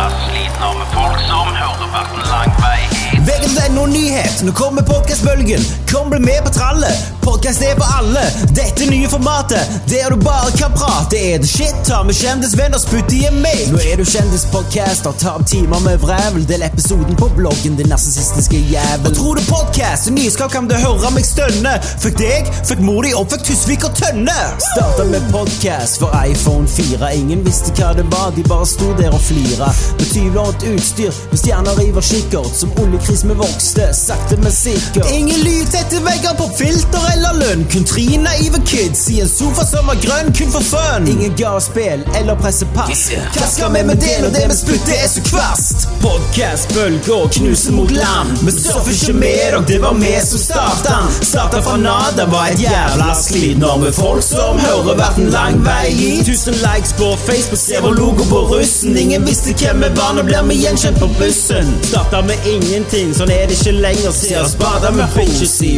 Når vi folk som hører verden lang vei hit. VG.no nyhet. Nå kommer podcastbølgen. Kom bli med på trallet. Podcast er for alle. Dette nye formatet, der du bare kan prate, er det shit. Ta med kjendisvenner, spytt i en mail. Nå er du kjendispodcaster, ta opp timer med vrævel. Del episoden på bloggen, din narsissistiske jævel. Og tror du podcast er nyskap, kan du høre meg stønne. Fuck deg, fuck mor di og fuck Tusvik og Tønne. Starta med podcast for iPhone 4. Ingen visste hva det var, de bare sto der og flira. Med tyvlånt utstyr, med stjerner i vår kikkert, som oljekrisme vokste, sakte, men sikkert. Ingen lyd etter vegger på filter eller lønn. Kun tre naive kids i en sofa som var grønn, kun for fun. Ingen gavespill eller pressepass. Hva skal vi med det når det vi spytter er så kvast? Podcast, bølger, knusen mot land. Vi surfer ikke mer, og det var vi som starta den. Starta fra nada, var et jævla slit. Når vi folk som hører verden lang vei i. Tusen likes på Facebook, ser vår logo på russen. Ingen visste hvem vi var, nå blir vi gjenkjent på bussen. Starta med ingenting, sånn er det ikke lenger. Ser oss bada med bitches i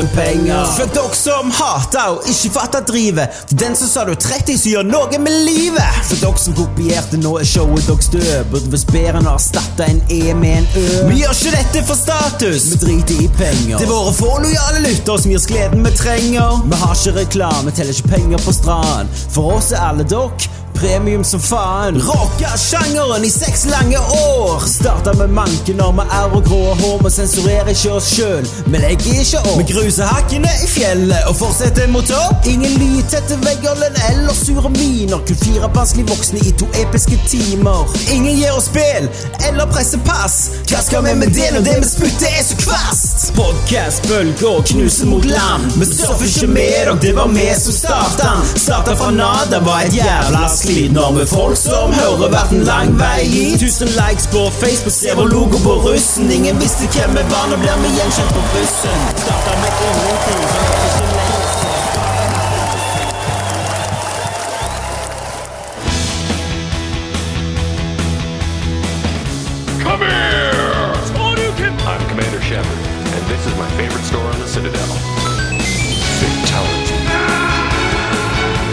Patrion-penger. Fuck dere som hater og ikke fatter drivet. For den som sa du er 30, så gjør noe med livet. For dere som kopierte, nå er showet deres død. Burde visst bedre enn å erstatte en E med en Ø. Vi gjør ikke dette for status, vi driter i penger. Det er våre få lojale lyttere som gir oss gleden vi trenger. Vi har ikke reklame, teller ikke penger på stranden. For oss er alle dere premium som faen. Rocka sjangeren i seks lange år. Starta med mankenorm med ær og grå hår. Vi sensurerer ikke oss sjøl, vi legger ikke opp. Vi gruser hakkene i fjellet og fortsetter mot topp. Ingen lyd, tette vegger lønn eller sure miner. Kun fire barnslig voksne i to episke timer. Ingen gir oss spill eller pressepass. Hva skal vi med det når det vi spytter er så kvast? Podcast, bølger, knusen mot land. Vi surfer ikke mer, og det var vi som starta den. Starta fra nada, var et jævla slit. Når vi folk som hører verden lang vei i. Tusen likes på Facebook, ser vår logo på russen. Ingen visste hvem vi var, nå blir vi gjenkjent på bussen. Starta med ingenting. så det er ikke lenge siden. Come here! I'm Commander Shepard, and this is my favorite store on the Citadel. Fatality.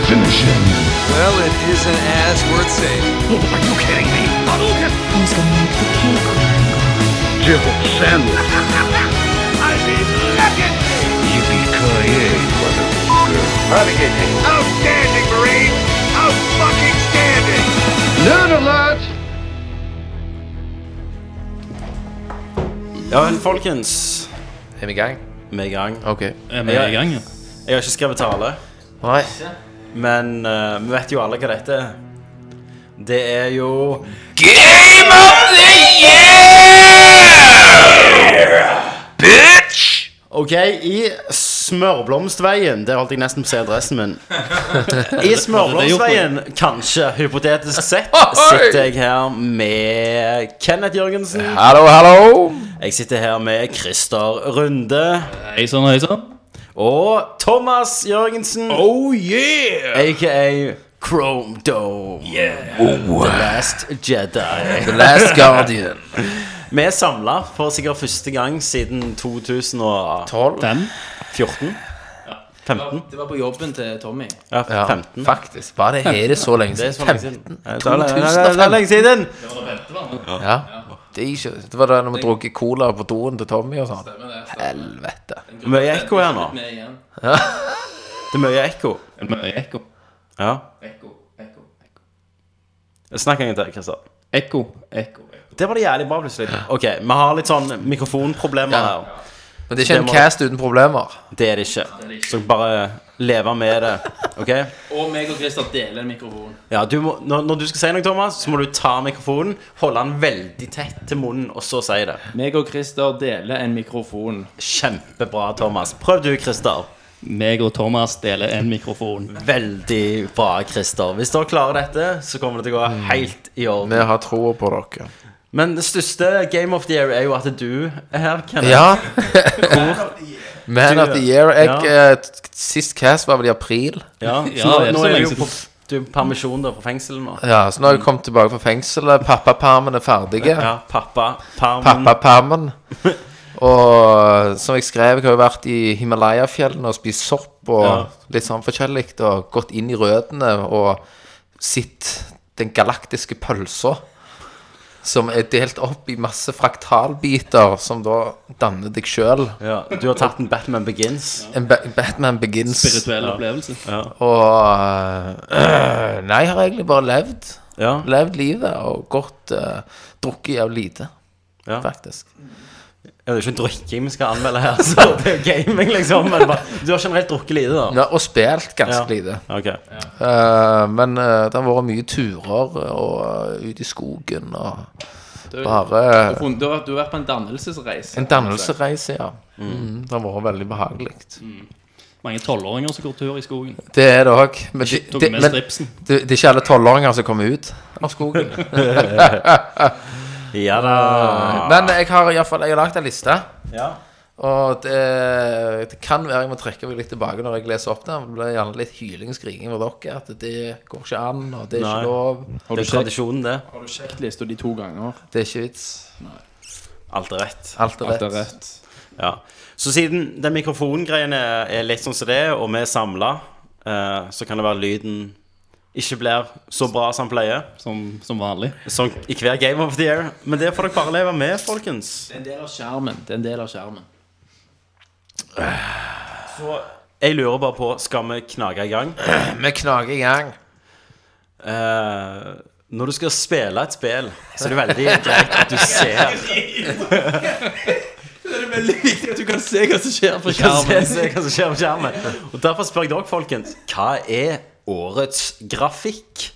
Finish him. Well, it isn't as worth saying. Are you kidding me? Who's gonna make the cake? Jibble sandwich. I mean, look at me! Yippee-ki-yay, motherfucker. Navigating. Outstanding, Marine! Out-fucking standing! Noon alert! Ja vel, folkens. Er vi i gang? Vi er i gang. Ok. Er vi Eh, i gang? Jeg har ikke skrevet tale, Nei. men eh, vi vet jo alle hva dette er. Det er jo Game of the Year! Bitch! Ok, i Smørblomstveien Der holdt jeg nesten på å si adressen min I Smørblomstveien, kanskje, hypotetisk sett, sitter jeg her med Kenneth Jørgensen. Hallo, hallo! Jeg sitter her med Christer Runde Hei Sånn, sann, hei sann. og Thomas Jørgensen, Oh yeah! aka Chrome Dome. The Last Jedi. The Last Guardian. Vi er samla for sikkert første gang siden 2014. Tolv? Den? 15? Det var på jobben til Tommy. Ja, Ja, 15. faktisk. Bare det er det så lenge Det er siden. så lenge siden. 15. Eh, Det er det er lenge siden. Ja. Det, er ikke, det var da når vi drukket cola på doen til Tommy og sånn. Helvete. Mye ekko her nå. Med igjen. Det er mye ekko. Mye ekko. Ja. Ekko, ekko. Snakk en gang til, Kristian. Ekko. Ekko. Det var det jævlig bra, plutselig. Ok, vi har litt sånn mikrofonproblemer Ja. her. Men det er ikke Det en må- cast uten problemer. Det er det ikke. Så bare leve med det. Ok? Og meg og Christer deler en mikrofon. Ja, du må, når, når du skal si noe, Thomas, så må du ta mikrofonen, holde den veldig tett til munnen, og så si det. Meg og Christer deler en mikrofon. Kjempebra, Thomas. Prøv du, Christer. Meg og Thomas deler en mikrofon. Veldig bra, Christer. Hvis dere klarer dette, så kommer det til å Mm. gå helt i orden. Vi har troa på dere. Men det største Game of the Year er jo at du er her, Kenneth. Ja. Man of the year. Jeg, Ja. eh, t- sist cast var vel i april. Ja, Ja, så nå, det er nå så er lenge du jo på, du er på permisjon da, fra fengselet nå. Ja, Så nå har jeg kommet tilbake fra fengselet. Pappapermen er ferdige. Ja, pappa, permen. Pappapermen. Og som jeg skrev, jeg har jo vært i Himalaya-fjellene og spist sopp og Ja. litt sånn forskjellig. Og gått inn i rødene og sett den galaktiske pølsa. som er delt opp i masse fraktalbiter, som da danner deg sjøl. Ja, du har tatt en Batman Begins. En ba Batman Begins. Spirituell opplevelse. Og øh, Nei, jeg har egentlig bare levd. Ja. Levd livet og gått øh, Drukket jævlig lite, Ja. faktisk. Ja, det er jo ikke drikking vi skal anmelde her, så det er gaming, liksom. Men bare, du har generelt drukket lite, da. Ja, og spilt ganske Ja. lite. Ok. Eh, men eh, det har vært mye turer og eh, ut i skogen og Du, bare du har funnet- du, har, du har vært på en dannelsesreise. En dannelsereise, ja. Mm. Det har vært veldig behagelig. Mange tolvåringer som går tur i skogen. Det er det òg. Men, det, Tok det, med men det, stripsen. det er ikke alle tolvåringer som kommer ut av skogen. Ja da. Ah, Men jeg har iallfall lagd ei liste. Ja. Og det, det kan være jeg må trekke meg litt tilbake når jeg leser opp den. for Det blir gjerne litt hyling og skriking fra dere at det går ikke an, og det er Nei. ikke lov. Det er tradisjonen, det. Har du sjekket lista di to ganger? Det er ikke vits. Alt er rett. Alt er Alt er rett. rett. Ja. Så siden den mikrofongreiene er litt sånn som det, er, og vi er samla, så kan det være lyden ikke blir så bra som den pleier. Som, som vanlig. Som i hver Game of the Year. Men det får dere bare leve med, folkens. Det er en del av skjermen. Det er en del av skjermen. Så jeg lurer bare på Skal vi knage i gang? Vi knager i gang. Eh, når du skal spille et spill, så er det veldig greit at du ser Det er veldig viktig at du kan se hva som skjer på Du kan se, se hva som skjer på skjermen. Og Derfor spør jeg dere, folkens, hva er årets grafikk?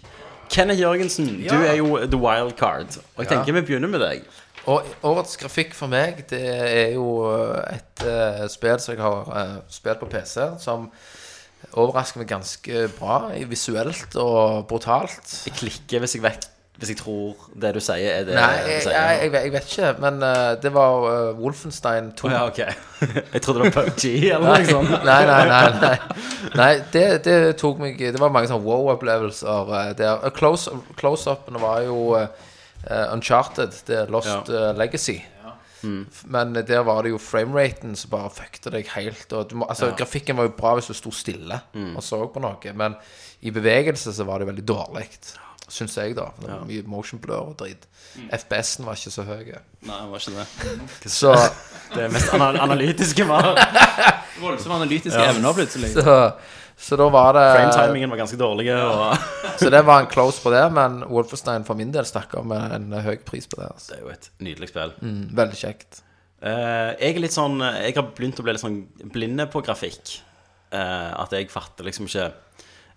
Kenneth Jørgensen, du er jo the wild card. Og jeg tenker vi begynner med deg. Og årets grafikk for meg, det er jo et eh, spill som jeg har eh, spilt på PC, som overrasker meg ganske bra eh, visuelt og brutalt. Jeg klikker hvis jeg, vet, hvis jeg tror det du sier, er det Nei, du jeg, sier. jeg, jeg, vet- jeg vet ikke, men eh, det var eh, Wolfenstein 2. ja, ok. Jeg trodde det var PUBG eller Nei, noe sånt. nei, nei, nei, nei. nei det, det tok meg Det var mange sånne wow-opplevelser eh, der. Eh, close- Close-upene var jo eh, eh, Uncharted, det er Lost eh, Legacy. F- Men eh, der var det jo frameraten som bare fuckte deg helt. Og du må, altså, Grafikken var jo bra hvis du sto stille og så på noe, men i bevegelse så var det veldig dårlig. Syns jeg, da. Det var mye motion blur og dritt. FPS-en var ikke så høy. Nei, det var ikke det. Så Det mest ana- analytiske var Voldsomme analytiske evner plutselig. Så, så da var det Frame-timingen var ganske dårlig. Og Så det var en close på det, men Wolfenstein for min del snakker om en høy pris på det. Altså. det er jo et nydelig spill. Mm, Veldig kjekt. Eh, jeg er litt sånn Jeg har begynt å bli litt sånn blinde på grafikk. Eh, at jeg fatter liksom ikke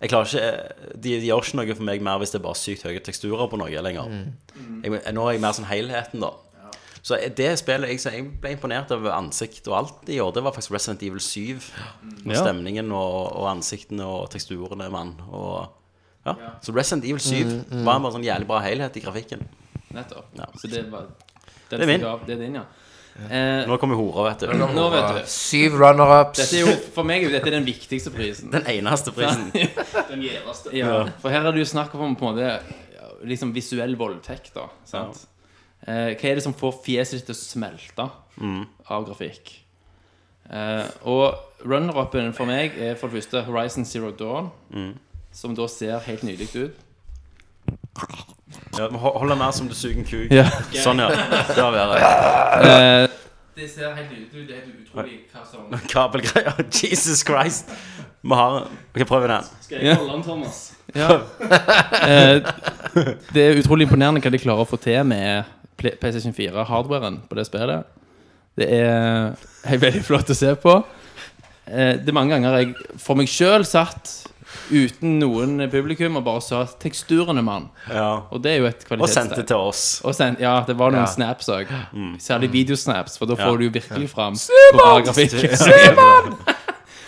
Jeg klarer ikke eh, de, de gjør ikke noe for meg mer hvis det er bare sykt høye teksturer på noe lenger. Jeg, nå er jeg mer sånn helheten, da. Så det spillet jeg, jeg ble imponert over ansikt og alt i år, det var faktisk Resident Evil 7. Og Ja. stemningen og, og ansiktene og teksturene, mann. Og ja. Så Resident Evil 7 var en bare sånn jævlig bra helhet i grafikken. Nettopp. Ja. Så det var den Det er min. stikker av. Det er din, ja. Eh, Nå kommer hora, vet du. nå vet du Syv runner-ups. Dette er jo, For meg er jo dette den viktigste prisen. Den eneste prisen. Den gjeveste. Ja, for her er det jo snakk om på en måte ja, liksom visuell voldtekt, da. Sant? Eh, hva er det som får fjeset ditt til å smelte av grafikk? Eh, og runner-upen for meg er for det første Horizon Zero Dawn, som da ser helt nydelig ut. Ja, men ho- Hold den mer som du suger en kuk. Ja. Sånn, ja. Det var bedre. Eh, det ser helt nydelig ut. Det er helt utrolig hva som Kabelgreier. Jesus Christ. Vi har Ok, prøv den. Skal jeg holde den, Thomas? Ja. Eh, det er utrolig imponerende hva de klarer å få til med Pl- PlayStation 4-hardwaren på det spillet. Det er helt veldig flott å se på. Eh, det er mange ganger jeg for meg sjøl satt uten noen publikum og bare sa 'teksturene, mann'. Ja. Og det er jo et Og sendte kvalitetstegn. til oss. Og sendt, ja, det var noen Ja. snaps òg. Mm. Særlig videosnaps, for da får du jo virkelig fram bra grafikk. Simon!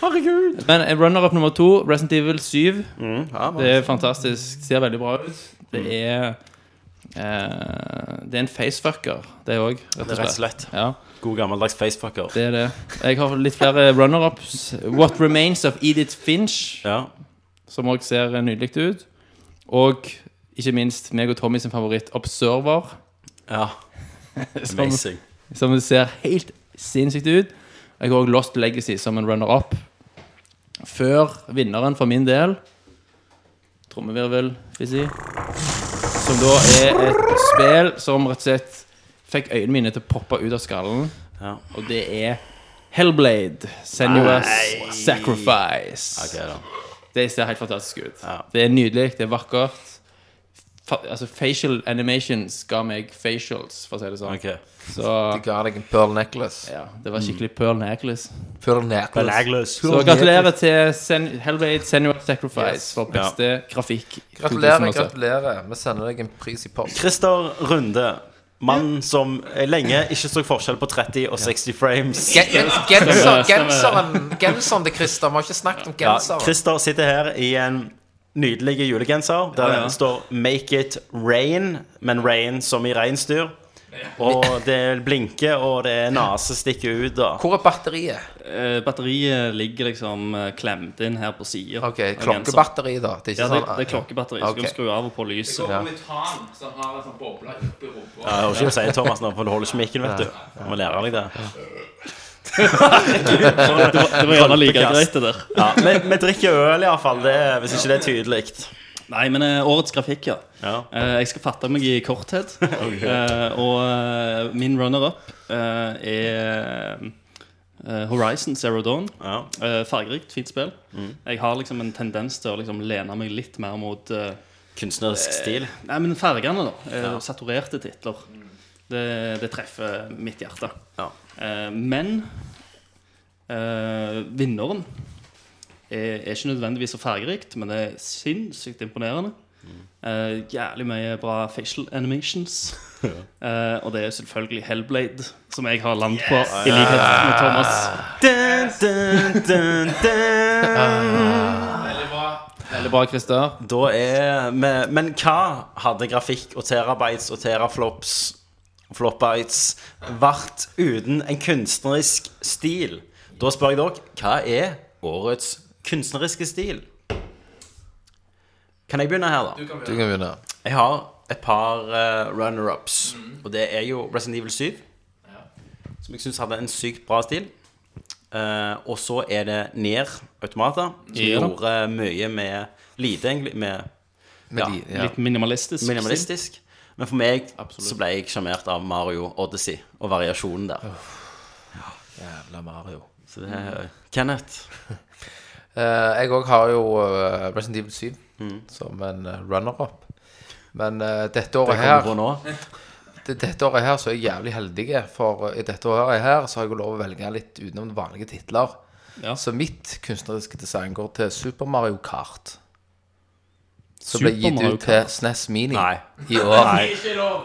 Herregud. Mm, Men eh, runner-up nummer to, Resident Evil 7. Ja, Mm. Det er fantastisk. Ser veldig bra ut. Det er eh, Det er en facefucker, det òg. det er rett og slett Ja, god gammeldags facefucker. det er det. Jeg har litt flere runner-ups. What Remains of Edith Finch, Ja. som òg ser nydelig ut. Og ikke minst meg og Tommy sin favoritt Observer, ja. Sånn. som, Amazing. som ser helt sinnssykt ut. Jeg har òg Lost Legacy som en runner-up. Før vinneren for min del Trommevirvel, vil jeg si. Som da er et spill som rett og slett fikk øynene mine til å poppe ut av skallen. Ja. Og det er Hellblade, Senua's Sacrifice. Ok, da. Det ser helt fantastisk ut. Ja. Det er nydelig, det er vakkert. Fa altså Facial animations ga meg facials, for å si det sånn. Ok. Så De ga deg en pearl necklace. ja, det var Mm. skikkelig pearl necklace. Pearl necklace. Så gratulerer til Sen Hellblade Senua's Sacrifice Yes. for beste grafikk. Gratulerer, 2017. gratulerer. Vi sender deg en pris i post. Christer Runde. Mann som lenge ikke så forskjell på 30 og 60 frames. Gen- men Genser, genseren Genseren til Christer. Vi har ikke snakket om Ja, genseren. Christer sitter her i en nydelig julegenser der det står 'Make it rain', men rain som i reinsdyr. Og det blinker, og det er nese stikker ut. Og Hvor er batteriet? Eh, batteriet ligger liksom eh, klemt inn her på sida. Ok, klokkebatteri, da. Det er ikke Ja, det, sånn det er klokkebatteri. Så Ok. kan du skru av og på lyset. Ja. Ja, Jeg hører ikke hva du sier, Thomas, nå, for du holder ikke mikken, vet du. Jeg må lære deg det. Det var, det var gjerne like Rolpekast. greit, det der. Ja, vi, vi drikker øl, iallfall. Hvis ikke det er tydelig. Nei, men eh, årets grafikk, ja. Ja. Eh, jeg skal fatte meg i korthet. Eh, og eh, min runner-up eh, er eh, Horizon Zero Dawn. Ja. Eh, fargerikt, fint spill. Mm. Jeg har liksom en tendens til å liksom lene meg litt mer mot eh, Kunstnerisk stil. Nei, men fargene, da. eh, Saturerte titler. Det, det treffer mitt hjerte. Ja. Eh, men eh, vinneren er, er ikke nødvendigvis så fargerikt, men det er sinnssykt imponerende. Mm. Eh, jævlig mye bra facial animations. Eh, og det er selvfølgelig Hellblade, som jeg har land på, i likhet med Thomas. Dun, dun, dun, dun. Veldig bra, Christer. Da er vi Men hva hadde grafikk og terabytes og teraflops flopbytes vært uten en kunstnerisk stil? Da spør jeg dere, hva er årets kunstneriske stil? Kan jeg begynne her, da? Du kan begynne. Jeg har et par eh, runner-ups. Mm. Og det er jo Resident Evil 7. Som jeg syns hadde en sykt bra stil. Eh, og så er det Nier Automata, som Ja. gjorde mye med lite, egentlig. Med, Med ja, de, ja. Litt minimalistisk. minimalistisk. Men for meg så ble jeg sjarmert av Mario Odyssey og variasjonen der. Jævla Mario. Så det er Kenneth. Eh, jeg òg har jo eh, Resident Evil 7 som en eh, runner-up. Men eh, dette, året Det kommer her, på nå. det, dette året her så er jeg jævlig heldig, for eh, i dette året her så har jeg jo lov å velge litt utenom vanlige titler. Ja. Så mitt kunstneriske design går til Super Mario Kart. Som Super ble gitt Mario ut til SNES Mini Nei. i år.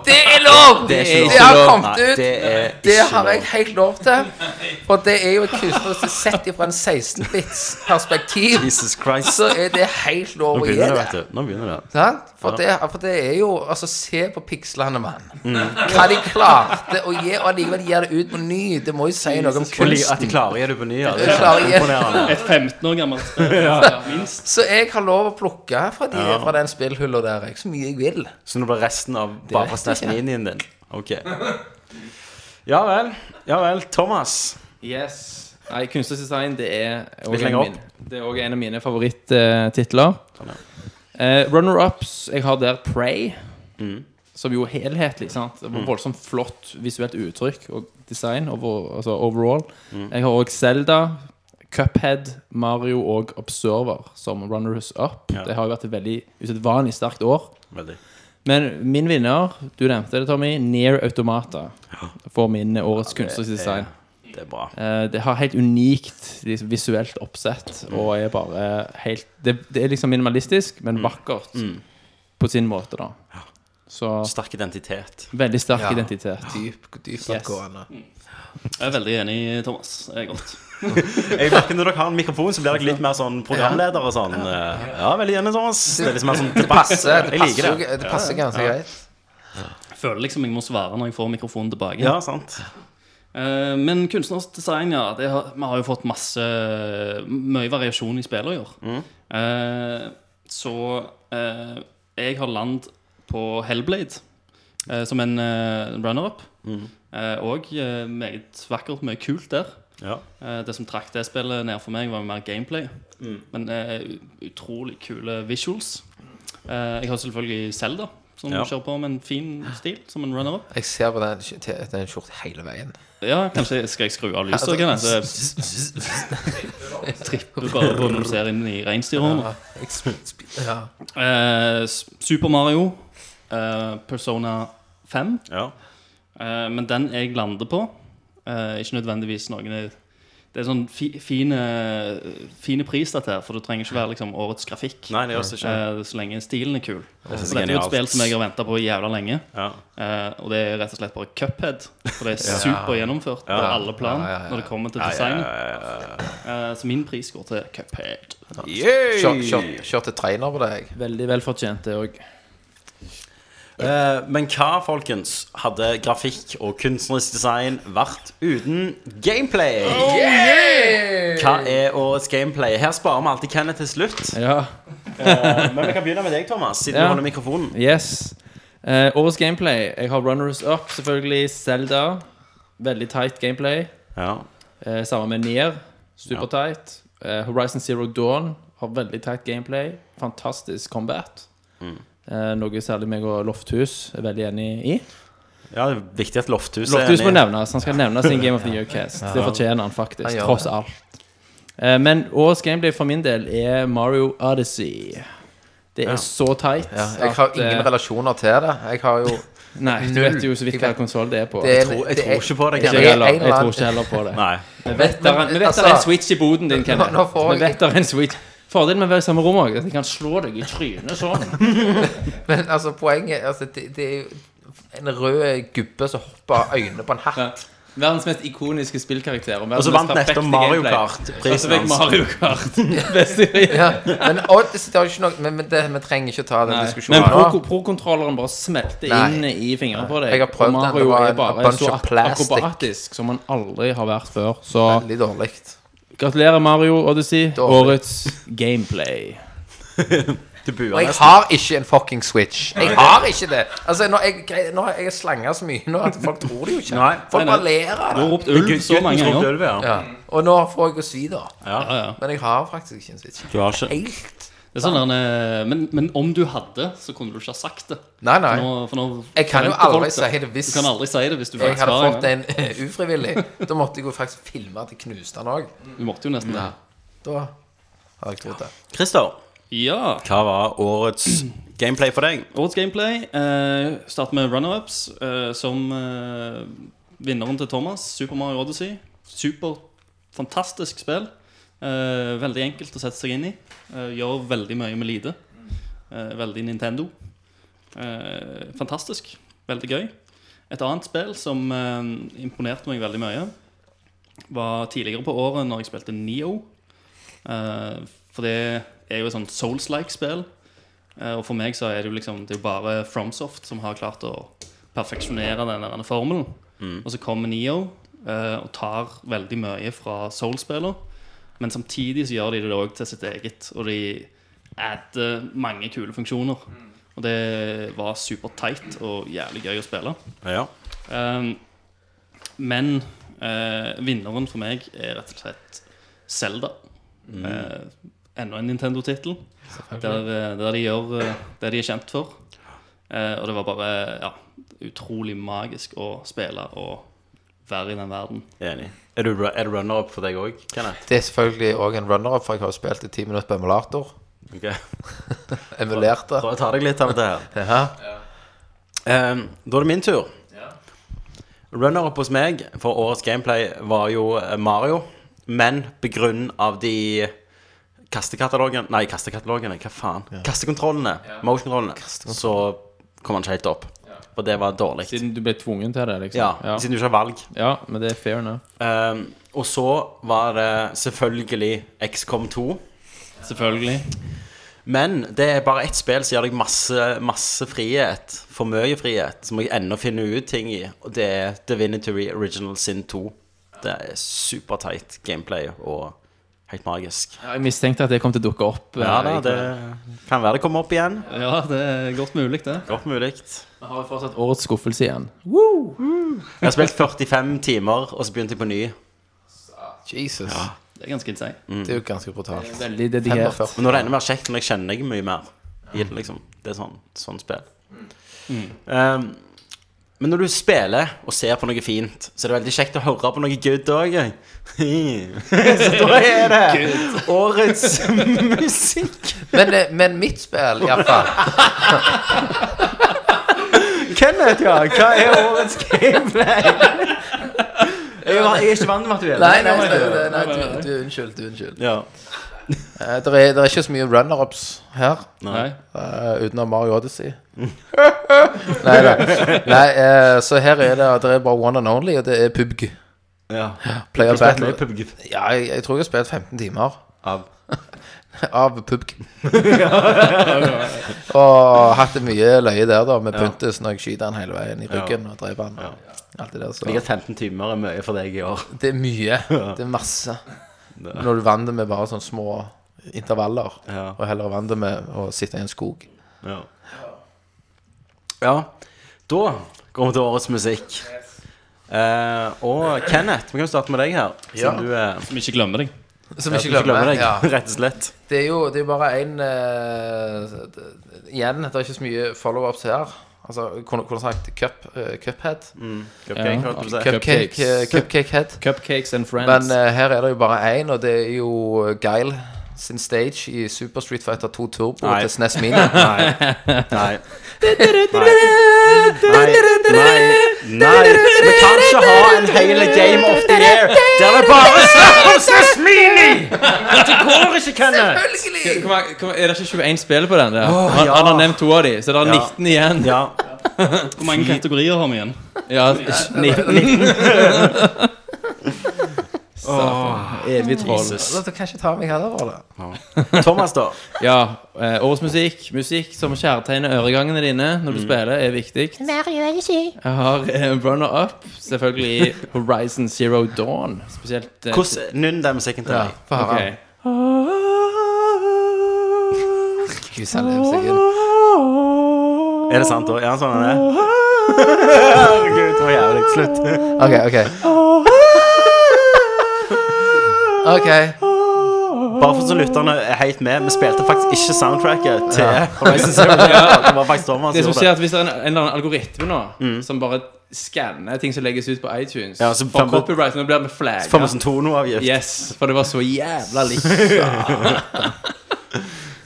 Det er lov! Det, er ikke lov. har Nei, kommet ut! det er Det ikke har jeg lov. helt lov til. For det er jo et kunstnerisk sett fra en 16-bits perspektiv. Jesus Christ. så er det helt lov Nå å gi begynner det, det. vet du. Nå begynner det. Sant? For, det, for det er jo Altså, se på pikslene, mann. Mm. Hva de klarte å gi, og allikevel gir det ut på ny. Det må jo si noe om Og li- At kunsten. de klarer å gjøre det på ny, ja. Det De er klarer å gjøre- imponerende. Et 15 år gammelt spill. ja, minst. Så jeg har lov å plukke fra, de, fra den spillhylla der jeg, så mye jeg vil. Så nå blir resten av bare vet fra jeg SNES ikke. Minien din? Ok. Ja vel. Ja vel. Thomas. Yes. Nei, kunstnerisk design, det er Litt også en, lenger av opp. Sånn, mine- det er også en av mine favorittitler. Runner-ups Jeg har der Prey, Mm. som jo er helhetlig. sant? Det var Voldsomt flott visuelt uttrykk og design over, altså overall. Mm. Jeg har òg Zelda, Cuphead, Mario og Observer som runners up. Ja. Det har jo vært et veldig usedvanlig sterkt år. Veldig. Men min vinner, du nevnte det, Tommy, Near Automata, for min årets kunstneriske design. Det er bra. Eh, Det har helt unikt liksom, visuelt oppsett og er bare helt Det, det er liksom minimalistisk, men vakkert på sin måte, da. Så Sterk identitet. veldig sterk Ja. identitet. Dyp, dypt oppgående. Jeg er veldig enig, Thomas. Det er godt. Jeg merker Når dere har en mikrofon, så blir dere litt mer sånn programleder og sånn. eh, Ja, veldig gjerne, Thomas. Det er liksom mer sånn Det passer, Jeg det liker passer, det. jo- det passer ganske greit. Jeg føler liksom jeg må svare når jeg får mikrofonen tilbake. Ja, sant. Eh, men kunstnerisk design, ja. Det har, vi har jo fått masse mye variasjon i spillet i år. Mm. Eh, så eh, jeg har land på Hellblade eh, som en eh, runner-up. Mm. Eh, og eh, meget vakkert, mye kult der. Ja. Eh, det som trakk det spillet ned for meg, var mer gameplay. Mm. Men eh, utrolig kule visuals. Eh, jeg har selvfølgelig Zelda som Ja. kjører på med en fin stil, som en runner-up. Jeg ser på den, skj- den skjorten hele veien. Ja, kanskje skal jeg skru av lyset? Kan jeg? Så Tripper. du bare produserer inn i reinsdyrhånda. Ja, jeg sp- sp- ja. Eh, S- Super Mario, eh, Persona 5. Ja. Eh, men den jeg lander på eh, Ikke nødvendigvis noen jeg- Det er sånn fi, fine, fine pris, dette her, for det trenger ikke være liksom, årets grafikk. Nei, det gjør det ikke. Eh, så lenge stilen er kul. Det synes jeg Så dette er jo et genialt. spill som jeg har venta på jævla lenge. Ja. Eh, og det er rett og slett bare cuphead. For det er super gjennomført på alle plan Ja, ja, ja. når det kommer til design. Eh, så min pris går til cuphead. Kjør- kjør- Kjørte trainer på deg. Veldig velfortjent, det òg. Eh, men hva, folkens, hadde grafikk og kunstnerisk design vært uten gameplay? Oh, Hva er årets gameplay? Her sparer vi alltid Kenneth til slutt. Ja. Men vi kan begynne med deg, Thomas, siden Ja. du holder mikrofonen. Yes. Eh, årets gameplay. Jeg har Runners Up, selvfølgelig. Zelda. Veldig tight gameplay. Ja. Eh, sammen med Nier. Super tight. Eh, Horizon Zero Dawn har veldig tight gameplay. Fantastisk combat. Mm. Eh, noe særlig meg og Lofthus er veldig enig i. ja, det er viktig at Lofthus er Lofthus må enig. nevnes. Han skal nevnes i en Game of the Year-cast. Det fortjener han faktisk, Han gjør tross det. alt. Eh, Men årets gameplay for min del er Mario Odyssey. Det er så tight. Ja, jeg har at, ingen eh, relasjoner til det. Jeg har jo Nei, du Null. vet jo så vidt Jeg hva vet- konsoll det er på. det er- Jeg tror- jeg det er- tror ikke på det, det er tror ikke heller- en eller jeg tror annen- ikke heller på det. Nei. Vi vet Men- der er- vi vet der altså- er en switch i boden din, Nå- Kenneth. nå får Vi jeg- vet der er en switch. Fordelen med å være i samme rom òg, at jeg kan slå deg i trynet sånn. Men altså, poenget er, altså, det, det er jo en rød gubbe som hopper av øynene på en hatt. Verdens mest ikoniske spillkarakter. Og Og så vant nettopp Mario Kart-prisen fikk hans. Altså, Mario Kart beste prisen. Ja, men Odyssey, det er jo ikke noe Men, men det, vi trenger ikke ta den Nei, diskusjonen Men nå. pro- pro-kontrolleren bare smelter Nei. inn i fingrene på deg. Jeg har prøvd og den, det Mario var er en- a bare bunch så of ak- plastic. akrobatisk som han aldri har vært før. Så Veldig dårlig. gratulerer, Mario Odyssey. Dårlig. Årets gameplay. Du buer Og jeg nesten. har ikke en fucking Switch. Jeg har ikke det. Altså, nå, jeg, nå har jeg slanga så mye nå at folk tror det jo ikke. Nei. Folk Nei, bare ler av det. Har ropt ulv så mange Gutten som ganger. ropte ulv, ja. Ja. Og nå får jeg jo svi, da. Ja, ja. Men jeg har faktisk ikke en Switch. Du har ikke Helt Det er sånn der, eh, men, men om du hadde, så kunne du ikke ha sagt det. Nei, nei. For nå, for nå Jeg kan jo forventer folk aldri si det hvis- Du kan aldri si det hvis du Jeg faktisk hadde har en. fått en eh, ufrivillig. Da måtte jeg jo faktisk filme at jeg knuste den òg. Du måtte jo nesten det. Da har jeg trodd det. Christer, Ja. hva var årets gameplay for deg? Årets gameplay eh, starter med runner-ups, eh, som eh, vinneren til Thomas. Super Mario Odyssey. Super fantastisk spill. Eh, veldig enkelt å sette seg inn i. Eh, gjør veldig mye med lite. Eh, veldig Nintendo. Eh, fantastisk. Veldig gøy. Et annet spill som eh, imponerte meg veldig mye, var tidligere på året når jeg spilte Neo. Eh, for det er jo et sånt Souls-like-spill. Eh, Og for meg så er det jo liksom Det er jo bare FromSoft som har klart å perfeksjonere den der formelen. Og så kommer Neo eh, og tar veldig mye fra Soul-spiller. Men samtidig så gjør de det òg til sitt eget, og de adder mange kule funksjoner. Og det var super tight og jævlig gøy å spille. Ja. Um, men eh, vinneren for meg er rett og slett Zelda. Eh, enda en Nintendo-tittel. Der, eh, der de gjør eh, det de er kjent for. Eh, og det var bare ja, utrolig magisk å spille og være i den verden. Enig. Er du, er du runner-up for deg òg, Kenneth? Det er selvfølgelig òg en runner-up, for jeg har jo spilt i ti minutter på emulator. Ok. Emulerte. Prøv å ta deg litt av det her. Ja. Ehm, da er det min tur. Runner-up hos meg for årets gameplay var jo eh, Mario. Men på grunn av de kastekatalogen Nei, kastekatalogene, hva faen? Kastekontrollene. Motion-kontrollene. Så kom han ikke helt opp. For det var dårlig. Siden du ble tvungen til det, liksom. Ja, ja. Siden du ikke har valg. ja men det er fair enough. Ehm, og så var det selvfølgelig XCOM 2. Selvfølgelig. Men det er bare ett spill som gir deg masse, masse frihet. For mye frihet. Som jeg ennå finner ut ting i. Og det er Divinity Original Sin 2. Det er superteit gameplay og helt magisk. Ja, Jeg mistenkte at det kom til å dukke opp. eh, Ja da, i- det kan være det kommer opp igjen. Ja, det er godt mulig, det. Godt mulig. Vi har jo fortsatt årets skuffelse igjen. Jeg har spilt 45 timer, og så begynte jeg på ny. Jesus. Det er ganske insane. Det er jo ganske brutalt. Veldig dedikert. 45. Men nå er det enda mer kjekt, når jeg kjenner jeg mye mer i det, liksom. Det er sånn, sånn spill. Um, men når du spiller og ser på noe fint, så er det veldig kjekt å høre på noe good òg. så da er det årets musikk. Men, eh, men mitt spill, iallfall Kenneth, ja. Hva er årets gameplay? Jeg er jeg er ikke vant med at du er det. Nei, nei, nei, nei, nei, du, du unnskyld. du unnskyld Ja. Eh, Det er, det er ikke så mye runner-ups her. Nei. Eh, utenom Mario Odyssey. nei da. Nei, eh, så her er det, det er bare one and only, og det er PubG. ja. Player Battle. Battle. Ja, jeg, jeg tror jeg har spilt 15 timer Av. av PubG. og hatt det mye løye der, da, med pyntes når jeg skyter han hele veien i ryggen og dreper han. Alt det der, så. Jeg har 15 timer er mye for deg i år. Det er mye. Det er masse. Når du vant det med bare sånne små intervaller, Ja. og heller vant det med å sitte i en skog. Ja. ja. Da går vi til årets musikk. Eh, og Kenneth, vi kan starte med deg her. Ja. Siden du er Som ikke glemmer deg. Som Ikke glemmer deg, Ja. rett og slett. Det er jo det er jo bare én Igjen, det er ikke så mye follow-ups her. Altså, kunne kunne sagt cup, eh, Cuphead. Cupcake, Ja. holdt jeg på å si. Cupcake, eh, Cupcakes. cupcake Head. Cupcakes and Men friends. eh, her er det jo bare én, og det er jo eh, Guile sin stage i Super Street Fighter 2 Turbo Nei. til SNES Mini. Nei. Nei. Nei. Nei. Nei. Vi kan ikke ha en hel Game of the Year der vi bare snakker om Snes Mini! Det går ikke, Kenneth. Selvfølgelig! Kom her, kom her, er det ikke 21 spill på den der? han, ja. han har nevnt to av de, så det er 19 igjen. Ja. Hvor mange kategorier har vi igjen? Ja, 19 eh, Evig troll. Da da kan jeg ikke ta meg heller for det. Thomas, da? Ja, eh, årets musikk. Musikk som kjærtegner øregangene dine når du spiller, er viktig. Jeg har eh, Runner Up, selvfølgelig Horizon Zero Dawn. Spesielt eh, Hvordan nynn den musikken til Ja, deg? for ok. okay. Gud, han lever seg inn. Er det sant, da? Er han sånn han er? Herregud, det var jævlig. Slutt. Ok, ok. Ok. Bare for så lytterne er helt med, vi spilte faktisk ikke soundtracket til Horizon Zero Dawn. Det var faktisk Thomas Det som som gjorde skjer det. er at Hvis det er en, en eller annen algoritme nå som bare skanner ting som legges ut på iTunes Mm. Ja, så For får vi- copyright, nå blir vi flagga. Får vi sånn toneavgift? Yes, for det var så jævla likt.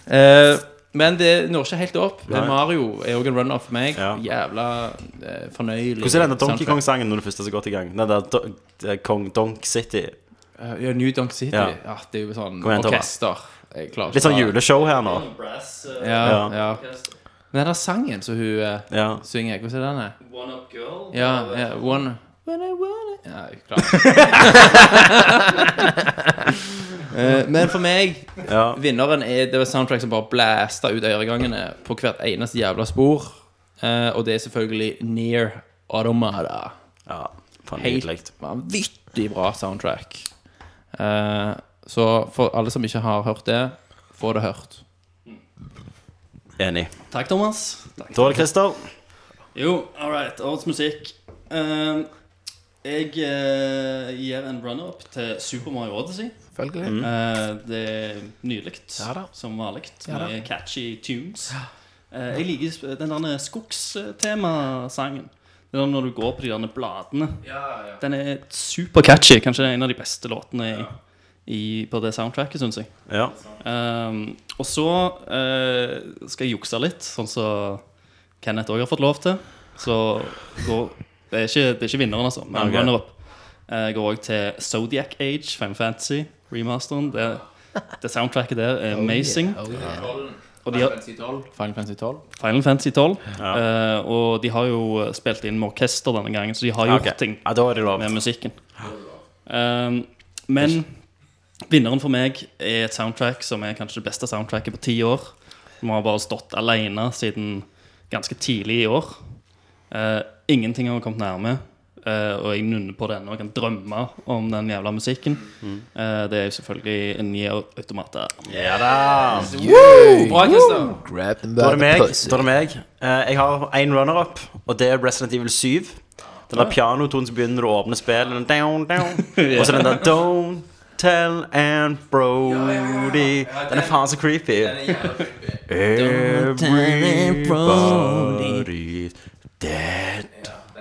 Eh, men det når ikke helt opp. Nei. Mario er òg en runner for meg. Ja. Jævla eh, fornøyelig. Hvordan er denne Donkey soundtrack. Kong-sangen når du først er så godt i gang? Den der Do eh, Kong Donk City. Eh, ja, New Donk City. Ja. Ja. det er jo sånn Kom igjen, Thomas. orkester. Jeg klarer Litt sånn ta- juleshow her nå. Brass, Ja, Ja. ja. Men den der sangen som hun eh, Ja. synger, hvordan er den? her? One Up Girl. Ja, ja, One When I wanna Ja, jeg klarer det. Eh, Men for meg ja. Vinneren er det var soundtrack som bare blæsta ut øregangene på hvert eneste jævla spor. Eh, og det er selvfølgelig Near Automata. ja. Faen, nydelig. Helt vanvittig bra soundtrack. Eh, så for alle som ikke har hørt det, få det hørt. Enig. Takk, Thomas. Takk. Da er det Christer. Jo, all right. Årets musikk. Eh, jeg eh, gir en runner-up til Super Mario Odyssey. Selvfølgelig. Eh, det er nydelig, Mm. Ja da. som vanlig, Ja da. med catchy tunes. Eh, jeg liker sp- den der skogstemasangen. Den der når du går på de der bladene. Den er supercatchy. Kanskje det er en av de beste låtene i, i, på det soundtracket, syns jeg. Ja. Ehm, og så eh, skal jeg jukse litt, sånn som Kenneth òg har fått lov til. Så går, det, er ikke, det er ikke vinneren, altså, men Ok. runner-up. Jeg går òg til Zodiac Age, Fem Fantasy, remasteren. Det, det soundtracket der er amazing. Oh, yeah. Og de har Final Fantasy 12. Final Fantasy 12. eh, og de har jo spilt inn med orkester denne gangen, så de har gjort Ok. ting ja, da er det lov. med musikken. Um, men vinneren for meg er et soundtrack som er kanskje det beste soundtracket på ti år. Som har bare stått alene siden ganske tidlig i år. Eh, ingenting har kommet nærme, eh, og jeg nunner på det ennå. Jeg kan drømme om den jævla musikken. Eh, det er jo selvfølgelig Nier Automata. Ja da. Bra, Christer! Grab them Da by er det the meg. pussy. Da er det meg. Eh, jeg har én runner-up, og det er Resident Evil 7. Den der pianotonen som begynner når du åpner spillet. Den Down, down. Og så den der down, Tell and Brody. Den er faen så creepy. Everybody's dead.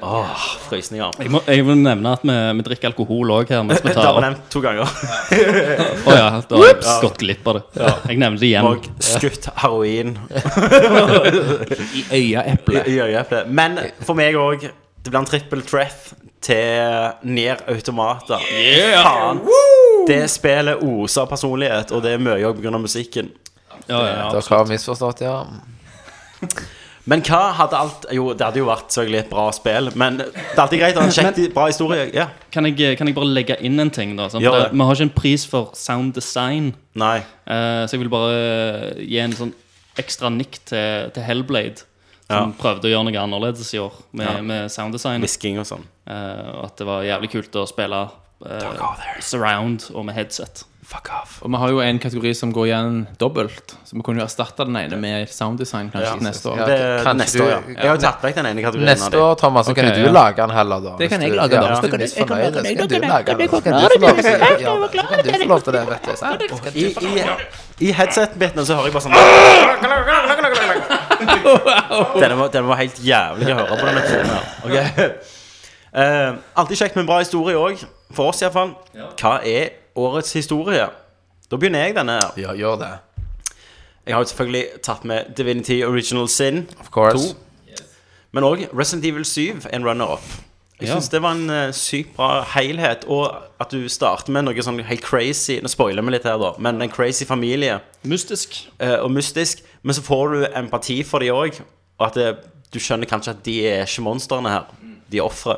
Åh, frysninger. Jeg, må, jeg vil nevne at vi, vi drikker alkohol òg her. Mens vi Det tar var opp. nevnt to ganger. Å ja, da har jeg gått glipp av det. Jeg nevner det igjen. Og skutt heroin I øyeeplet. i øyeeplet. Men for meg òg. Det blir en trippel threat til Nier Automata. Faen. Det spillet oser av personlighet, og det er mye òg pga. musikken. Ja, ja, Dere har misforstått, ja. Men hva hadde alt Jo, det hadde jo vært selvfølgelig et bra spill, men det er alltid greit å ha en kjekk, bra historie. Ja. Kan jeg, kan jeg bare legge inn en ting? da? Sant? Gjør For det. det- Vi har ikke en pris for sound design, Nei. eh, så jeg vil bare gi en sånn ekstra nikk til, til Hellblade. Som prøvde å gjøre noe annerledes i år med, Ja. med sound design. Hvisking og sånn. eh, og at det var jævlig kult å spille eh, surround og med headset. Fuck off. Og vi har jo en kategori som går igjen dobbelt, så vi kunne jo erstatte den ene med sounddesign kanskje Ja. neste år. Ja. Det, Kanskje neste du- år, ja. Jeg har jo tatt vekk den ene kategorien. av Neste de. år, Thomas, så kan Ok, du ja. lage den heller, da. Det kan Hvis jeg du- lage ja, den, hvis da. du er misfornøyd, så kan du Jeg lage kan den. Så kan du få lov til å gjøre det. Så kan du få lov til det, vet du. sant? Så kan du få lov til det. I headset-bitene så hører jeg bare sånn denne, var, denne var helt jævlig å høre på denne episoden her. Okay. Eh, alltid kjekt med en bra historie òg. For oss iallfall. Hva er årets historie? Da begynner jeg denne her. Ja, gjør det. Jeg har jo selvfølgelig tatt med Divinity Original Sin. Of course. To. Men òg Resident Evil 7, en runner-up. Jeg syns det var en eh, sykt bra helhet. Og at du starter med noe sånn helt crazy Nå spoiler vi litt her, da. Men en crazy familie Mystisk. eh, og mystisk. Men så får du empati for de òg. Og at det, du skjønner kanskje at de er ikke monstrene her. De er ofre.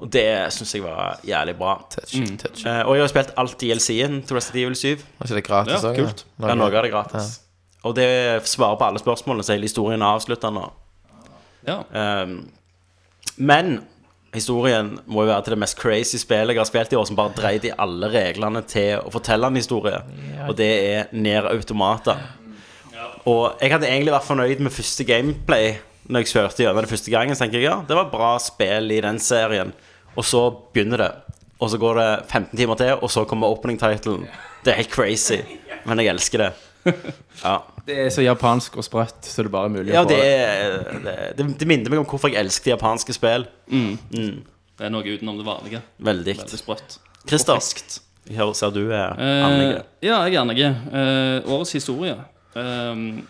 Og det syns jeg var jævlig bra. Touchy, touchy. Eh, og jeg har spilt alt DLC-en til Resident Evil 7. Var ikke det gratis Ja, også, kult. Ja, noe av det er gratis. Og det svarer på alle spørsmålene, så hele historien er avslutta nå. Ja. Ehm, men historien må jo være til det mest crazy spillet jeg har spilt i år, som bare dreide i alle reglene til å fortelle en historie. Og det er Ned Automata. Og jeg hadde egentlig vært fornøyd med første gameplay når jeg kjørte gjennom det første gangen. Så tenker jeg, ja, det var et bra spill i den serien. Og så begynner det. Og så går det 15 timer til, og så kommer opening titlen. Det er helt crazy, men jeg elsker det. Ja. Det er så japansk og sprøtt, så det bare er mulig Ja, å få det, er, det, det minner meg om hvorfor jeg elsket japanske spill. Det er noe utenom det vanlige. Veldig. Veldig sprøtt. Christer, Og friskt. her ser du er Eh, Annike. ja, jeg er Annike. Eh, årets historie. Um,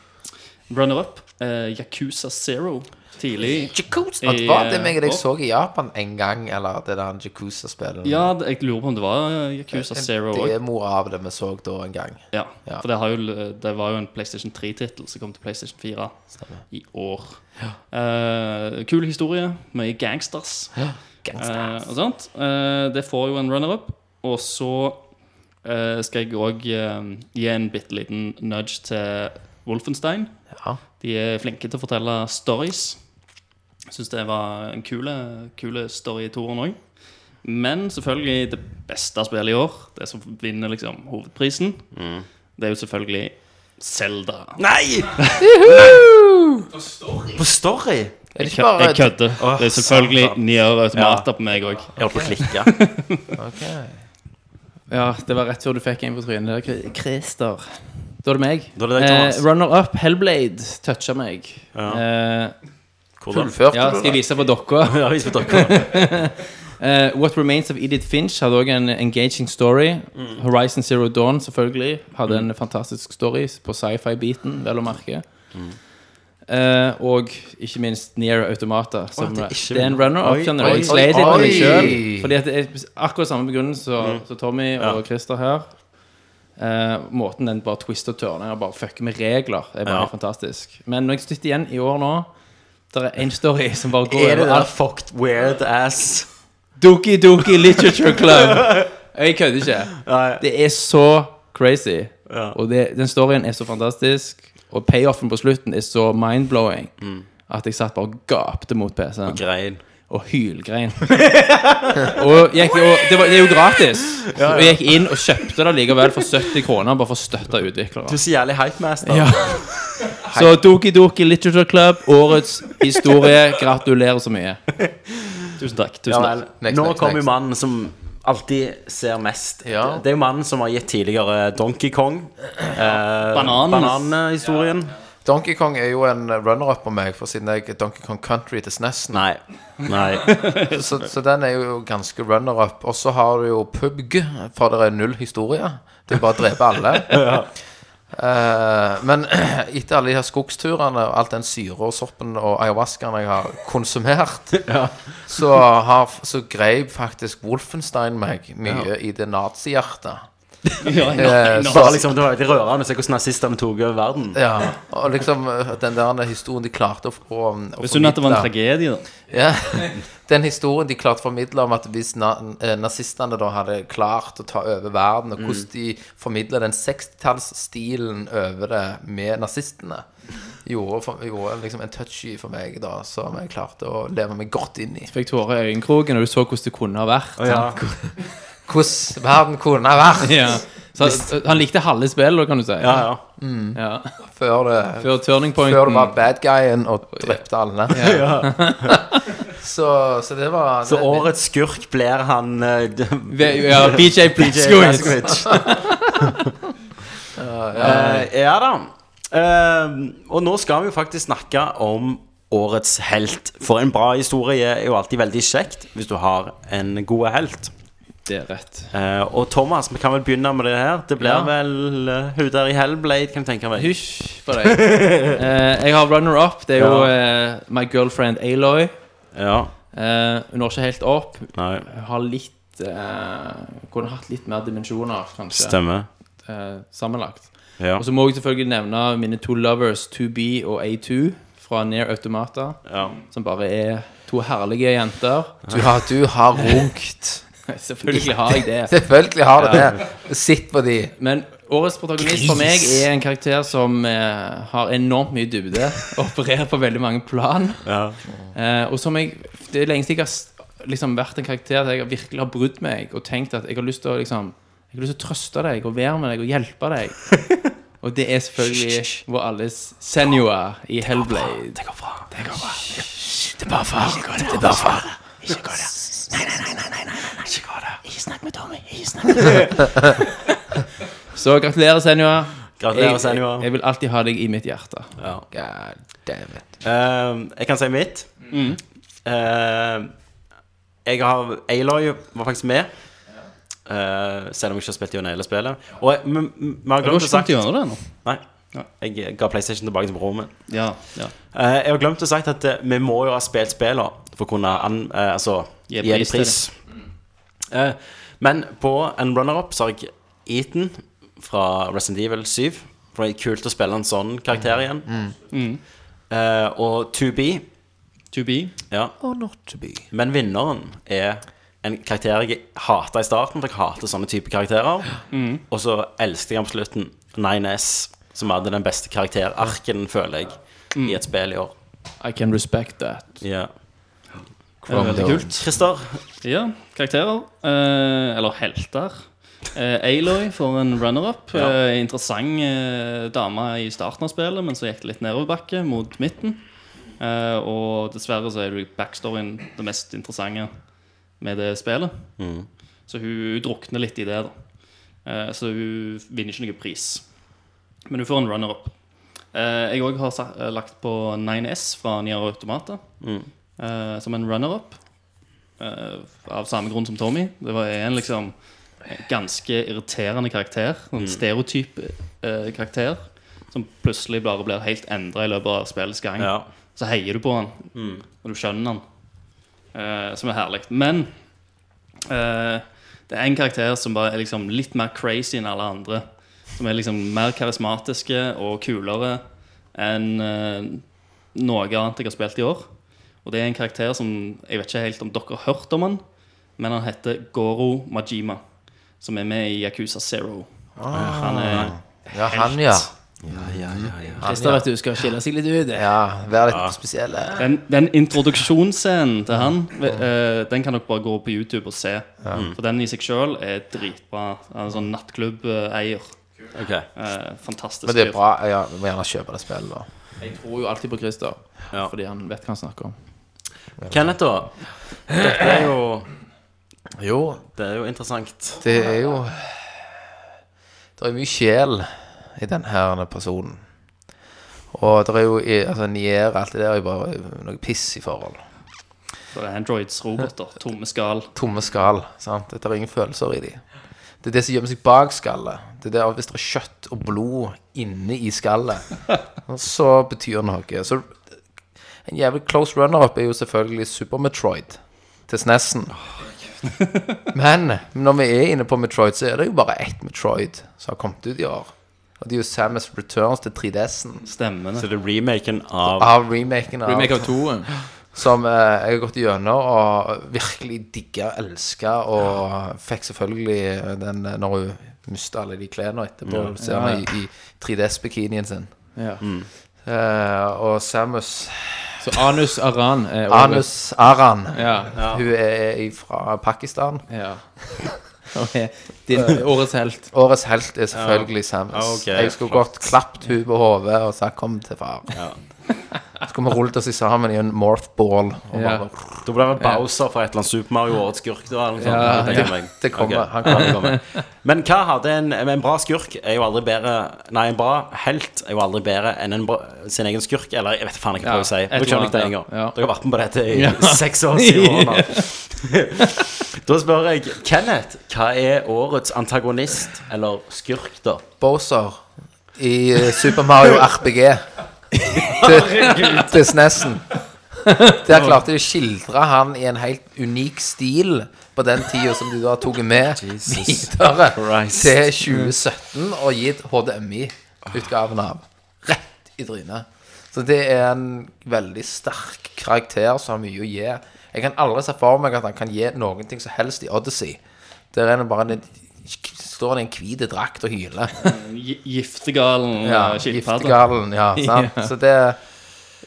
Runner-up. eh, Yakuza Zero. Tidlig. Jacuzzi. At Var Eh, det meg og deg så i Japan en gang, eller det der Jacuzza-spillet? Ja, det- jeg lurer på om det var eh, Yakuza Zero Det òg. er mor av det vi så da en gang. Ja, ja. for det, har jo, det var jo en PlayStation 3-tittel som kom til PlayStation 4 i år. Eh, kul historie. Mye gangsters. Eh, og sånt. Eh, det får jo en runner-up. Og så eh, skal jeg òg gi en bitte liten nudge til Wolfenstein. Ja. De er flinke til å fortelle stories. Jeg syns det var en kule, kule story i toeren òg. Men selvfølgelig det beste spillet i år, det som vinner liksom hovedprisen, det er jo selvfølgelig Zelda. Nei! På story? Er det Jeg ikke bare jeg kødder. Åh, Det er selvfølgelig satan. Nier Automata på meg òg. Jeg holdt på å klikke. Ok. Ja, det var rett før du fikk en på trynet. der, Kri- Christer. Da er det meg. Eh, Da er det deg, Thomas. runner up, Hellblade, toucha meg. Ja. Eh, Hvordan? Fullførte ja, du skal jeg det? vise på dere? Ja, vis meg dere. Eh, What Remains of Edith Finch hadde også en engaging story. Mm. Horizon Zero Dawn selvfølgelig hadde en fantastisk story på sci-fi-biten, vel å merke. Mm. Eh, og ikke minst Near Automata. Som, det er det, ikke er en min- runner-up. Oi, Mm. skjønner du. oi, Jeg sleit litt oi. med meg sjøl. Fordi at det er akkurat samme begrunnelse som som Tommy og Christer her. Eh, måten den bare twister og turner og bare fucker med regler, er bare Ja. helt fantastisk. Men når jeg sitter igjen i år nå, der er én story som bare går Er det over der alt. fucked weird ass Doki Doki Literature Club. Jeg kødder ikke. Det er så crazy. Og det, den storyen er så fantastisk. Og payoffen på slutten er så mindblowing Mm. at jeg satt bare og gapte mot PC-en. grein? Og hylgrein. og gikk, og det, var, det er jo gratis. Og jeg gikk inn og kjøpte det likevel for 70 kroner, bare for å støtte utviklere. Du er så jævlig hypemaster. Ja. Så Doki Doki Literature Club, årets historie. Gratulerer så mye. Tusen takk. Ja, tusen vel. takk Next, Nå next, kommer next. mannen som alltid ser mest. Ja. Det, det er jo mannen som har gitt tidligere Donkey Kong. Eh, Bananen. Bananhistorien. Donkey Kong er jo en runner-up på meg, for siden jeg er Donkey Kong Country til E SNES. Nei. Nei. Så, så den er jo ganske runner-up. Og så har du jo PUBG, for det er null historie. Det er bare å drepe alle. Eh, men etter alle de her skogsturene og alt den syre og soppen og ayahuascaen jeg har konsumert, så, har, så greip faktisk Wolfenstein meg mye i det nazihjertet. Ja, ja, Eh, ja. Det var liksom, det var veldig rørende å se hvordan nazistene tok over verden. Ja, og liksom eh, den der historien de klarte å, å, å Det er Synd at det var en formidle. tragedie, da. Ja. Den historien de klarte å formidle om at hvis na eh, nazistene da hadde klart å ta over verden, og Mm. hvordan de formidla den 60-tallsstilen over det med nazistene, gjorde, for, gjorde liksom en touchy for meg, da, som jeg klarte å leve meg godt inn i. Fikk tårer i øyekroken, og du så hvordan det kunne ha vært. Hvordan verden kunne ha vært Ja. Så han, han likte halve spillet, kan du si. Ja, ja. Ja. før det Før turning Mm. pointen. før det var bad guyen og drepte alle. så, så det var Så årets skurk blir han eh, d- Ve- Ja, BJ DJ Blazkowicz. Eh, ja da. Eh, og nå skal vi jo faktisk snakke om årets helt. For en bra historie er jo alltid veldig kjekt hvis du har en god helt. Det er rett. Eh, og Thomas, vi kan vel begynne med det her. Det blir Ja. vel eh, hun der i Hellblade, kan jeg tenke meg. Hysj på deg. Eh, jeg har runner up. Det er jo eh, my girlfriend Aloy. Ja, Eh, hun når ikke helt opp. nei, Hun har litt eh, Kunne hatt litt mer dimensjoner, kanskje. stemmer. Eh, sammenlagt. Ja. Og så må jeg selvfølgelig nevne mine to lovers, 2B og A2, fra Near Automata. Ja. Som bare er to herlige jenter. Du har, du har runkt. Selvfølgelig har jeg det. Selvfølgelig har det det. Sitt på de. Men årets protagonist for meg er en karakter som eh, har enormt mye dybde. Opererer på veldig mange plan. Ja. Eh, og som jeg Det er lenge siden jeg har s- liksom vært en karakter der jeg har virkelig har brydd meg og tenkt at jeg har lyst til å liksom Jeg har lyst til å trøste deg og være med deg og hjelpe deg. Og det er selvfølgelig vår alles Senua i Hellblade. Det går bra. Det går bra. Det er bare far. Det er bare far. Ikke gå der. Nei, nei, nei, nei, nei, nei, nei, ikke gå der. Ikke snakk med Tommy. Ikke snakk med Tommy. Så gratulerer, Senua. Gratulerer, Jeg, senior. jeg vil alltid ha deg i mitt hjerte. Ja. God damn it. Mm. Eh, jeg kan si mitt. Eh, jeg har Aloy var faktisk med. Eh, selv om jeg ikke har spilt gjennom hele spillet. Og jeg- men- men vi har Det går glemt å ikke sant sagt å gjøre det ennå. Nei. Jeg ga PlayStation tilbake til broren min. Ja, ja. Eh, jeg har glemt å sagt at eh, vi må jo ha spilt spillene for å kunne an, eh, altså, Gi gi pris dem pris. til Eh, men på en runner-up så har jeg Eaton fra Resident Evil 7. For det er kult å spille en sånn karakter igjen. Eh, og 2B To be. ja. Men vinneren er en karakter jeg hata i starten, for jeg hater sånne type karakterer. Og så elsket jeg om slutten 9S, som hadde den beste karakterarken, føler jeg, i et spill i år. I can respect that. Mm. Ja. Det er veldig kult. Christer, Ja, karakterer. Eh, eller helter. Eh, Aloy får en runner-up. Eh, interessant eh, dame i starten av spillet, men så gikk det litt nedoverbakke mot midten. Eh, og dessverre så er det backstoryen det mest interessante med det spillet. Så hun drukner litt i det, da. Eh, så hun vinner ikke noen pris. Men hun får en runner-up. Eh, jeg òg har sa- eh, lagt på 9S fra Nier Automata eh, som en runner-up. Eh, av samme grunn som Tommy. Det var en liksom ganske irriterende karakter. En stereotyp eh, karakter som plutselig bare blir helt endra i løpet av spillets gang. Ja. Så heier du på han, og du skjønner han, eh, som er herlig. Men eh, det er en karakter som bare er liksom litt mer crazy enn alle andre. Som er liksom mer karismatiske og kulere enn eh, noe annet jeg har spilt i år. Og det er en karakter som Jeg vet ikke helt om dere har hørt om han men han heter Goro Majima, som er med i Yakuza Zero. Ah. Han er Ja, han, ja. Christer, vet du, skal skille seg litt ut. det. Ja, Vær litt spesiell. Den, den introduksjonsscenen til han eh, Den kan dere bare gå på YouTube og se. Mm. For den i seg sjøl er dritbra. Han er sånn nattklubbeier. ok Eh, fantastisk. Men det er fyr. bra. Ja, vi må gjerne kjøpe det spillet, da. Jeg tror jo alltid på Christer, Ja. fordi han vet hva han snakker om. Kenneth, da. Dette er jo Jo, Det er jo interessant. det er jo Det er mye sjel i den her personen. Og det er jo i- altså, Nier alt det der er jo bare noe piss i forhold. Så det er Androids, roboter, tomme skall. Tomme skall. sant? Det er ingen følelser i de. Det er det som gjemmer seg bak skallet. Det er der Hvis det er kjøtt og blod inne i skallet, så betyr det noe. Så en jævlig close runner-up er jo selvfølgelig Super Metroid til SNES-en. Men når vi er inne på Metroid, så er det jo bare ett Metroid som har kommet ut i år. Og det er jo Samus Returns til 3DS-en. Stemmene. Så det er remaken av Av remaken av Remake av toen. som eh, jeg har gått gjennom og virkelig digga, elska, og fikk selvfølgelig den eh, når hun mista alle de klærne etterpå. Du Ser henne i, i 3DS-bikinien sin. Ja. Eh, og Samus Så Anus Aran er over. Anus Aran. Ja. Hun er fra Pakistan. ja. Ok, Din årets helt. Årets helt er selvfølgelig Samus. Ja, ok, jeg skulle godt klapt hun på hodet og sagt 'kom til far'. Så skulle vi rullet oss sammen i en morphball. Og Ja. bare, Da blir det Bowser fra et eller annet Super Mario Årets skurk. Da, eller noe sånt, Ja, tenker jeg meg. Det kommer. Ok. Han kommer. kommer. Men hva hadde en, en bra skurk er jo aldri bedre Nei, en bra helt er jo aldri bedre enn en bra, sin egen skurk. Eller jeg vet faen ikke hva Ja, jeg sier. et Nå skjønner jeg det eller en annet, gang. ja. Ja. Dere har vært med på dette i Ja. seks år siden. nå. da spør jeg Kenneth, hva er årets antagonist eller skurk, da? Bowser i eh, Super Mario RPG til, til SNES-en. Der klarte de å skildre han i en helt unik stil på den tida som de da tok med videre Christ. til 2017 og gitt HDMI-utgaven av. Rett i trynet. Så det er en veldig sterk karakter som har mye å gi. Jeg kan aldri se for meg at han kan gi noen ting som helst i Odyssey. Der er det bare en, står han i en hvit drakt og hyler. Gi- Giftegalen Ja, eh, skilpadde. Giftegallen, ja. Sant? Så det er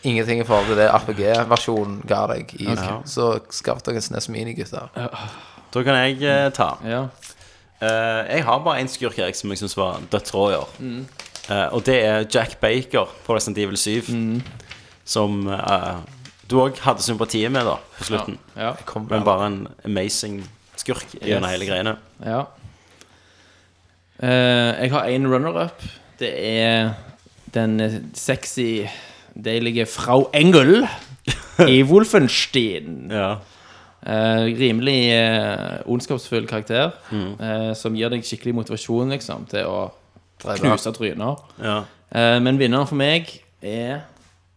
ingenting i forhold til det RPG-versjonen ga deg. I, Så skaff dere en SNES Mini, gutter. Da kan jeg eh, ta. Ja. Eh, jeg har bare én skurk jeg, som jeg syns var dødsrå i år. Eh, og det er Jack Baker på Resident Evil 7. Som eh, du òg hadde sympati med da på slutten. Ja. Kom, Men bare en amazing skurk gjennom Yes. hele greiene. ja. Eh, jeg har én runner-up. Det er den sexy, deilige Frau Engel i Wolfenstein. Ja. Eh, rimelig eh, ondskapsfull karakter eh, som gir deg skikkelig motivasjon liksom, til å knuse tryner. Eh, men vinneren for meg er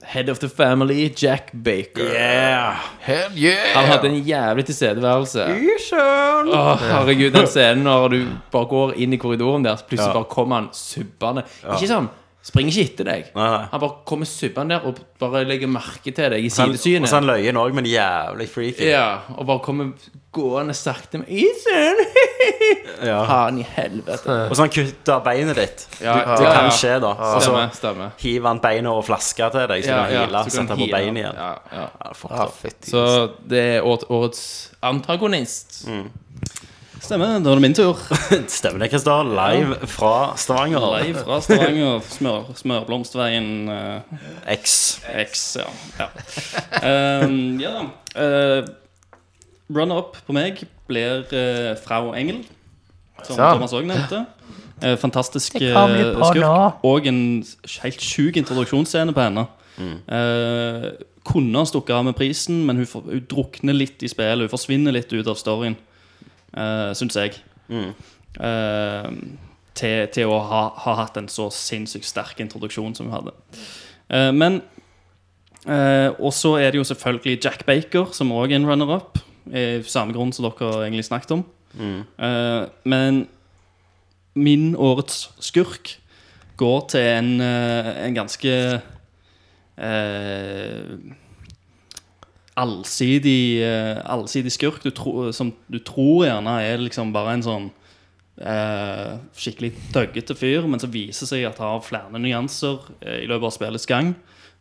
Head of the Family, Jack Baker. Hell yeah! Han hadde en jævlig tilstedeværelse. Åh, herregud, den scenen når du bare går inn i korridoren der, så plutselig bare kommer han subbende. Ikke sånn Springer ikke etter deg. Nei, nei. Han bare kommer subbende der og bare legger merke til deg i Han, og sidesynet. så han løyen òg, men jævlig freaky. Ja, og bare kommer gående sakte med Ethan! Ja. Faen i helvete. Og så han kutter beinet ditt. Ja, det ja, kan ja. skje, altså. da. Og så Stemmer. stemmer. hiver han beinet over flaska til deg, så du kan hile og så kan sette han på heale. beinet igjen. Ja, ja. Ja, fuck Ja, da. Ah, fytti. Så det er året- årets antagonist. Mm. Stemmer, da er det min tur. Stemmer det, Christer? Live fra Stavanger. Live fra Stavanger, smør, Smørblomstveien eh, X. X, ja. ja. Ehm, ja eh, Runner-up på meg blir eh, Frau Engel, som Sånn. Thomas òg nevnte. Eh, fantastisk eh, skurk. Og en helt sjuk introduksjonsscene på henne. Eh, kunne ha stukket av med prisen, men hun, får- hun drukner litt i spillet. Hun forsvinner litt ut av storyen, uh, syns jeg. Eh, til, til å ha, ha hatt en så sinnssykt sterk introduksjon som hun hadde. Eh, men eh, Og så er det jo selvfølgelig Jack Baker, som òg er en runner-up. eh, Samme grunn som dere egentlig snakket om. Eh, men min årets skurk går til en, eh, en ganske eh, allsidig, eh, allsidig skurk du tro, som du tror gjerne er liksom bare en sånn eh, skikkelig døggete fyr, men som viser seg at har flere nyanser eh, i løpet av spillets gang.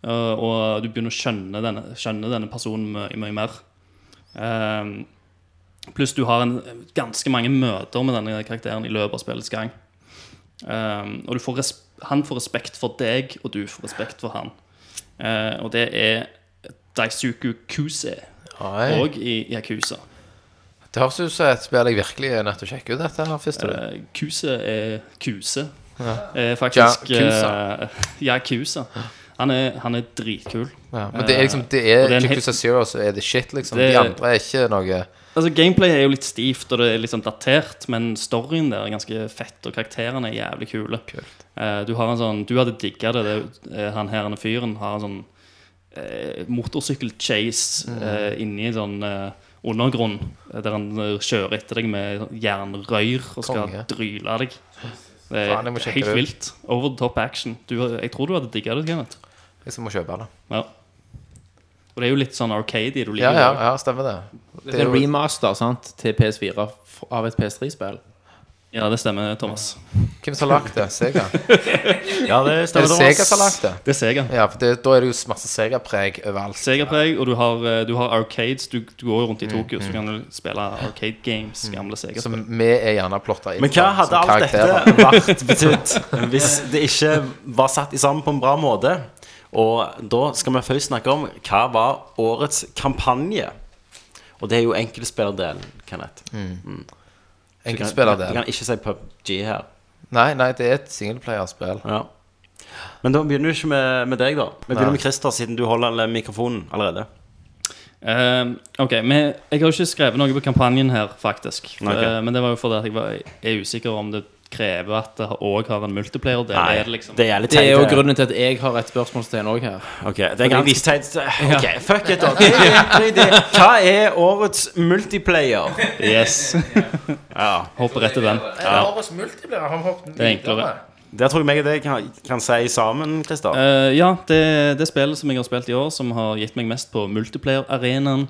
eh, og du begynner å skjønne denne, skjønne denne personen mye, mye mer. Eh, Pluss du har en, ganske mange møter med denne karakteren i løpet av spillets gang. Um, og du får res- han får respekt for deg, og du får respekt for han. Eh, og det er Daisuku Kuse, Oi. og i Yakuza. Det høres ut som et spill jeg virkelig er nødt til å sjekke ut dette her først. eller? Eh, Kuse er kuse. Ja. Er faktisk Ja, Kusa. eh, Ja, Kusa. Han er, han er dritkul. Ja, men det er liksom Det og det er er en helt- Jacuzza Zero, så er det shit, liksom. Det- De andre er ikke noe Altså, Gameplay er jo litt stivt, og det er liksom datert, men storyen der er ganske fett, og karakterene er jævlig kule. Eh, du har en sånn Du hadde digga det, det eh, han her denne fyren har en sånn eh, motorsykkel-chase Mm. eh, inni en sånn eh, undergrunn, eh, der han eh, kjører etter deg med jernrøyr og skal Konge. dryle deg. Det er Faen, jeg må sjekke helt det ut. vilt. Over the top action. Du, jeg tror du hadde digga det, Kenneth. Liksom må kjøpe det. Ja. Og det er jo litt sånn arcady du Ja, liker. ja, også. ja, stemmer det. Det er en remaster sant, til PS4 f- av et PS3-spill. ja, det stemmer, Thomas. Hvem som har lagt det? Sega? Ja, det Er stemmer, det Sega som har lagt det? Det er Sega. Ja, for det, da er det jo masse Sega-preg overalt. Sega-preg, og du har, eh, du har arcades. Du, du går jo rundt i Mm, Tokyo, så kan du spille arcade games. Gamle sega Som vi er gjerne plotta inn Men hva som hadde alt karakterer. dette vært betydd hvis det ikke var satt i sammen på en bra måte? Og da skal vi først snakke om hva var årets kampanje? Og det er jo enkeltspillerdelen, Kenneth. Du Mm. Enkeltspillerdel. kan ikke si PubG her. Nei, nei, det er et singelplayerspill. Ja. Men da begynner vi ikke med, med deg, da. Vi begynner med Christer, siden du holder alle mikrofonen allerede. Eh, ok, men Jeg har jo ikke skrevet noe på kampanjen her, faktisk. Nei, ok. Eh, men det var jo fordi at jeg var, er usikker om det krever at det òg har en multiplayer-del. Er det liksom det er litt Det er jo teit, grunnen til at jeg har et spørsmålstegn òg her. Ok, det er ganske teit. Ok, fuck it, da. Det er egentlig det. Hva er årets multiplayer? Yes. Ja. Hopper rett til den. Årets multiplayer har hoppet Det er enklere. Der tror jeg meg og deg kan, kan si sammen, Christer. Eh, ja, det, det spillet som jeg har spilt i år, som har gitt meg mest på multiplayer-arenaen,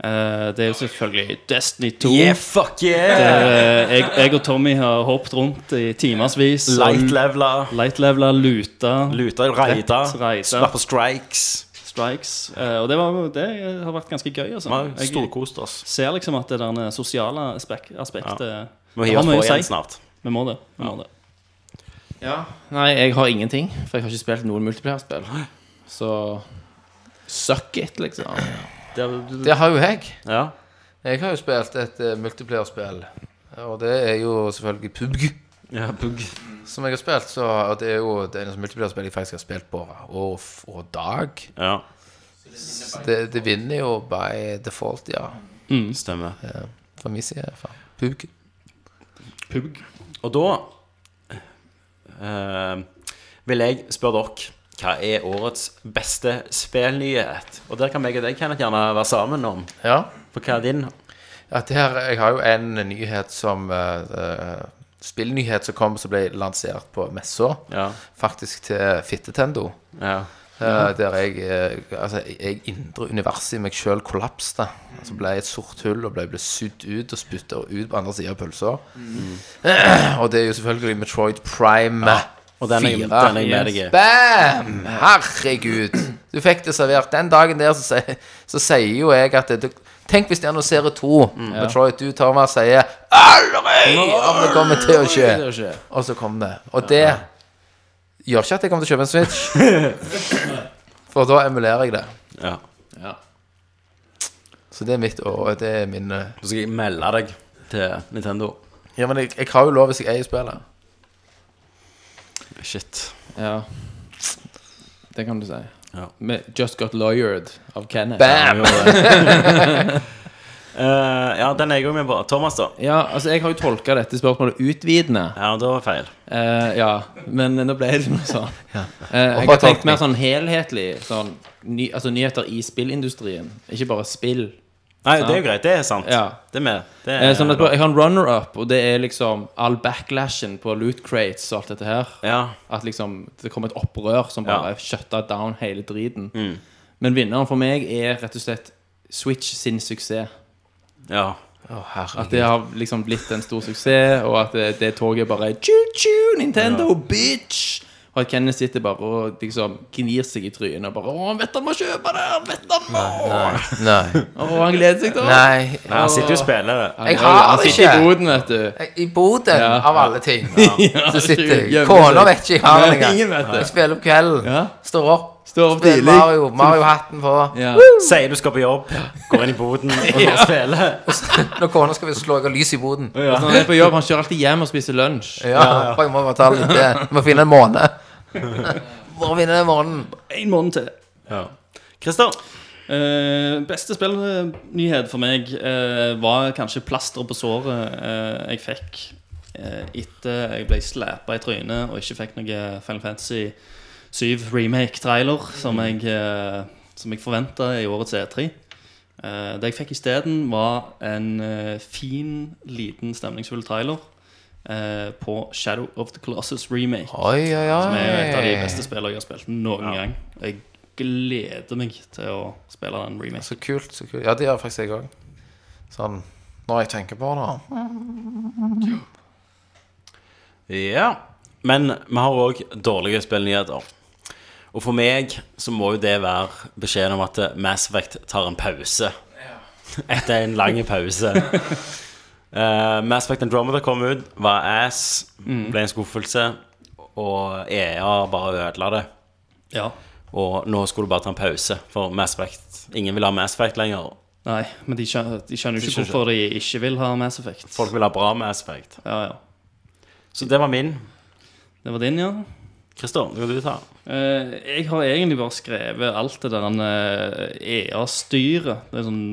eh, det er jo selvfølgelig Destiny 2. Yeah, fuck yeah! Eh, jeg, jeg og Tommy har hoppet rundt i timersvis. og Light leveler, Light leveler, luta, luta, raida, sånn- Rett, raida. slapp på strikes. strikes. Eh, og det, var, det har vært ganske gøy. Altså. Vi har Jeg storkost oss. ser liksom at det der sosiale aspek aspektet Må det hive har oss mye på å igjen si. snart. Vi må det. Vi må det. Nei, jeg har ingenting, for jeg har ikke spilt noen multiplierspill. Så suck it, liksom. Det har jo jeg. Mm. Ja. Jeg har jo spilt et eh, multiplayer-spill, og det er jo selvfølgelig PUBG. Ja, bugg. Som jeg har spilt, så og det er jo det eneste multiplayer-spillet jeg faktisk har spilt på år f- og dag. Ja, Så Det, det vinner jo by default, ja. stemmer. Fra min side. fra PUBG. Pug. Og da eh, vil jeg spørre dere hva er årets beste spillnyhet? Og der kan meg og deg Kenneth, gjerne være sammen om. Ja. For hva er din? At det her, jeg har jo en nyhet som eh, eh, Spillnyhet som kom som ble lansert på messa, Ja. faktisk til Fittetendo. ja. Eh, der jeg, eh, altså, jeg indre universet i meg sjøl kollapste. Altså ble et sort hull og ble, ble sugd ut og spytta ut på andre sida av pølsa. Mm. og det er jo selvfølgelig Metroid Prime. Og den er, Fire. den er jeg med deg i. Bam! Herregud. Du fikk det servert. Den dagen der så sier, så sier jo jeg at det, Tenk hvis de annonserer to. Mm. Metroid, du, Thomas, sier Aldri! Om det kommer til å skje. Og så kom det. Og det gjør ikke at jeg kommer til å kjøpe en Switch. For da emulerer jeg det. Ja. Så det er mitt år, og det er min eh, Så skal jeg melde deg til Nintendo. Ja, men jeg, jeg har jo lov hvis jeg eier spillet. Shit. Ja. Det kan du si. Ja. Med Just Got Lawyered av Kenneth. Bam! Eh, ja, den er jeg òg med på. Thomas, da? Ja, altså Jeg har jo tolka dette spørsmålet utvidende. Ja, det var feil. Eh, ja, men nå ble det liksom sånn. Eh, jeg Overtolkning. har tenkt mer sånn helhetlig. Sånn, ny, altså nyheter i spillindustrien, ikke bare spill. Nei, det er jo greit. Det er sant. Ja. Det er med. Det er, Eh, sånn at Jeg har en runner-up, og det er liksom all backlashen på loot crates og alt dette her. ja. At liksom det kom et opprør som Ja. bare shutta down hele driten. Mm. Men vinneren for meg er rett og slett Switch sin suksess. ja. Å, At herregud. det har liksom blitt en stor suksess, og at det, det toget bare er Choo-choo, Nintendo, bitch! Og at Kenneth sitter bare og liksom gnir seg i trynet og bare Å, han vet han må kjøpe det! Han vet han må! Nei. Å, han gleder seg til det! Nei. Nei, han sitter jo og spiller det. Jeg har det sitter i ikke. boden, vet du. I Boden, Ja. av alle ting. Så sitter Ja, jeg. gjemmer Kona seg. vet ikke jeg har Nei, den engang. ingen vet det. Jeg spiller på kvelden. Ja. Står opp, Står opp Det er tidlig. Mario, Mario-hatten på. Ja. Sier du skal på jobb, går inn i boden og spiller. Når kona skal vi slå av lys i boden. Så når han er på jobb, han kjører alltid hjem og spiser lunsj. Ja, for jeg må bare ta litt eh, Må finne en måned. Bare finne den måneden. En måned til. Christer, Eh, beste spillnyhet for meg eh, var kanskje plasteret på såret eh, jeg fikk eh, etter jeg ble slæpa i trynet og ikke fikk noe Final Fantasy 7 remake-trailer som jeg, eh, som jeg forventa i årets E3. Eh, det jeg fikk isteden, var en eh, fin, liten, stemningsfull trailer eh, på Shadow of the Colossus remake. Oi, oi, Som er jo et av de oi. beste spillene jeg har spilt noen gang. Og jeg gleder meg til å spille den remake. Så kult. så kult Ja, det gjør faktisk jeg òg. Sånn når jeg tenker på det. Ja. Men vi har òg dårlige spillnyheter. Og for meg så må jo det være beskjeden om at Mass Effect tar en pause. Etter en lang pause. Eh, Mass Effect Andromeda kom ut, var ass, ble en skuffelse. Og EA bare ødela det. Ja. Og nå skulle du bare ta en pause, for Mass Effect Ingen vil ha Mass Effect lenger. Nei, men de skjønner, de skjønner jo ikke hvorfor de ikke vil ha Mass Effect. Folk vil ha bra Mass Effect. Ja, ja. Så det var min. Det var din, ja. Christer, det kan du ta. Eh, jeg har egentlig bare skrevet alt det der eh, EA-styret. Det er sånn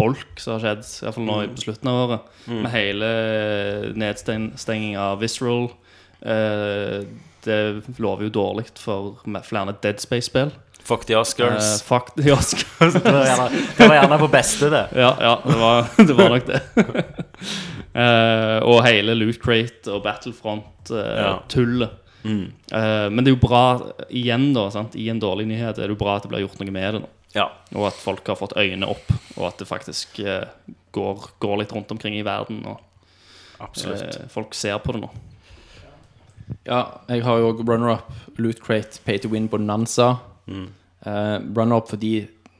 bolk som har skjedd, iallfall nå i- på slutten av året. Med hele nedstengingen av Visceral. Eh, det lover jo dårlig for flere Dead Space-spill. Fuck the Oscars. Eh, fuck the Oscars. det, var gjerne, det var gjerne på beste, det. Ja, ja det, var, det var nok det. Eh, og hele Loot Crate og Ja. Mm. Battlefront-tullet. Eh, men det er jo bra igjen, da. Sant? I en dårlig nyhet er det jo bra at det blir gjort noe med det. Da. Ja. Og at folk har fått øynene opp, og at det faktisk eh, går, går litt rundt omkring i verden. Og Absolutt. eh, folk ser på det nå. Ja, jeg har jo også runner-up, loot crate, pay to win bonanza. Mm. Eh, runner-up fordi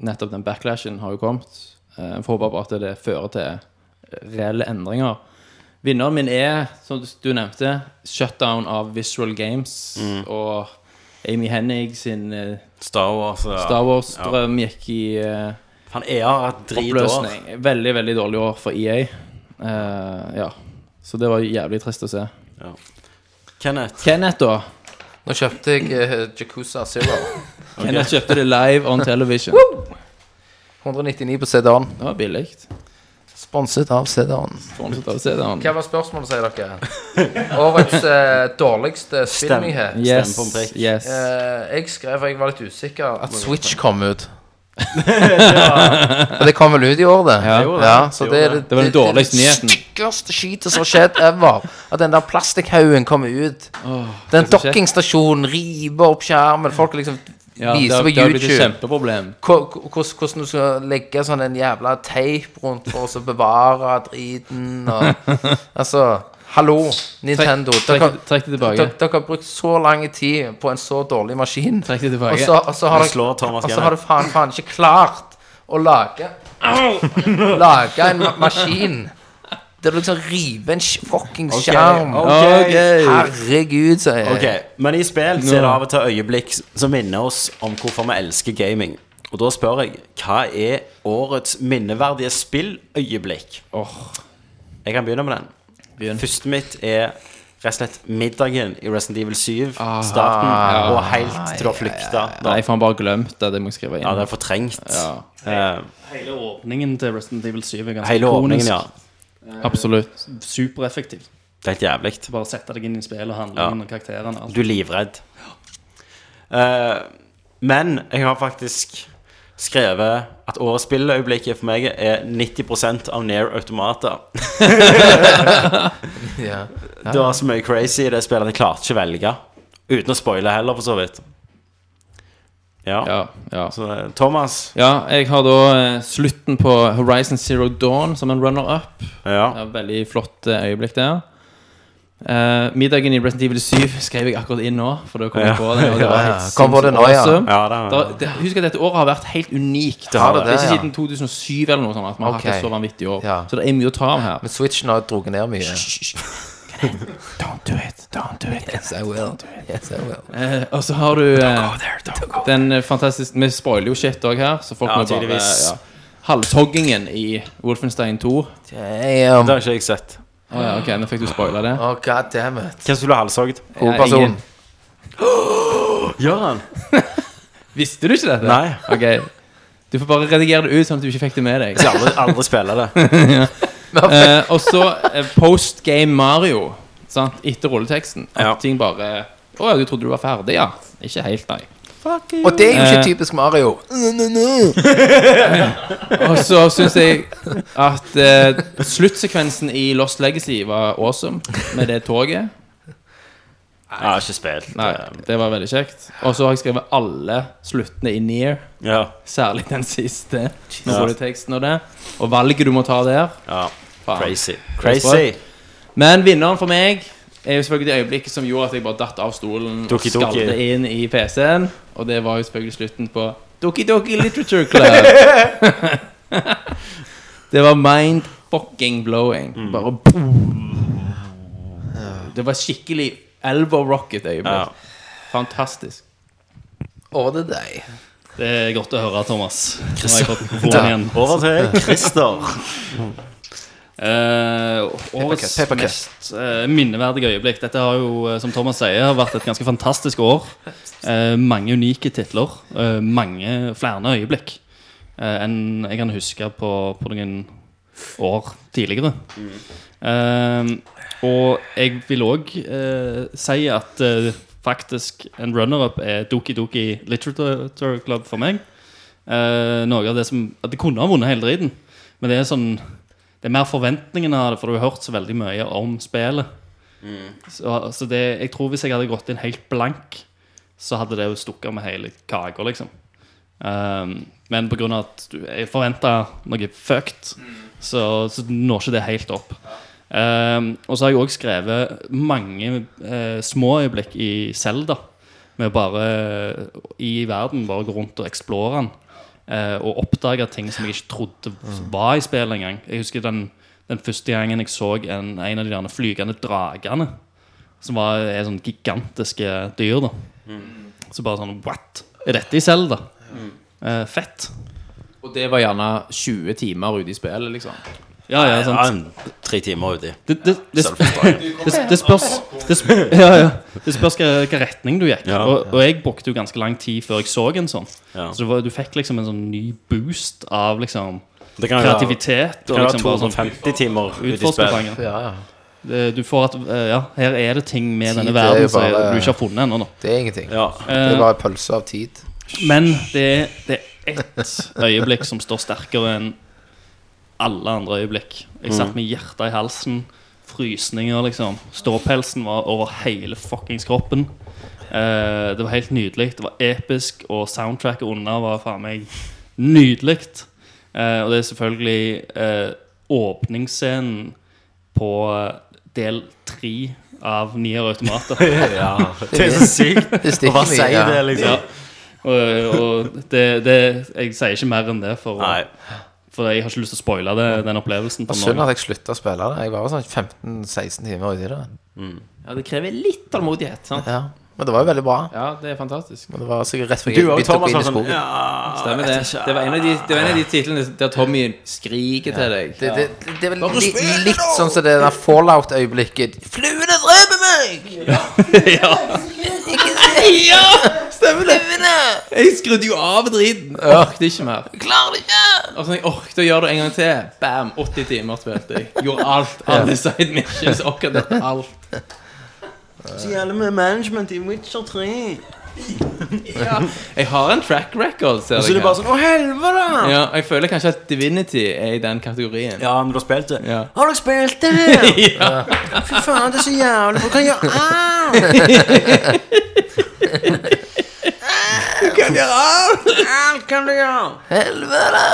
nettopp den backlashen har jo kommet. Eh, får håpe bare at det fører til reelle endringer. Vinneren min er, som du nevnte, shutdown av Visual Games Mm. og Amy Hennig sin eh, Star Wars. Ja. Star Wars-drøm gikk i eh, Han er har hatt dritår. oppløsning. Veldig, veldig dårlig år for EA. Eh, ja. Så det var jævlig trist å se. Kenneth. Kenneth, da. Nå kjøpte jeg eh, Jacuzza Zero. Kenneth kjøpte det live on television. 199 på CD-en. Det var billig. Sponset av CD-en. Fortsatt av CD-en. Hva var spørsmålet, sier dere? Årets eh, dårligste spillnyhet. Yes, Stemme på en prikk. yes. Eh, jeg skrev, for jeg var litt usikker, at Switch kom ut. Og det kom vel ut i år, det? Ja, så det, er det, Det var den dårligste nyheten. Det styggeste skitet som har skjedd ever. At den der plastikkhaugen kommer ut. den så kjekt. dokkingstasjonen river opp skjermen. Folk liksom Ja, det viser har- på det har blitt et YouTube kjempeproblem. hvor- hvor- hvordan hvordan du skal legge sånn en jævla teip rundt for å så bevare driten og Altså, hallo, Nintendo. trekk- dere- trekk det tilbake. Dere, dere har brukt så lang tid på en så dårlig maskin. Trekk det tilbake. Og så, og så har Nå dere- slår Thomas og så Gjernet. har du faen, faen ikke klart å lage Au! Lage en ma maskin der du liksom river en sk- fucking skjerm. Herregud, sier jeg. Ok, Men i spill så er det av og til øyeblikk som minner oss om hvorfor vi elsker gaming. Og da spør jeg hva er årets minneverdige spilløyeblikk? Jeg kan begynne med den. Første mitt er rett og slett middagen i Resident Evil 7. Ah. starten og helt til du har flykta. Nei, for han bare glemte det. Det må jeg skrive Ja, det inn. er fortrengt. Ja. Eh, Hele åpningen til Resident Evil 7 er ganske hele ordningen, ikonisk. ja. Absolutt. Supereffektiv. Det er helt jævlig. Bare sette deg inn i spillet og handlingen Ja. og karakterene. Alt. Du er livredd. Eh, men jeg har faktisk skrevet at årets spilløyeblikket for meg er 90 av Near Automata. Ja. Det var så mye crazy i det spillet at jeg klarte ikke å velge. Uten å spoile heller, for så vidt. Ja. Ja, ja. Så eh, Thomas ja, jeg har da eh, slutten på Horizon Zero Dawn som en runner-up. Ja. Ja, veldig flott eh, øyeblikk der. Eh, middagen i Resident Evil 7 skrev jeg akkurat inn nå, for da kom jeg Ja. på det. Og det var helt Ja, kom på det sinnssykt nå, ja. awesome. Ja, det- Da- det, husk at dette året har vært helt unikt. har det, er ikke ja. siden 2007 eller noe sånt at man har hatt Ok. et så vanvittig år. Ja. Så det er mye å ta av her. Men Switchen har drukket ned mye. Don't do it, don't do it. Yes, I will. Yes, I will. Eh, og så har du eh, Oh, den eh, fantastiske Vi spoiler jo shit òg her, så folk Ja, må bare tydeligvis. ja. Halshoggingen i Wolfenstein 2. Å Det Damn. har ikke jeg sett. ja, ok, nå fikk du spoila det. Oh, God damn it. Hvem skulle ha halshogd? Hovedperson. ingen. Gjør han? Visste du ikke dette? Nei. Ok. Du får bare redigere det ut, sånn at du ikke fikk det med deg. Jeg skal aldri, aldri spille det. Eh, og så eh, post game Mario, sant? etter rulleteksten. At Ja. ting bare Å ja, du trodde du var ferdig, ja? Ikke helt, nei. Og det er jo ikke Eh. typisk Mario. Og så syns jeg at eh, sluttsekvensen i Lost Legacy var awesome, med det toget. Jeg har ikke spilt. Nei, det var veldig kjekt. Og så har jeg skrevet alle sluttene i Near, Ja. særlig den siste. Med Ja. rulleteksten og det. Og valget du må ta der. ja. Faen. Crazy. Crazy. Men vinneren for meg er jo selvfølgelig det øyeblikket som gjorde at jeg bare datt av stolen Doki og Doki. skalde inn i PC-en. Og det var jo selvfølgelig slutten på Doki Doki Literature Club. det var mind fucking blowing. Bare boom. Det var skikkelig elbow rocket-øyeblikk. Ja. Fantastisk. Over til deg. Det er godt å høre, Thomas. Nå har jeg fått mikrofonen igjen. Over til Christer. Eh, Papercut, årets papercut. mest eh, minneverdige øyeblikk. Dette har jo, eh, som Thomas sier, har vært et ganske fantastisk år. Eh, mange unike titler. eh, mange flere øyeblikk eh, enn jeg kan huske på, på noen år tidligere. Eh, og jeg vil òg si at eh, faktisk en runner-up er Doki Doki Literature Club for meg. Eh, noe av det som at Det kunne ha vunnet hele driten, men det er sånn det er mer forventningene av det, for du har hørt så veldig mye om spillet. Så, så det, jeg tror hvis jeg hadde gått inn helt blank, så hadde det jo stukket med hele kaka, liksom. Um, men pga. at du, jeg forventa noe fucked, så, så når ikke det helt opp. Um, og så har jeg òg skrevet mange eh, små øyeblikk i Selda. Med å bare eh, i verden bare gå rundt og eksplore den eh, og oppdaga ting som jeg ikke trodde var i spillet engang. Jeg husker den, den første gangen jeg så en, en av de der flygende dragene, som var er sånne gigantiske dyr. da Så bare sånn What? Er dette i Zelda? Eh, fett. Og det var gjerne 20 timer ute i spillet, liksom. Ja, ja, sant. Ja, en Tre timer uti. Det, det, det, det, det spørs det, sp- ja, ja. det spørs hva, hva retning du gikk. Ja. og, og jeg brukte jo ganske lang tid før jeg så en sånn. Ja. Så det var, du fikk liksom en sånn ny boost av liksom Det kan jo være- det kreativitet. kan jo Og være liksom bare sånn 250 timer uti spill. utforskerfanger. Ja, ja. Eh, Du får at eh, Ja, her er det ting med Tid denne er jo verden som bare- du ikke har funnet ennå. da. Det er ingenting. Ja. Det er bare pølse av tid. Men det, det er ett øyeblikk som står sterkere enn alle andre øyeblikk. Jeg satt med hjertet i halsen, frysninger, liksom. Ståpelsen var over hele fuckings kroppen. Eh, det var helt nydelig. Det var episk, og soundtracket under var faen meg nydelig. Eh, og det er selvfølgelig eh, åpningsscenen på eh, del tre av Nier Automater. Det er sykt. Det stikker Hva sier det, mye. liksom? Og, og det, det, jeg sier ikke mer enn det, for, Nei. for jeg har ikke lyst til å spoile det, den opplevelsen. Ja. For Synd noen. at jeg slutta å spille det. Jeg var jo sånn 15-16 timer uti det. Ja, Det krever litt tålmodighet. sant? Ja. Men det var jo veldig bra. Ja, det er fantastisk. Men det var sikkert rett før Du jeg og begynte å gå Thomas inn har i sånn skogen. ja, Stemmer det. Det var en av de, det var en av de titlene der Tommy skriker til deg. Det, det, det er vel li, litt sånn som det der Fallout-øyeblikket. Fluene dreper meg! Ja! Stemmer det! Jeg skrudde jo av driten. Orket ikke mer. Klarer det ikke! Og så jeg orket å gjøre det en gang til. Bam! 80 timer spilte jeg. Gjorde alt. Alle side missions. Orket dette alt. Så gjelder med management i Witcher 3. Jeg har en track record, ser Så det jeg er bare her. sånn Å, helvete! Ja, og jeg føler kanskje at Divinity er i den kategorien. Ja, men du har spilt det? Ja. Har dere spilt det her? Fy faen, det er så jævlig. Hva kan jeg gjøre? Ah! Alt kan du gjøre. Helvete!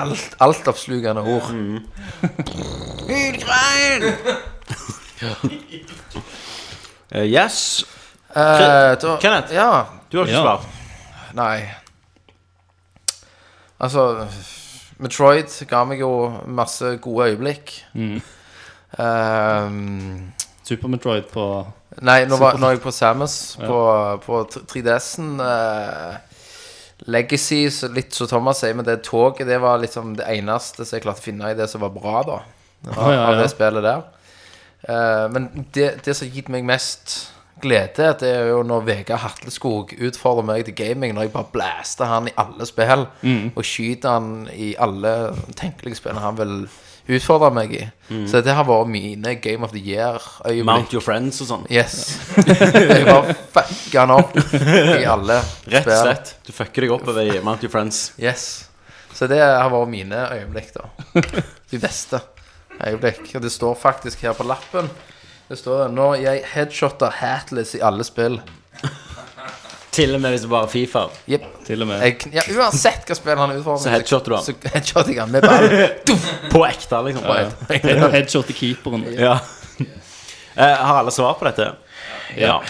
Alt, altoppslukende ord. Mm. Lydgrein. Eh, yes. Eh, da- Kenneth? Ja. Du har ikke Ja. svart. Nei. Altså Metroid ga meg jo masse gode øyeblikk. Mm. Super Metroid på Nei, nå var, nå er jeg på Samus på, på 3DS-en. eh, Legacy, så litt som Thomas sier, men det toget det var liksom det eneste som jeg klarte å finne i det som var bra, da. Av, Å, ja, av det ja. spillet der. Eh, men det, det som har gitt meg mest glede, det er jo når Vegard Hatleskog utfordrer meg til gaming, når jeg bare blaster han i alle spill, Mm. og skyter han i alle tenkelige spill han vil utfordre meg i. Mm. Så det har vært mine Game of the Year-øyeblikk. Mount your friends og sånn. Yes. jeg bare fucka han opp i alle Rett og spill. slett. Du fucker deg oppover i Mount your friends. Yes. Så det har vært mine øyeblikk, da. De beste øyeblikk. Og det står faktisk her på lappen. Det står 'Når jeg headshotter Hatless i alle spill'. Til og med hvis det bare er Fifa. Jepp. til og med. Jeg, ja, uansett hva spill han utfordrer, Så headshotter du han. Så headshotter jeg han med ball. På ekte, liksom. På ekte. Head- Headshot til keeperen. Ja. Eh, har alle svar på dette? Ja.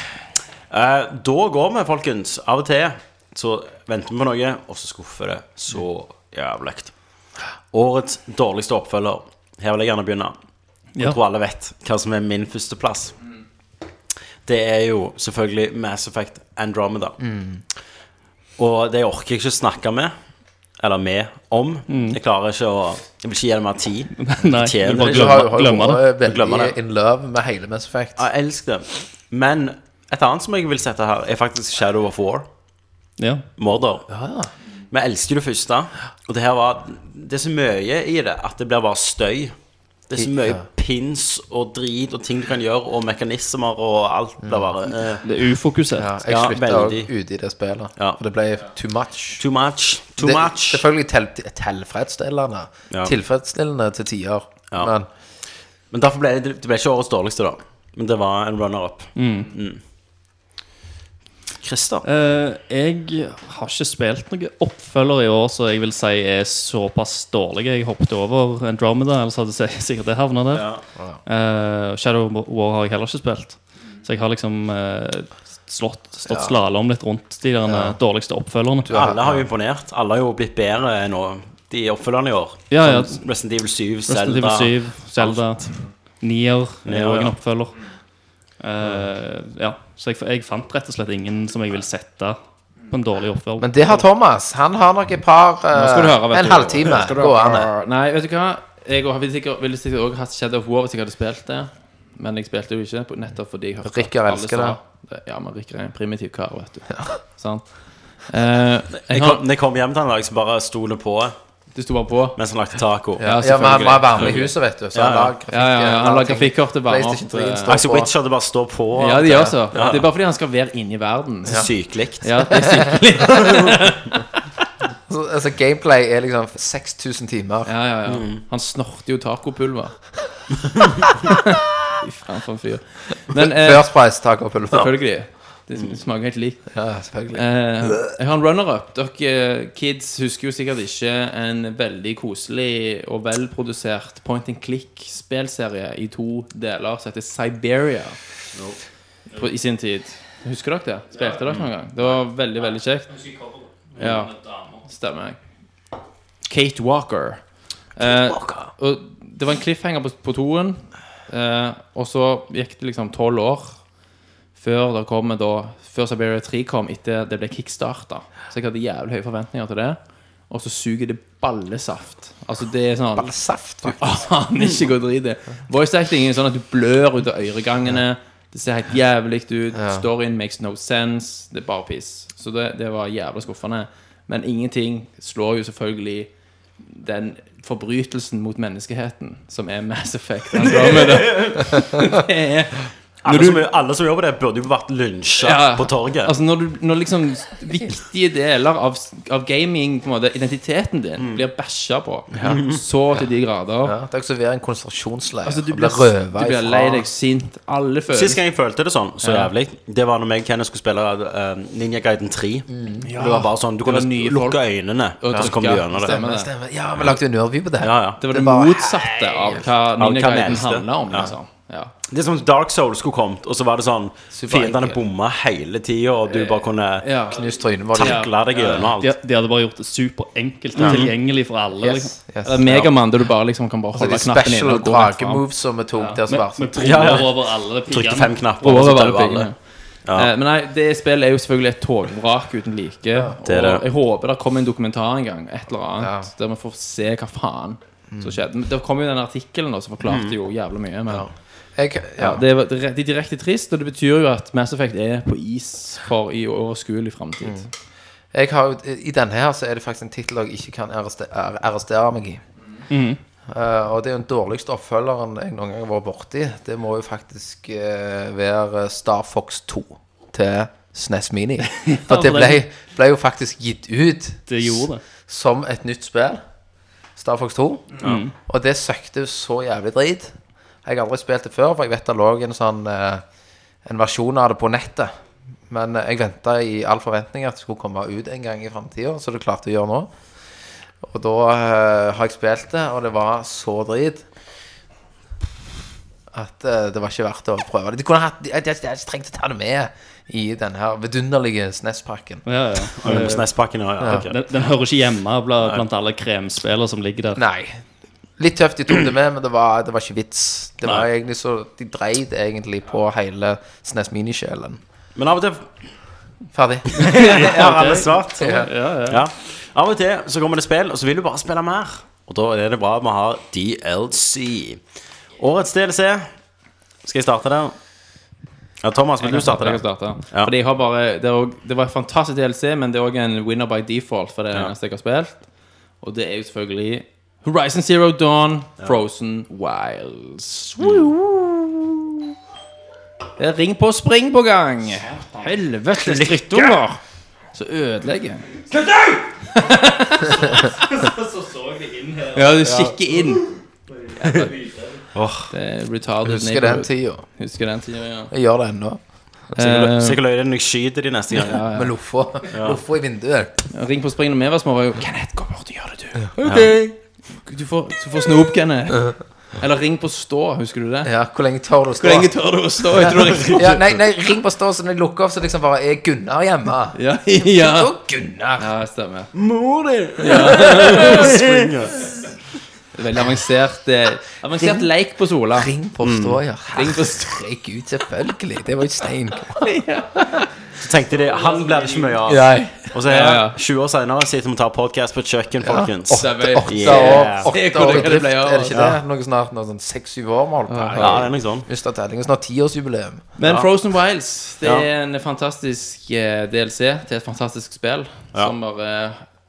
Eh, da går vi, folkens. Av og til så venter vi på noe, og så skuffer det så jævlig. Årets dårligste oppfølger. Her vil jeg gjerne begynne. Jeg Ja. tror alle vet hva som er min førsteplass. Det er jo selvfølgelig Mass Effect Andromeda. Mm. Og det orker jeg ikke å snakke med, eller med, om. Jeg klarer ikke å Jeg vil ikke gi det mer tid. Mm. Nei, Fortjener du bare det Du ikke. har jo glemmer, har jo glemmer det. vært Glemmer veldig det. in love med hele Mass Effect. Ja, jeg elsker det. Men et annet som jeg vil sette her, er faktisk Shadow of War. Ja. Mordor. Vi elsker det første, og det her var Det er så mye i det at det blir bare støy. Det er så mye Ja. pins og drit og ting du kan gjøre, og mekanismer og alt Mm. blir bare eh, Det er ufokusert. Ja, jeg Ja, slutta òg veldig. ute i det spillet, Ja. for det ble too much. Too much. Too Det- much. Selvfølgelig tel- tilfredsstillende. Ja. Tilfredsstillende til tider. Ja. Men Men derfor ble det, det ble ikke årets dårligste, da. Men det var en runner-up. Mm. Christer. Eh, jeg har ikke spilt noen oppfølger i år så jeg vil si er såpass dårlig. Jeg hoppet over Andromeda, ellers hadde jeg sikkert det havna der. Ja. Eh, Shadow of War har jeg heller ikke spilt. Så jeg har liksom eh, slått, stått slalåm litt rundt de der eh, dårligste oppfølgerne. Alle har jo imponert. Alle har jo blitt bedre nå, de oppfølgerne i år. Ja, ja. Som Resident Evil 7, Resident Evil Zelda 7, Zelda, Nier er Nier, òg en ja. Mm. oppfølger. Eh, ja, så jeg, jeg fant rett og slett ingen som jeg vil sette på en dårlig oppfølger. Men det har Thomas. Han har nok et par eh, Nå skal du høre, vet En du. halvtime Nå skal du høre. gående. Nei, vet du hva? Jeg og- ville sikkert, ville sikkert også hatt Shadow of War hvis jeg hadde spilt det. Men jeg spilte det jo ikke, på- nettopp fordi jeg hørte Rikard alle elsker sa det. Ja, men Rikker er en primitiv kar, vet du. Sant? Eh, jeg Jeg har, kom, når jeg kom hjem til en dag, så bare sto det på du sto bare på. mens han lagde taco. Ja, Ja, men han selvfølgelig. var varme i huset, vet du. Så han Ja, ja. la grafikk, Ja, ja, ja, han la ting- grafikkortet varme. PlayStation 3 står Altså, på. Witcher det bare står på. Ja, de gjør så. Ja, ja. Det er bare fordi han skal være inne i verden. Det er Sykelikt. Ja, det er sykt. Så, altså, gameplay er liksom 6000 timer. Ja, ja, ja. Han snorter jo tacopulver. Fy faen, for en fyr. Men eh, First price taco pulver. selvfølgelig. Det smaker helt likt. Ja, selvfølgelig. Eh, jeg har en runner-up. Dere eh, kids husker jo sikkert ikke en veldig koselig og velprodusert point and click-spelserie i to deler som heter Siberia. På, I sin tid. Husker dere det? Spilte dere noen gang? Det var veldig, veldig kjekt. Ja, stemmer. Kate Walker. Eh, og det var en cliffhanger på, på toen. Eh, og så gikk det liksom tolv år før, det kom, da, før Siberia 3 kom, etter det ble kickstarta. Så jeg hadde jævlig høye forventninger til det. Og så suger det ballesaft. Altså det er sånn Saft. faktisk. Aner ikke hvor drit det er. Voice acting er sånn at du blør ut av øregangene. Det ser helt jævlig ut. Storyen makes no sense. Det er bare piss. Så det, det var jævla skuffende. Men ingenting slår jo selvfølgelig den forbrytelsen mot menneskeheten som er Mass Effect. Andromeda. det er Alle, som, alle som jobber der, burde jo vært lynsja Ja, på torget. Altså når, du, når liksom viktige deler av, av gaming, på en måte, identiteten din, blir bæsja på så til de grader Mm. Ja, det er også være en konsentrasjonsleir. Altså, du og bli blir, røvet du blir ifra. lei deg, sint, alle Sist følelser gang jeg følte det sånn, så Ja. jævlig, det var når jeg og Kenneth skulle spille eh, Ninja Guiden 3. Det var bare sånn, Du kunne Mm. var nye folk. lukke øynene, og så kom du trykke. gjennom det. Stemmer det. Stemmer. Ja, vi lagde jo en nervy på det. Ja, ja. Det var det, var motsatte av hva Av hva Ninja Gaiden neste. handla om. Ja. Liksom. Ja. Det er som om Dark Soul skulle kommet, og så var det sånn Super Fiendene enkelt. bomma hele tida, og du bare kunne Ja. Knust trynet var det. takle deg gjennom alt. Mm. De, de hadde bare gjort det superenkelt og tilgjengelig for alle. Liksom. Yes, yes. Eller Megamann, der du bare liksom kan bare Så Altså, de holde knappen inne special og gå rett fram. dragemoves som vi tok der som var Med, med sånn briller Ja, ja. over alle Trykte piggene. fem knapper, og så Over alle døde alle. pengene. Eh, Men nei, det spillet er jo selvfølgelig et togvrak uten like. det er det. Og jeg håper det kommer en dokumentar en gang, et eller Ja. annet, der vi får se hva faen Mm. som skjedde. Men Det kom jo den artikkelen da, som forklarte jo jævlig mye. Men Jeg- ja, ja. det var dire- det er direkte trist, og det betyr jo at Mass Effect er på is for i overskuelig Mm. framtid. Jeg har jo, I denne her så er det faktisk en tittel jeg ikke kan arreste- ar- arrestere meg i. Eh, og det er jo den dårligste oppfølgeren jeg noen gang har vært borti. Det må jo faktisk eh, være Star Fox 2 til SNES Mini. For det ble, ble jo faktisk gitt ut Det gjorde det. s- som et nytt spill. Star Fox 2. Og det søkte jo så jævlig drit. Jeg har aldri spilt det før, for jeg vet det lå en sånn eh, en versjon av det på nettet. Men eh, jeg venta i all forventning at det skulle komme ut en gang i framtida, så det klarte å gjøre nå. Og da eh, har jeg spilt det, og det var så drit at eh, det var ikke verdt å prøve det. De kunne hatt, de, de, de, de trengte å ta det med i den her vidunderlige E SNES-pakken. Ja, ja. Mm, SNES-pakken, ja. ja. ok. Den, den hører ikke hjemme bla, blant alle kremspillere som ligger der. Nei. Litt tøft de tok det med, men det var, det var ikke vits. Det var egentlig så, De dreide egentlig på hele SNES Minisjelen. Men av og til Ferdig. har alle svart. Ja. Ja. Av og til så kommer det spill, og så vil du bare spille mer. Og da er det bra at vi har DLC. Årets DLC Skal jeg starte der? Ja, Thomas, vil du starte Jeg kan der? starte. Ja. Fordi jeg har bare, det, er også, det var et fantastisk DLC, men det er òg en winner by default, for det er det Ja. eneste jeg har spilt. Og det er jo selvfølgelig Horizon Zero Dawn, Frozen Wilds. Det er ring på spring på gang. Helvetes drittunger som ødelegger. Så så jeg inn her. Ja, du kikker inn. Det er retarded Husker den neighborhood. tida. Husker den tida, ja. Jeg gjør det ennå. Eh, Sikkert løy det når jeg skyter de neste gang. Med loffa loffa i vinduet. Ring på springen når vi var små, var jo Kenneth, gå bort og gjør det, du. Du får, du får snop, Kenneth. Eller ring på stå, husker du det? Ja, hvor lenge tør du å Hvor stå? lenge tør du å stå? Jeg tror det er Ja, nei, nei, ring på stå, så når jeg lukker opp, så liksom bare er Gunnar hjemme. Ja, ja. Så Gunnar! ja stemmer. Mor di! Det er Veldig avansert eh, Avansert leik på Sola. Ring på stå, ja. Mm. Ring på stå. Herregud, selvfølgelig. Det var jo stein. Så tenkte de han blir det ikke mye av. Nei. Og så er Ja, ja. jeg 20 år senere sitter vi og tar podkast på et kjøkken, folkens. Det er veldig- Åtte år, Yeah. Se åtte hvor år i det drift, ble av. er det ikke det? Noe snart noe sånn seks-syv år vi holdt på. Ja, det er noe sånn. Mista tellinga. Snart tiårsjubileum. Men Frozen Wilds Det Ja. er en fantastisk eh, DLC til et fantastisk spill. Ja. Som bare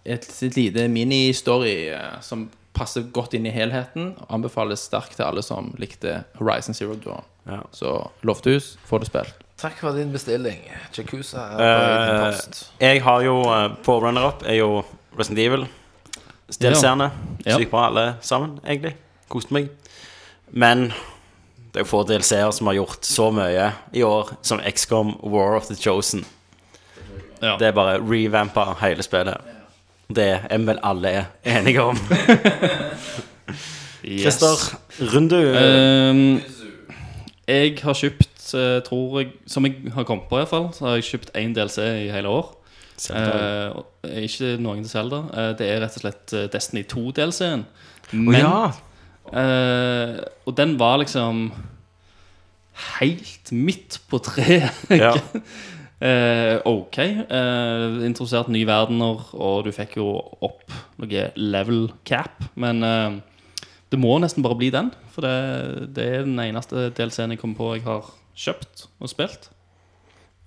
er et sitt lite mini-story eh, som passer godt inn i helheten. og Anbefales sterkt til alle som likte Horizon Zero Dawn. Ja. Så Lofthus, får det spilt. Takk for din bestilling. Jacuzza er på egen Eh, post. jeg har jo eh, på runner-up er jo Resident Evil. Stillseerne. Ja. Sykt bra, alle sammen, egentlig. Koste meg. Men det er jo få DLC-er som har gjort så mye i år som XCOM War of the Chosen. Ja. Det er bare revampa hele spillet. Det er vi vel alle er enige om. Yes. Christer, runde Ehm, jeg har kjøpt, eh, tror jeg Som jeg har kommet på, i hvert fall så har jeg kjøpt én DLC i hele år. Zelda. Eh, og- ikke noen til Zelda. Eh, det er rett og slett eh, Destiny 2-DLC-en. Å Men ja. eh, Og den var liksom helt midt på treet. ja. Eh, ok. Eh, introdusert nye verdener, og du fikk jo opp noe level cap. Men eh, det må nesten bare bli den, for det, det er den eneste DLC-en jeg kommer på jeg har kjøpt og spilt.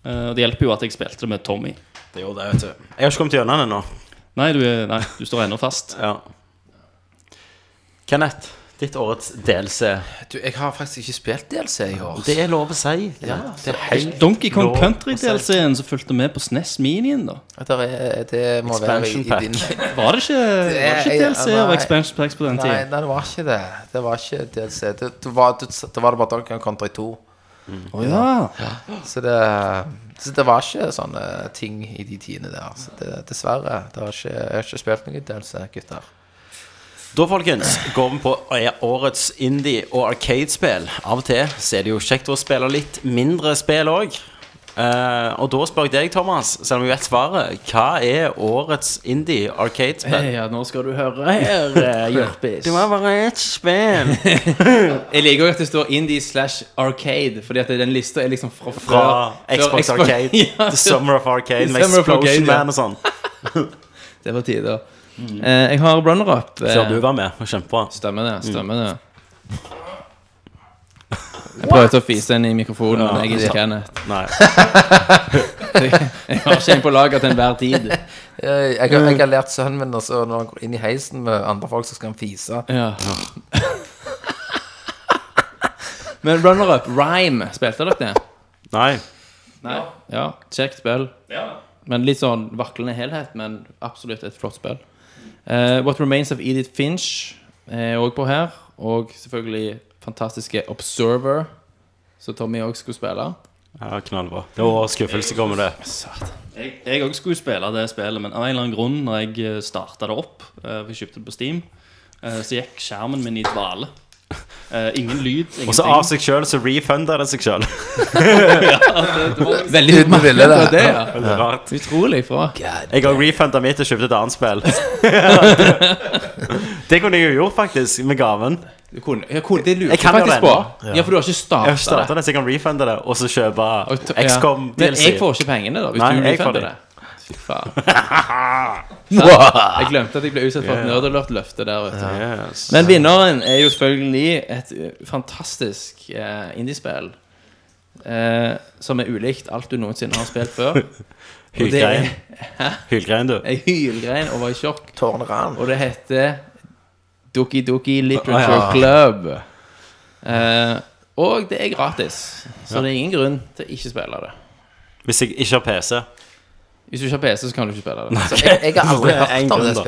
Eh, og det hjelper jo at jeg spilte det med Tommy. Det gjorde det, vet du. Jeg har ikke kommet gjennom den ennå. Nei, du, er- nei, du står ennå fast. Ja. Kenneth, ditt årets DLC. Du, jeg har faktisk ikke spilt DLC i år. Det er lov å si. ja, det er helt Donkey Kong Lov å Country-DLC-en som fulgte med på SNES Minien, da. det, er, det må være i, Expansion i pack. din Var det ikke, var det jeg- ikke DLC-er og nei. expansion packs på den nei, tiden? nei, det var ikke det. Det var ikke DLC. Det, det, var, det, det var det bare Donkey Kong Country 2. Ja. Så det, så det var ikke sånne ting i de tidene der. Så det, dessverre. Det har ikke, jeg har ikke spilt noe DLC, gutter. Da, folkens, går vi på eh, årets indie- og arcade-spill. Av og til så er det jo kjekt å spille litt mindre spill òg. og da spør jeg deg, Thomas, selv om jeg vet svaret, hva er årets indie arcade-spill? Ja, nå skal du høre her, eh, Jørpis. Eh, Det var bare ett spill. Jeg liker jo at det står indie slash arcade, fordi at den lista er liksom fra, Fra før Xbox Xbox- Arcade. Ja. The Summer of Arcade med Summer of Explosion Arcade, ja. Man og sånn. Det var tider. Eh, jeg har runner-up. eh, Mm. Før du var med. Kjempebra. Stemmer det. Stemmer det. Jeg prøvde å fise inn i mikrofonen, men jeg er ikke Kenneth. Nei. Jeg har ikke en på lager til enhver tid. Jeg, jeg, har- jeg har lært sønnen min altså, Når han går inn i heisen med andre folk, så skal han fise. Ja. Men runner-up, Rhyme, spilte dere det? Nei. Nei. Ja, kjekt spill. Men litt sånn vaklende helhet, men absolutt et flott spill. Eh, What Remains of Edith Finch er òg på her. Og selvfølgelig fantastiske Observer, som Tommy òg skulle spille. Ja, knallbra. Det var skuffelse, kommer det. Jeg- Jeg òg skulle spille det spillet, men av en eller annen grunn, når jeg starta det opp, eh, for jeg kjøpte det på Steam, eh, så gikk skjermen min i dvale. Eh, Ingen lyd, ingenting. Og så av seg sjøl så refunder det seg sjøl. Veldig Uten ville det. det, ja. Rart. Utrolig bra. Jeg har refunda mitt og kjøpte et annet spill. det kunne jeg jo gjort, faktisk, med gaven. Du kunne, jeg kunne, det Jeg lurer jeg kan faktisk jo på. det Ja, for du har ikke Jeg har starta starta det. det, så jeg kan refunde det, og så kjøpe Og t- XCOM ja. Men jeg DLC. får ikke pengene, da, hvis Nei, du jeg får refunder det. det. Fy faen. Sant? Jeg glemte at jeg ble utsatt for et nerdalert-løfte der. Vet du. Yes. Men vinneren er jo selvfølgelig et eh, fantastisk eh, indiespill. Eh, som er ulikt alt du noensinne har spilt før. Og det er Hylgrein. Hylgrein, du. ei hylgrein og var i sjokk. Tårnran. Og det heter Doki Doki Literature Ah, ja. Club. Eh, og det er gratis, så det er ingen grunn til å ikke spille det. Hvis jeg ikke har PC. Hvis du ikke har PC, så kan du ikke spille det. Så jeg, jeg har aldri Det er en hørt om det grunn, da.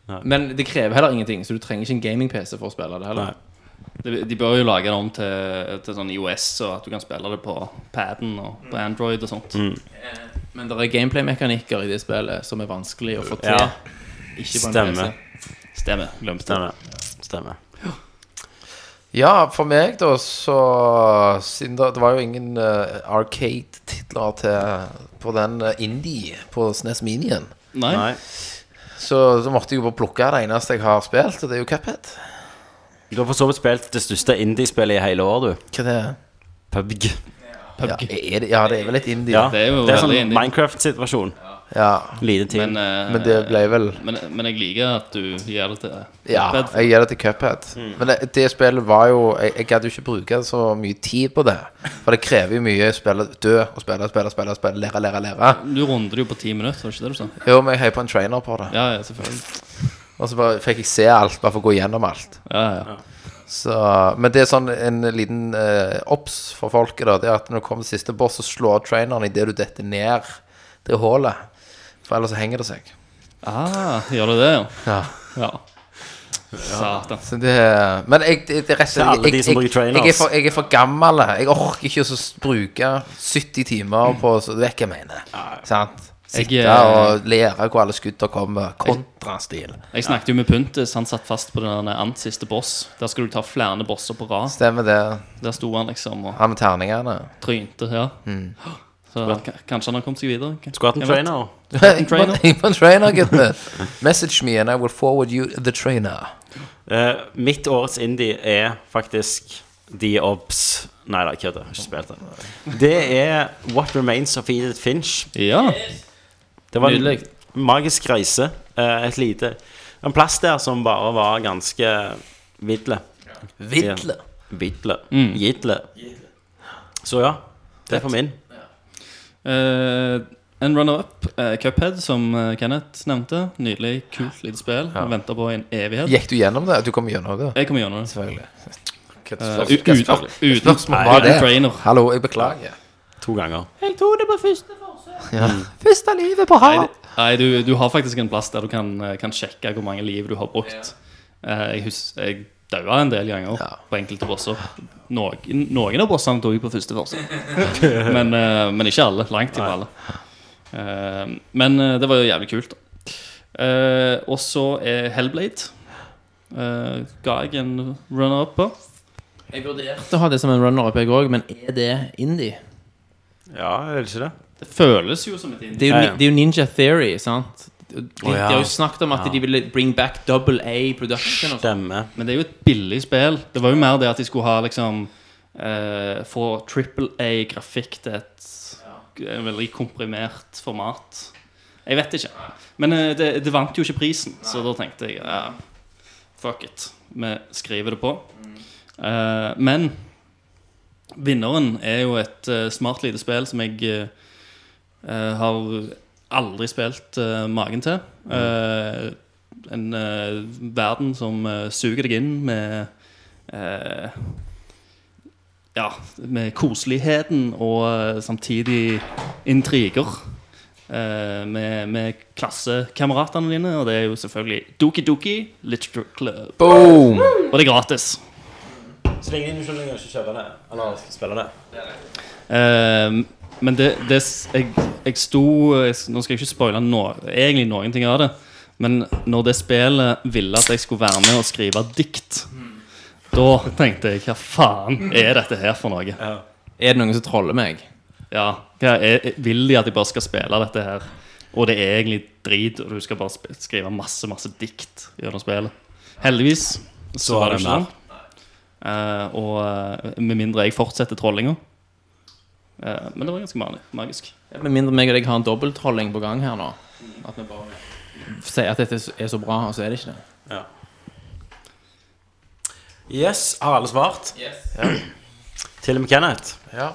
spillet. Men det krever heller ingenting, så du trenger ikke en gaming-PC for å spille det heller. Nei. De, de bør jo lage det om til, til sånn IOS, og at du kan spille det på paden og på Android og sånt. Mm. Eh, Men det er gameplay-mekanikker i det spillet som er vanskelig å få til. Ja. Ikke på en Stemmer. PC. Stemmer. Glemte det. Stemmer. Stemmer. Ja, for meg, da, så Siden det, det var jo ingen eh, arcade-titler til på den eh, indie på E SNES Minien, Nei. Nei. så, så måtte jeg jo bare plukke det eneste jeg har spilt, og det er jo Cuphead. Du har for så vidt spilt det største indiespillet i hele år, du. Hva det er PubG. ja, er det? Ja, det er vel litt indie. Ja. Ja, det er jo sånn veldig indie. Minecraft-situasjon. Lite tid. Men, eh, Men det ble vel men, men jeg liker at du gir det til Ja, Cuphead. jeg gir det til Cuphead. Hmm. Men det, det spillet var jo Jeg, jeg gadd jo ikke bruke så mye tid på det. For det krever jo mye å spille dø og spille, spille, spille, spille lære, lære, lære. Du runder det jo på ti minutter, var det ikke det du sa? Jo, men jeg heier på en trainer på det. Ja, ja, selvfølgelig. Og så bare fikk jeg se alt, bare for å gå gjennom alt. Ja, ja. Så, men det er sånn en liten eh, obs for folket, da. Det er at når du kommer til siste boss, så slår traineren idet du detter ned det hullet. For ellers så henger det seg. Ah, gjør du det, ja? Ja. Ja. Satan. Så det, men jeg, det, det er rett og Til alle slett jeg, de som jeg, bruker trainers. jeg, er for, jeg er for gammel. Jeg orker ikke å s- bruke 70 timer på å vekke mener Sant? Sitte Jeg, eh, og lære hvor alle skuddene kommer. Kontrastil. Jeg snakket jo med Puntis. Han satt fast på den ant siste boss. Der skulle du ta flere bosser på rad. Stemmer det. Der sto han liksom og Han med terningene. trynte. Ja. Så han- k- kanskje han har kommet seg videre. k- Skulle hatt en jeg vet. trainer. Jeg på trainer. jeg på en trainer, gutten. Message me, and I will forward you the trainer. Eh, mitt årets indie er faktisk The Obs. Nei da, kødder. Ikke spilt det. Det er What Remains of Edith Finch. Ja. Det var en Nydelig. magisk reise. Eh, et lite En plass der som bare var ganske vidle. Vidle. Vidle. Gidle. Så ja. Det er for min. Eh, en runner-up, eh, Cuphead, som eh, Kenneth nevnte. Nydelig, kult lite spill. Ja. Venta på i en evighet. Gikk du gjennom det? Du kom gjennom det? Jeg kommer gjennom det. Selvfølgelig. Eh, u- uten uten, Spørsmål var det. uten trainer. Hallo, jeg beklager. To ganger. Første livet på Nei, hav. det- nei du, du har faktisk en plass der du kan, eh, kan sjekke hvor mange liv du har brukt. Eh, Jeg, hus- jeg daua en del ganger Ja. på enkelte bosser. Noen, noen av bossene tok jeg på første forsøk, men, eh, men ikke alle. Langt ifra alle. Eh, Men eh, det var jo jævlig kult. da. Eh, Og så er Hellblade. eh, ga jeg en runner-upper. Jeg vurderte å ha det som en runner-up, jeg òg, men er det indie? Ja, er det ikke det? Det føles jo som et indie. Det er jo, Ja, ja. det er jo Ninja Theory, sant? De, de ja. har jo snakket om at de ville bring back double A production. Og sånt. Stemmer. Men det er jo et billig spill. Det var jo mer det at de skulle ha liksom eh, Få trippel A-grafikk til et en veldig komprimert format. Jeg vet ikke. Men eh, det, det vant jo ikke prisen, så da tenkte jeg ja, fuck it. Vi skriver det på. Eh, men vinneren er jo et eh, smart lite spill som jeg eh, eh, har aldri spilt eh, magen til. Eh, en eh, verden som eh, suger deg inn med eh, Ja, med koseligheten og eh, samtidig intriger. eh, med, med klassekameratene dine, og det er jo selvfølgelig Doki Doki Literature Club. Boom! Og det er gratis. Så lenge de ikke lenger ikke kjøper det, eller spiller det. Eh, men det, det s- jeg, jeg sto jeg, s- Nå skal jeg ikke spoile no, egentlig noen ting av det. Men når det spillet ville at jeg skulle være med og skrive dikt, da tenkte jeg Hva faen er dette her for noe? Er det noen som troller meg? Ja, hva er, Vil de at jeg bare skal spille dette her? Og det er egentlig drit, og du skal bare sp- skrive masse masse dikt gjennom spillet. Heldigvis så var det ikke sånn. Eh, og eh, med mindre jeg fortsetter trollinga. Eh, men det var ganske mani- magisk. Med mindre meg og deg har en dobbelttrolling på gang her nå. At vi bare sier at dette er så bra, og så er det ikke det. Yes, har alle svart? Ja. Til og med Kenneth. Ja.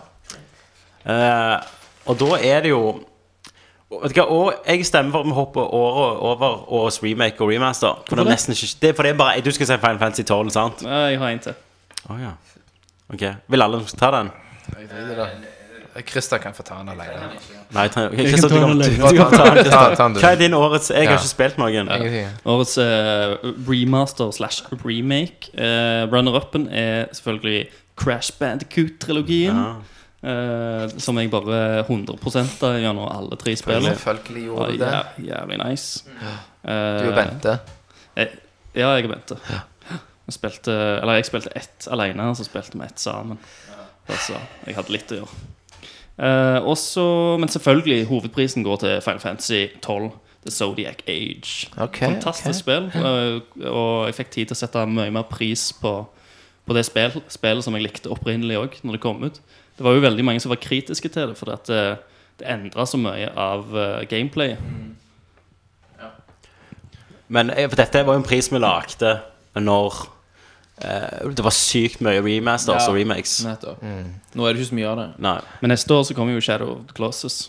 Eh, og da er det jo og Vet du hva, og jeg stemmer for at vi hopper året over årets remake og remaster. For det er nesten ikke Det er fordi jeg bare Du skal si Final Fantasy 12, sant? Eh, jeg har en til. Å ja. Ok. Vil alle ta den? Jeg driter i det. Christer kan få ta den alene. Nei, ta, okay, Christian, du kan, du Bare kan ta den. ta ta den, du. Hva er din årets Jeg Ja. har ikke spilt noen. Ingenting. Årets eh, remaster slash remake. Eh, Runner-upen er selvfølgelig Crash Bandicoot-trilogien. Ja. eh, som jeg bare 100 gjennom alle tre spillene. Selvfølgelig gjorde Var du det. jæv- jævlig nice. Eh, Du er Bente. Ja, jeg er Bente. Jeg spilte, eller jeg spilte ett alene, og så spilte vi ett sammen. Altså, jeg hadde litt å gjøre. Eh, også, men selvfølgelig, hovedprisen går til Final Fantasy 12, The Zodiac Age. Ok, Fantastisk spill, eh, og jeg fikk tid til å sette mye mer pris på, på det spill, spillet som jeg likte opprinnelig òg, når det kom ut. Det var jo veldig mange som var kritiske til det, fordi at det, det endra så mye av eh, gameplayet. Men eh, for dette var jo en pris vi lagde når eh, det var sykt mye remasters Ja. og remakes. Nettopp. Mm. Nå er det ikke så mye av det. Nei. Men neste år så kommer jo Shadow of the Closes.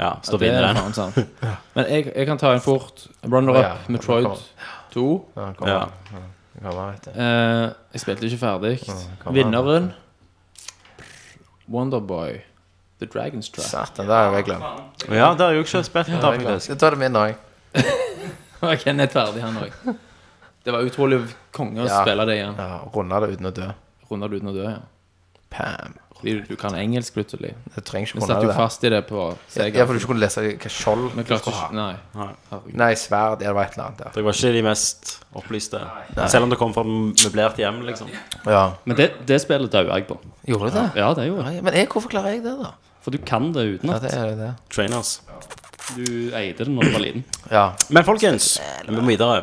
Ja, så da Det vinner er den. faen sant. Men jeg, jeg kan ta en fort. Runner-up Å, ja. Metroid 2. Ja, kom Ja. an. Kom an, vet du. Eh, jeg spilte ikke ferdig. kom an. Vinneren Wonderboy. The Dragon's Trap. Satan, det har jeg glemt. Ja, det har jeg jo ikke spilt. Det Da, har jeg glemt. faktisk. Jeg tar det min òg. Var Kenneth ferdig, han òg? Det var utrolig konge å Ja. spille det igjen. Ja, Runde det uten å dø. Runder du uten å dø, ja. Pam. Fordi du, du kan engelsk plutselig. Du trenger ikke Vi runde satt jo det. fast i det på Ja, for Sega. du ikke kunne lese hva skjold Vi du klarte skulle ikke ha. Nei. Nei, sverd eller et eller annet. Dere var ikke de mest opplyste. Selv om det kom fra møblert hjem, liksom. Ja. ja. Men det, det spillet daua jeg på. Gjorde du det? Ja, det gjorde jeg. Men jeg, hvorfor klarer jeg det, da? For du kan det Ja, utenat. det er det. Trainers. Du eide det når du var liten. Ja. Men folkens, vi må videre.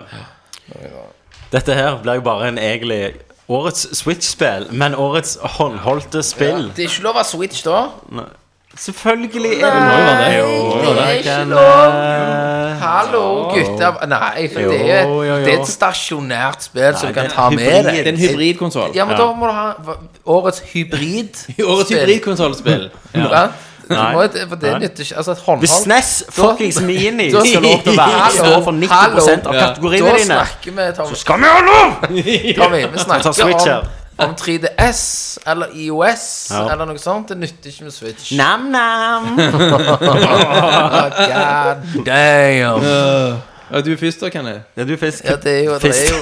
Dette her blir jo bare en egentlig årets Switch-spill, men årets håndholdte spill. Det er ikke lov å ha switch, da. Selvfølgelig er det noe av det. Det er ikke lov. Hallo, gutter. Nei, for det er, Jo, jo, jo. det er et stasjonært spill som du kan ta hybrid. med Det er en deg. hybridkonsoll. Ja, men da må du ha hva- årets hybrid. Årets spill. hybridkonsollspill. Ja. Du Nei. må, for det Nei. nytter ikke. Altså, et håndhold Hvis NES fuckings Mini skal lov til å være Hallo, stå for 90 av hallo. Da kategoriene dine snakker vi, Tommy. Skal vi ha lov?! Tommy, vi Ta snakker Switch her. om, om 3DS eller IOS Ja. eller noe sånt. Det nytter ikke med Switch. Nam-nam. God damn. Ja, du først, da, Kenny. Ja, du fisk. Ja, det er jo, det er jo,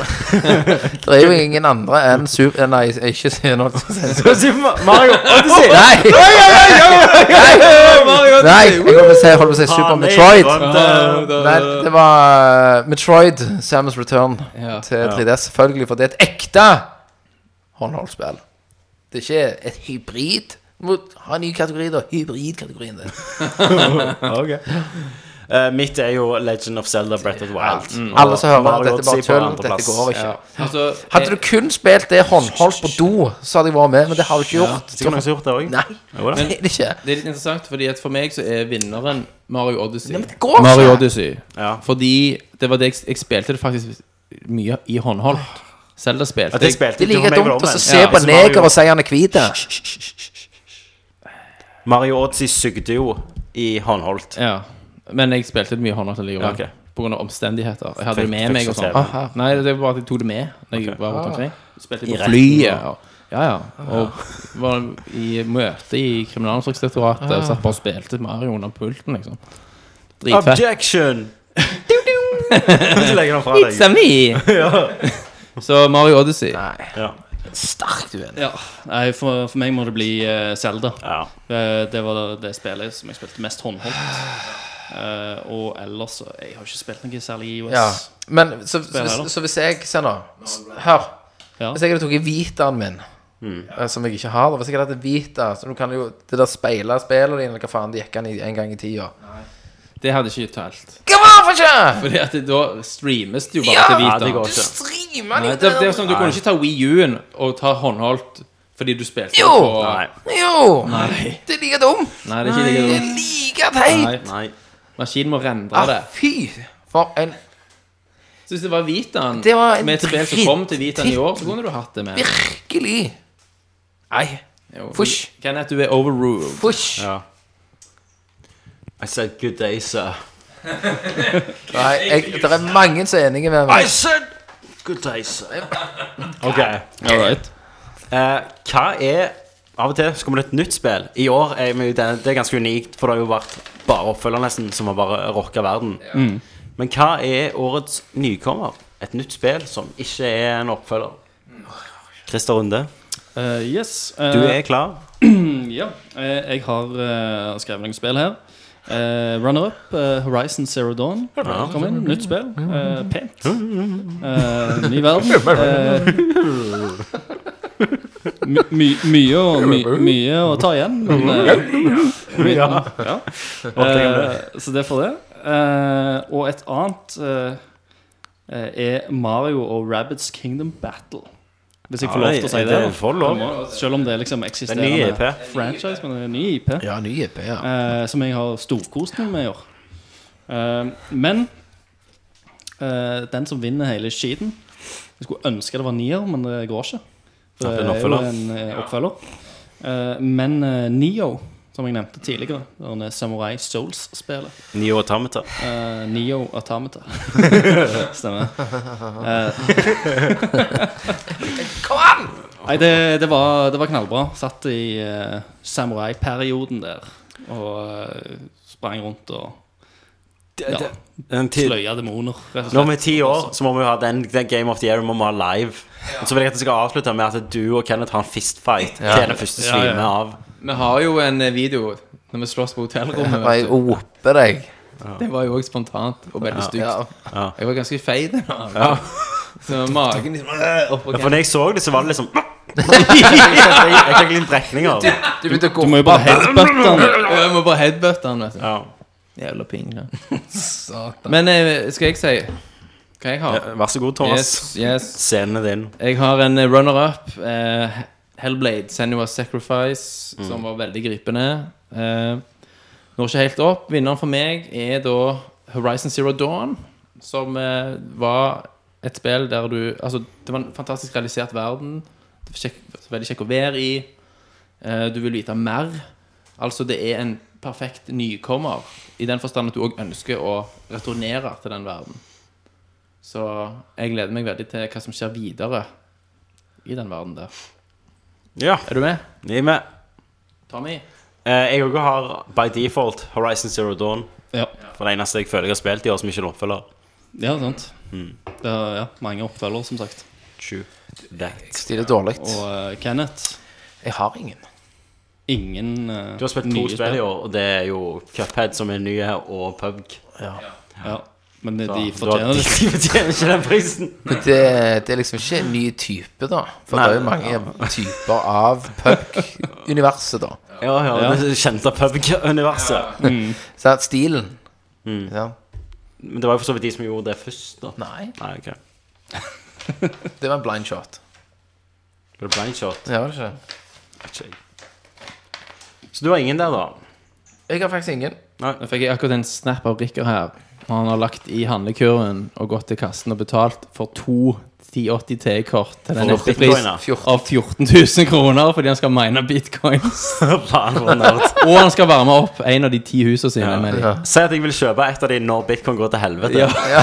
det er jo ingen andre enn Super... Nei, ikke Super... Mario Odyssey! Nei! Nei, jeg holdt på å si, holdt på å si Ah, Super Metroid. Nei, det var eh, Metroid, Samus Return Ja. til 3DS, selvfølgelig, for det er et ekte håndholdspill. Det er ikke et hybrid. Du må ha en ny kategori, da. Hybridkategorien. det. Eh, mitt er jo Legend of Zelda Breath of the Wild. Mm. Alle som hører at Mario dette er bare Odyssey på tull, andreplass. dette går ikke. Altså, Hadde du kun spilt det håndholdt på do, så hadde jeg vært med, men det har du ikke gjort. Sikkert noen som har gjort det òg. Nei, det er det ikke. Det er litt interessant, fordi at for meg så er vinneren Mario Odyssey. det går ikke! Mario Odyssey. Ja. Fordi det var det jeg, jeg spilte det faktisk mye i håndholdt. Zelda spilte Det jeg. spilte Det er jo like meg og dumt å broren. se Ja, på en så Mario- neger og si han er hvit. Mario Odyssey Eh, sugde jo i håndholdt. Ja. Men jeg spilte det mye håndholdt allikevel. Ja, ok. På grunn av omstendigheter. Jeg hadde Fikk- det fikk med meg og så sånn. TV. Ah, Nei, det var bare at jeg tok det med når jeg Ok. var Ah. rundt omkring. Spilte I på retten, flyet. og- Ja, ja. Og var i møte i Kriminalomsorgsdirektoratet Ah. og satt bare og spilte Mario under pulten, liksom. Dritfett. Objection! Du kan ikke legge den fra deg. Så Mario Odyssey. Ja. Sterkt uenig. Ja, nei, for, for meg må det bli uh, Zelda. Ja. Eh, det var det spillet som jeg spilte mest håndholdt. Eh, og ellers så- Jeg har ikke spilt noe særlig i Ja. US. Men så, Spiller så, da. så hvis jeg Se nå. S- Hør. Ja. Hvis jeg hadde tatt Vitaen min, Mm. eh, som jeg ikke har da Hvis jeg hadde hatt Vita Så du kan jo det der speile spillene dine, eller hva faen det gikk an i en gang i tida. Det hadde ikke talt. Hva var for ikke? Fordi at det- da streames det jo bare Ja! til Ja, det Vita. går Du ikke. streamer den Nei, det, det er jo ikke! sånn, Du kunne ikke ta Wii U-en og ta håndholdt fordi du spilte Jo! på Nei. Jo! Nei. Det er like dumt! Nei, det er ikke Det det. er like teit! Nei. Nei. Maskinen må rendre Ah, det. fy! For en Så hvis det var Vitaen Det var en med et spill som dritt- kom til Vitaen i år, så kunne du hatt det med. virkelig Nei. Jo, Fush. du- Kenneth, du er overruled. Fush. Ja. I said good day, sir. Nei, jeg, det er mange som er enige med meg. said good day, sir. OK. All right. Eh, hva er Av og til så kommer det et nytt spill. I år er vi, det, det er ganske unikt, for det har jo vært bare oppfølger nesten som har bare rocka verden. Mm. Men hva er årets nykommer? Et nytt spill som ikke er en oppfølger. Christer Runde, Eh, yes. du eh, er klar. Ja. eh, jeg har eh, skrevet noen spill her. Eh, Runner-up, eh, Horizon Zero Dawn. Kom inn, nytt spill. Eh, pent. Eh, ny verden. Eh, my, my, mye, og, my, mye å ta igjen, men eh, my, ja. Eh, Så det er for det. Eh, og et annet eh, er Mario og Rabbits Kingdom Battle. Hvis jeg får lov til å si det. da. får du lov. Selv om det liksom Det er en ny E eksisterende EP. franchise, men det er en ny IP Ja, ny EP, ja. eh, som jeg har storkost meg med i år. Eh, men eh, den som vinner hele skiten Jeg skulle ønske det var nier, men det går ikke. Ja, For det er det en er jo oppfølger. en eh, oppfølger. Eh, men eh, Nio, som jeg nevnte tidligere, denne Samurai Souls-spelet Nio Automata. Eh, Neo Automata. Stemmer. Eh. Kom an! Nei, det, det, var, det var knallbra. Satt i eh, samurai-perioden der og eh, sprang rundt og ja, En tid- sløya demoner, rett og Når vi slett. er ti år, så må vi ha den, den Game of the Year må vi ha live. Og Så vil jeg at det skal avslutte med at du og Kenneth har en fistfight. Hva er det første Ja, ja. svime av? Vi har jo en eh, video når vi slåss på hotellrommet. Nei, vet å whoppe deg. du. Det var jo også spontant og veldig stygt. Ja. Jeg var ganske feit. Så magen liksom øh, opp og Ja, for når jeg så det, så var det liksom Jeg fikk litt brekninger. Du begynte å gå Du må jo bare headbutte den. Jeg må bare headbutte han, vet du. Ja. Jævla pingle. Men eh, skal jeg si hva jeg har? Vær så god, Thomas. Yes, yes. Scenen er din. Jeg har en eh, runner-up. Eh, Hellblade, Senua Sacrifice, som var veldig gripende. Eh, når ikke helt opp. Vinneren for meg er da Horizon Zero Dawn, som eh, var et spill der du Altså, det var en fantastisk realisert verden. Det var kjekk, veldig kjekk å være i. Eh, du vil vite mer. Altså, det er en perfekt nykommer, i den forstand at du òg ønsker å returnere til den verden. Så jeg gleder meg veldig til hva som skjer videre i den verden der. Ja, Er du med? vi er med. Tommy? Eh, Jeg òg har by default Horizon Zero Dawn. Ja. For det eneste jeg føler jeg har spilt i år som ikke er en oppfølger. Ja, sant. Det er ja, mange oppfølgere, som sagt. True. That. Stilig dårlig. Og eh, Kenneth Jeg har ingen. Ingen eh, Du har spilt to nye spill i år, og det er jo Cuphead som er nye, og PubG. Ja. Men de, Da- de da- fortjener det. De fortjener ikke den prisen. Men det, det er liksom ikke en ny type, da. For det er jo mange typer av punk-universet, da. Ja, ja, det kjente PubG-universet. Så at stilen ja. Men det var jo for så vidt de som gjorde det først, da. Nei, Nei, ok. det var en blind shot. Var det blind shot? Det var det ikke. Ikke jeg. Så du har ingen der, da? Jeg har faktisk ingen. Nå fikk jeg akkurat en snap av Rikker her. Han har lagt i handlekurven og gått til kassen og betalt for to 1080 T-kort til en For nettepris bitcoiner? av 14 000 kroner fordi han skal mine bitcoins. Faen, for en nerd. Og han skal varme opp en av de ti husene sine. Ja. mener jeg. Si at jeg vil kjøpe et av de når bitcoin går til helvete. Ja.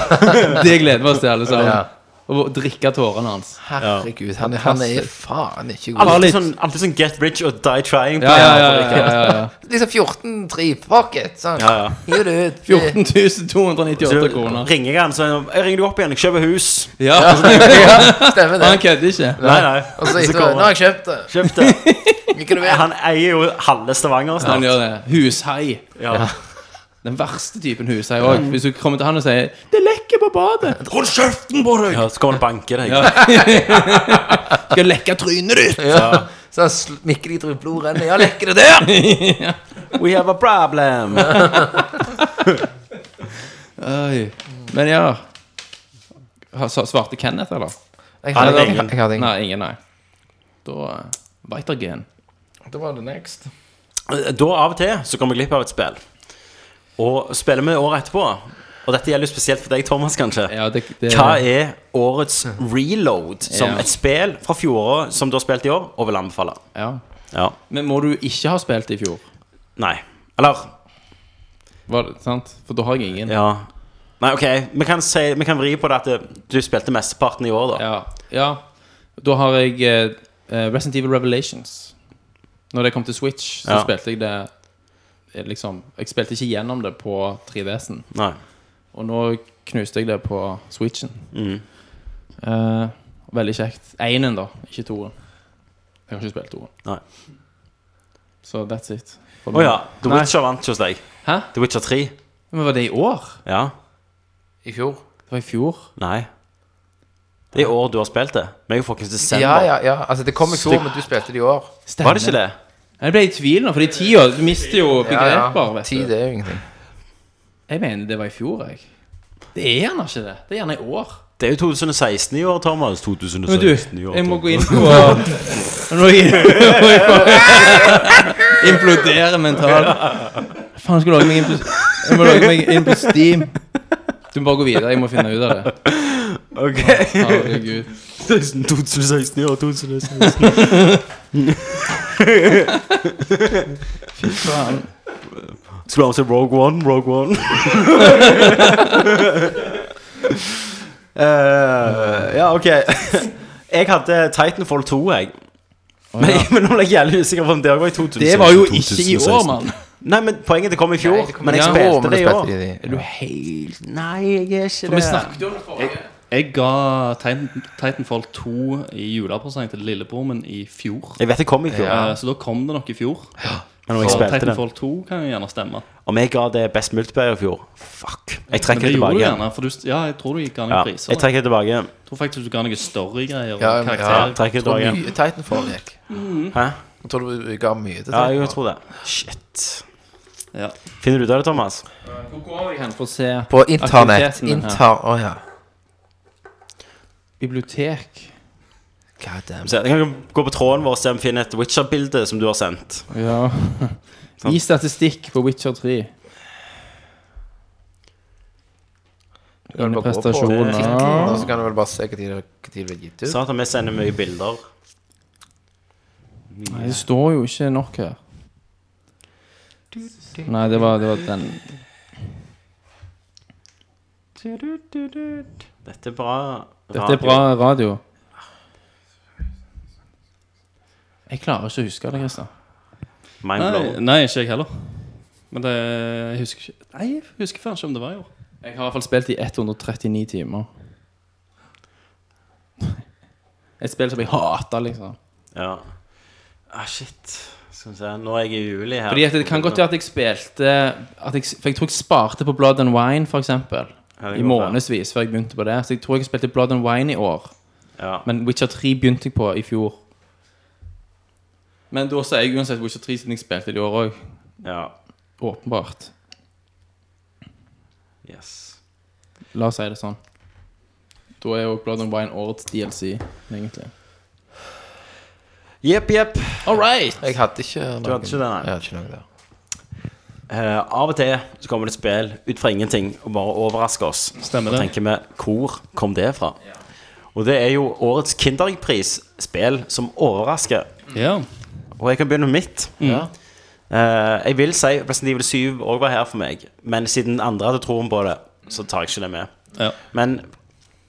Det gleder vi oss til, alle Ja. sammen. Og drikke tårene hans. Herregud, han, han er faen ikke god. Alltid sånn, alltid sånn get rich or die trying. Ja, ja, ja, ja, ja, ja. Liksom 14-3 pocket. Sånn. Ja, ja. Gi det ut. 14 298 Så kroner. ringer jeg han, så jeg ringer du opp igjen, jeg kjøper hus. Ja, altså, Ja, stemmer det. Han kødder ikke. Nei, nei. Og så Så etterpå Nå har kommer han. jeg kjøpt det. Kjøp det. Ikke du vet. Han eier jo halve Stavanger Han snart. gjør det. Hushai. Ja. Den verste typen hushai òg. Hvis du kommer til han og sier 'Det lekker på badet', Hold kjeften på deg! Ja, så kommer han og banker deg. skal lekke trynet ditt. Ja. Så han smikker de tror blod renner. Ja, lekker det der! We have a problem! Oi. Men ja Har- sa- Svarte Kenneth, eller? Jeg hadde hadde ingen. ingen. Jeg hadde ingen. Nei, ingen, nei. Da eh, Weitergehen. Da var det next. Da av og til så kommer jeg glipp av et spill. Og spiller vi året etterpå, og dette gjelder jo spesielt for deg, Thomas, kanskje. Ja, det, det, Hva er årets reload som Eh, Ja. et spill fra fjoråret som du har spilt i år, og vil anbefale? ja. Ja. Men må du ikke ha spilt i fjor? Nei. Eller Var det, sant? For da har jeg ingen. Ja. Nei, OK. Vi kan, si, vi kan vri på det at det- du spilte mesteparten i år, da. Ja, ja. Da har jeg eh, eh, Resident Evil Revelations. Når det kom til Switch, så Ja. spilte jeg det eh, liksom, Jeg spilte ikke gjennom det på 3DS-en. Nei. Og nå knuste jeg det på Switchen. Mm. Eh, veldig kjekt. Einen, da, ikke toen. Jeg har ikke spilt toen. Nei. Så that's it. Å ja. The Nei. Witcher vant hos deg. Hæ? The Witcher 3. Men var det i år? Ja. I fjor. Det var i fjor. Nei. Det er i år du har spilt det. Vi er jo fuckings desember. Ja, ja, ja. Altså, det kom i fjor, men du spilte det i år. Stemmer. Var det ikke det? Jeg ble i tvil nå, for i tida Du mister jo Ja, begreper, ja. vet du. Tid er jo ingenting. Jeg mener det var i fjor, jeg. Det er gjerne ikke det. Det er gjerne i år. Det er jo 2016 i år, Thomas. 2016 Men du, i år. jeg må gå inn på Jeg må inn på- Implodere mentalt. Faen, jeg skulle lage meg inn på Jeg må lage meg inn på Steam. Du må bare gå videre. Jeg må finne ut av det. Ok. Herregud. 2016 i år, 2016. Faen. Skulle han si Rogue One, Rogue One? Eh, ja, ok. Jeg hadde Titanfall 2, jeg. Men, men nå ble jeg jævlig usikker på om det også var i 2016. Det var jo ikke i år, mann. Nei, men Poenget det kom i fjor, det kom men jeg i år, spilte det i år. i år. Er du helt Nei, jeg er ikke For vi snakket jo om det forrige. Jeg ga Titan, Titanfall 2 i julepresang til lillebror min i fjor. Jeg vet det kom i fjor. Eh, så da kom det nok i fjor. Men når jeg Så spilte det Titanfall 2 kan jo gjerne stemme. Om jeg ga det best multiplayer i fjor Fuck. Jeg Men trekker det det gjorde du tilbake. gjerne. For du, s- ja, jeg tror du gikk an i Ja, priser. jeg trekker det tilbake. Jeg tror faktisk du ga noe storygreier og Ja, ja, Ja, karakterer. trekker det Tror tilbake. mye Titanfall gikk. Hæ? Jeg tror du ga mye til Ja, jeg Titanfall. tror det. Shit. Ja. Finner du ut av det, Thomas? Hvor går jeg hen for å se På internett. aktivitetene her? Inter... Å ja. Bibliotek. God damn. Se, Jeg kan gå på tråden vår og se om vi finner et Witcher-bilde som du har sendt. Ja. I statistikk på Witcher 3. Du kan vel bare gå på Prestasjoner. tittelen, og så kan du vel bare se hva tid hva tid det ble gitt ut. Sa Sånn at vi sender mye bilder. Nei, det står jo ikke nok her. Nei, det var, det var den Dette er bra. Dette er bra radio. Jeg klarer ikke å huske det, Christer. Mind Nei, blown. nei, ikke jeg heller. Men det, jeg husker ikke Nei, jeg husker faen ikke om det var i år. Jeg har i hvert fall spilt i 139 timer. Et spill som jeg hater, liksom. Ja. Ah, shit. Skal vi se. Nå er jeg i juli her. Fordi at Det kan godt være at jeg spilte at jeg, For jeg tror jeg sparte på Blood and Wine, for eksempel. kan I månedsvis før jeg begynte på det. Så jeg tror jeg spilte Blood and Wine i år. Ja. Men Witcher 3 begynte jeg på i fjor. Men da sa jeg uansett Witcher 3 siden jeg spilte det i år òg. ja. Åpenbart. Yes. La oss si det sånn. Da er jo Blood and Wine årets DLC, egentlig. Jepp, jepp. All right! Jeg hadde ikke noen, hadde ikke det, nei. Jeg hadde ikke noe der. Eh, av og til så kommer det et spill ut fra ingenting og bare overrasker oss. Stemmer Da det. tenker vi hvor kom det fra? Og det er jo årets Kinderpris-spill som overrasker. Ja. Og jeg kan begynne med mitt. Ja. Eh, jeg vil si Resident Evil 7 òg var her for meg, men siden andre hadde troen på det, så tar jeg ikke det med. Ja. Men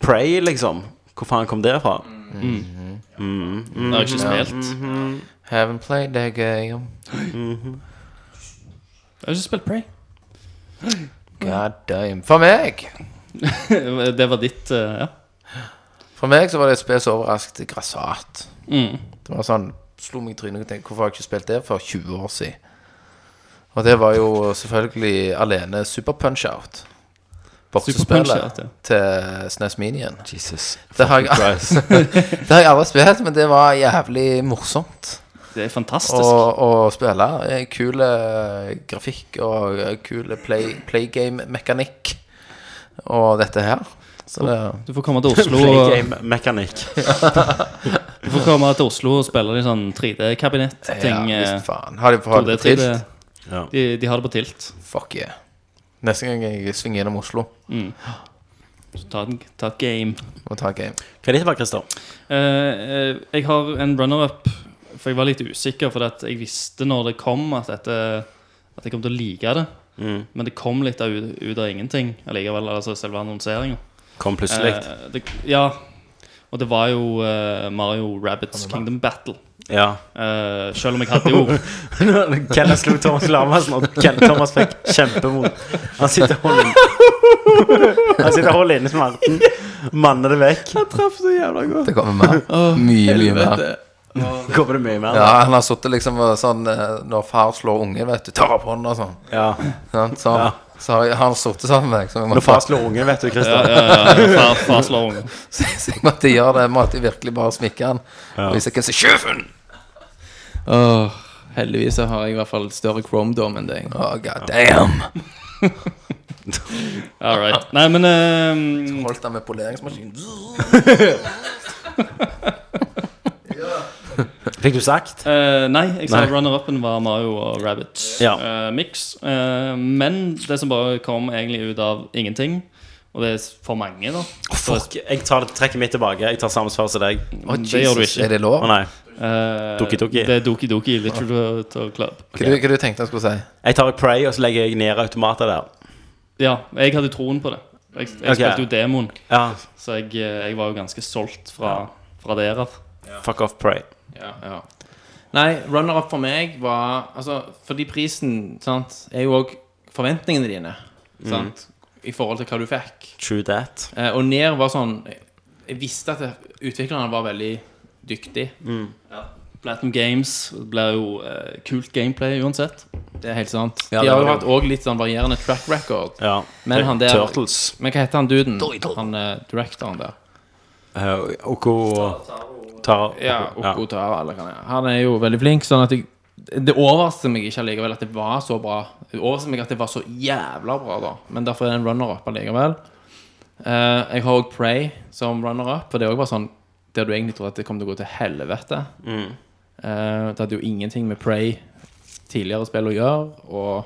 Prey, liksom. Hvor faen kom det fra? Det har jeg ikke spilt. Haven't played that game. Jeg har ikke spilt Prey. God damn. For meg Det var ditt eh, Ja. For meg så var det et spill som overrasket grassat. Det var sånn Slo meg i trynet og tenkte hvorfor har jeg ikke spilt det for 20 år siden? Og det var jo selvfølgelig alene Super Punch-Out. Boksespillet Punch-Out, ja. til SNES Minien. Jesus. Det har, jeg, det har jeg aldri spilt, men det var jævlig morsomt Det er fantastisk. å, å spille. Eh, Kul eh, grafikk og eh, kul play, playgame-mekanikk og dette her. Så det, Du får komme til Oslo og, Playgame-mekanikk. du får komme til Oslo og spille i sånn 3D-kabinett-ting. ja, eh, visst faen. Har de på holdet 2D, eh. 3D. trilt? Ja. De, de har det på tilt. Fuck yeah. Neste gang jeg svinger gjennom Oslo, Så ta, en- ta et game. må ta game. Hva er ditt, Christer? Eh, eh, jeg har en runner-up, for jeg var litt usikker. For at jeg visste når det kom, at, dette, at jeg kom til å like det. Mm, Men det kom litt av, ut av ingenting allikevel. Altså selve annonseringa. Kom plutselig. Eh, det- ja. Og det var jo eh, Mario Rabbits Kingdom Battle. Ja. Eh, selv om jeg hadde jo Kenneth slo Thomas Larmassen, og Ken Thomas fikk kjempevondt. Han sitter og holder inne Han sitter og holder inne smerten. Manner det vekk. Traff så jævla godt. Det kommer mer. mye, mye mer. Kommer det mye mer? Ja, han har sittet liksom og sånn eh, Når far slår ungen, vet du, tar opp hånda og sånn. Ja. Sant? Så, Ja. så har jeg- har han sittet sammen med meg. Så jeg Når måtte, far slår ungen, vet du, Christer. ja, ja, far, far slår ungen. så jeg måtte gjøre det. Jeg måtte virkelig bare smikke han. Og vise hvem som er sjefen! Åh, heldigvis så har jeg i hvert fall større chromedom enn deg. Å, god damn! All right. Nei, men eh, Holdt han med poleringsmaskinen. Fikk du sagt? eh, Nei, jeg sa Nei. runner-upen var Mario og Rabbits Ja. eh, mix. Eh, men det som bare kom egentlig ut av ingenting, og det er for mange, da Fuck, jeg tar det trekket mitt tilbake. Jeg tar samme svar som deg. Å, Det gjør du Jesus, ikke. Er det Å lov? nei. Eh, Doki Doki. Det er Doki Doki Literature Club. Hva du, hva du tenkte han skulle si? Jeg tar Prey, og så legger jeg ned automater der. Ja, jeg hadde troen på det. Jeg, jeg Ok. spilte jo demoen, Ja, så jeg, eh, jeg var jo ganske solgt fra, fra dere. Fuck off Prey. Nei, runner-up for meg var Altså, fordi prisen sant, er jo òg forventningene dine. Sant, I forhold til hva du fikk. True that. Eh, og Ner var sånn Jeg visste at det- utviklerne var veldig dyktig. Mm. Platinum Games blir jo eh, kult gameplay uansett. Det er helt sant. Ja, De det har var jo det hatt òg litt sånn varierende track record. Ja. Men han der- eh, Turtles. Men hva heter han duden? Han eh, directoren der. Eh, Oko Taro. Ja, Okotara, eller hva det er. Han er jo veldig flink, sånn at jeg det overrasker meg ikke allikevel at det var så bra. Det overrasker meg at det var så jævla bra, da. Men derfor er det en runner-up allikevel. Eh, jeg har òg Prey som runner-up, for det òg var sånn der du egentlig tror at det kom til å gå til helvete. Eh, det hadde jo ingenting med Prey tidligere spill å gjøre, og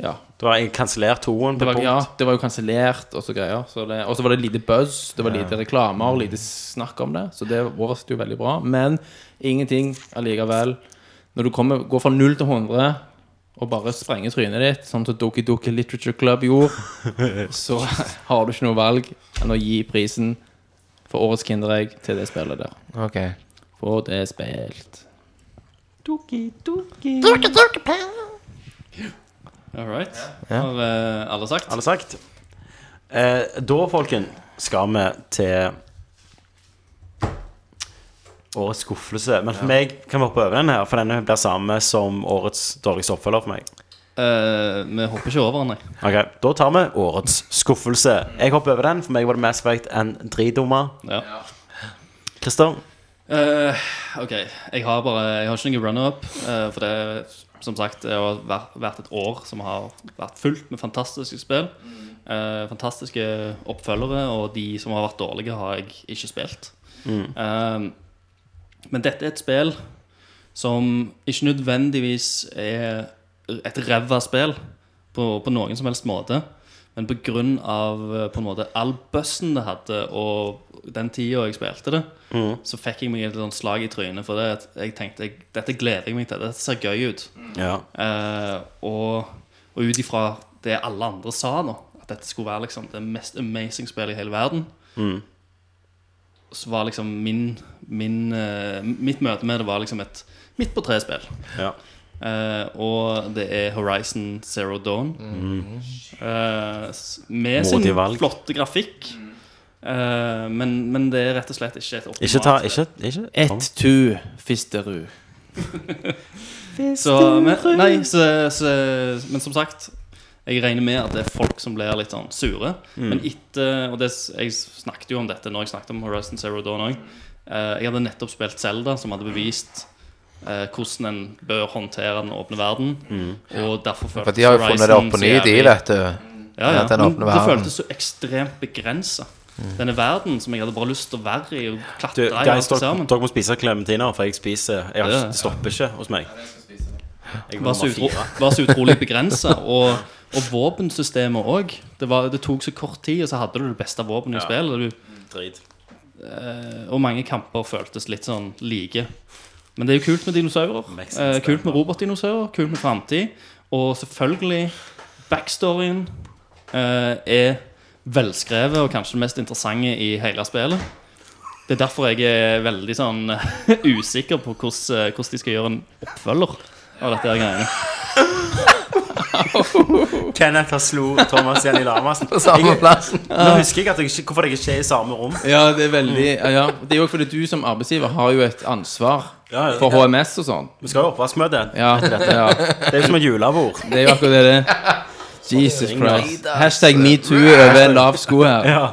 ja. Du har kansellert toen Det på var, punkt. ja, det var jo kansellert og så greier. Så det- Og så var det lite buzz, det var lite reklamer, lite snakk om det. Så det overrasket jo veldig bra. Men ingenting allikevel. Når du kommer, går fra 0 til 100 og bare sprenger trynet ditt, sånn som Doki Doki Literature Club gjorde, så har du ikke noe valg enn å gi prisen for årets Kinderegg til det spillet der. Ok. For det er spilt. All right. Har eh, alle sagt? Har du sagt? Eh, da, folken, skal vi til årets skuffelse. Men for meg kan vi hoppe over den her, for denne blir samme som årets dårligste oppfølger for meg. Eh, vi hopper ikke over den, nei. Ok, Da tar vi årets skuffelse. Jeg hopper over den. For meg var det Mass Effect en dritdumme. Ja. Christer? Eh, ok, jeg har bare Jeg har ikke noen runner-up. eh, for det som sagt, det har vært- vært et år som har vært fullt med fantastiske spill. Eh, fantastiske oppfølgere, og de som har vært dårlige, har jeg ikke spilt. Eh, men dette er et spill som ikke nødvendigvis er et ræva spill på, på noen som helst måte. Men pga. På, eh, på en måte all bussen det hadde, og den tida jeg spilte det, så fikk jeg meg et sånt slag i trynet. For det at jeg tenkte jeg, dette gleder jeg meg til. Dette ser gøy ut. Ja. Eh, og og ut ifra det alle andre sa, nå at dette skulle være liksom det mest amazing spillet i hele verden, Mm. så var liksom min, min eh, Mitt møte med det var liksom et midt på tre-spill. ja. Eh, og det er Horizon Zero Dawn. Eh, s- med Modig sin Mm. valg. flotte grafikk. Eh, men, men det er rett og slett ikke et optimalt Ikke ta Ikke, ikke Ett tu fisterud. Så, men, nei, så, så, men som sagt, jeg regner med at det er folk som blir litt sånn sure. Mm. Men etter Og det, s- jeg snakket jo om dette når jeg snakket om Horizon Zero Dawn òg. jeg hadde nettopp spilt Zelda, som hadde bevist eh, hvordan en bør håndtere den åpne verden. Og derfor Mm. For de har jo funnet det opp på ny, Horizon så de, jævlig- vet du. Ja, Ja, ja. den Men åpne det verden. Mm. føltes så ekstremt begrensa. Denne verden som jeg hadde bare lyst til å være i og Du, klatre i og guys, alt det dere, sammen. dere må spise klementiner, for jeg spiser jeg har, Ja. ikke- Det stopper ikke hos meg. Jeg var må så, bare utro, fire. var så utrolig begrensa. Og, og våpensystemet òg. Det, var- det tok så kort tid, og så hadde du det beste våpenet i spillet. Du, Drit. og mange kamper føltes litt sånn like. Men det er jo kult med dinosaurer. Makes sense, Eh, kult med robotdinosaurer, kult med framtid. Og selvfølgelig, backstoryen eh, er velskrevet og kanskje det mest interessante i hele spillet. Det er derfor jeg er veldig sånn usikker på hvordan eh, hvordan de skal gjøre en oppfølger av dette her greiene. Kenneth har slo Thomas igjen i lamasen. På samme Jeg- plassen. Nå husker jeg at jeg ikke, hvorfor jeg ikke er i samme rom. Ja, det er veldig Mm. ja, ja. Det er jo fordi du som arbeidsgiver har jo et ansvar Ja, ja. for HMS og sånn. Vi skal jo ha oppvaskmøte. Ja, ja. Det er jo som et julebord. Det er jo akkurat det det er. Jesus Christ. Hashtag metoo over en lav sko her. Ja.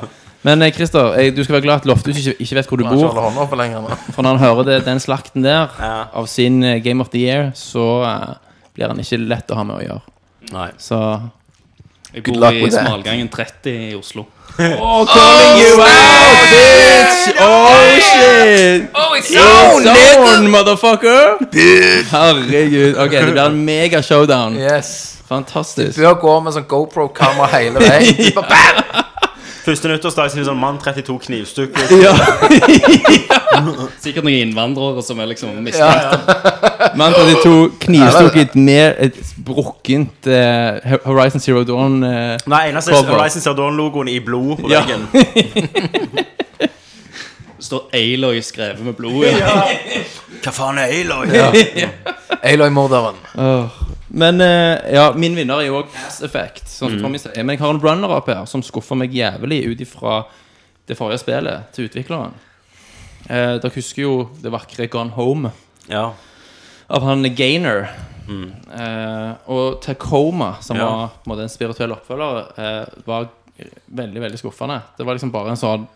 Men eh, Christer, jeg, du skal være glad at Lofthus ikke, ikke vet hvor du Kan ikke bor. holde hånda oppe lenger nå. For når han hører det, den slakten der Ja. av sin eh, Game of the Year, så eh, blir han ikke lett å ha med å gjøre. Nei. Så Jeg Good bor luck i with that. Smalgangen 30 i Oslo. Oh, calling you out, bitch! Oh, shit! Oh, it's It's on, motherfucker! Herregud. Ok, det blir en mega showdown. Yes. Fantastisk. Bør gå med sånn GoPro-kamera hele veien. Du bare bam! Første nyttårsdag sier sånn mann 32 knivstukk. Ja. Sikkert noen innvandrere som er liksom mistenkt. Mann 32 knivstukket med et brukkent eh, Horizon Zero Dawn. eh, Nei, eneste er Cover. Horizon Zero Dawn-logoen i blod på Ja. veggen. Det står Aloy skrevet med blodet. Hva faen er Aloy? Aloy-morderen. Åh. Men eh, ja, min vinner er jo òg Mass Effect. Sånn som Tommy sier. Men jeg har en runner-up her som skuffer meg jævlig ut ifra det forrige spillet til utvikleren. Eh, dere husker jo det vakre Gone Home Ja. av han Gainer. Eh, og Tacoma, som Mm. Ja. var på en måte, en spirituell oppfølger, eh, var veldig veldig skuffende. Det var liksom bare en sånn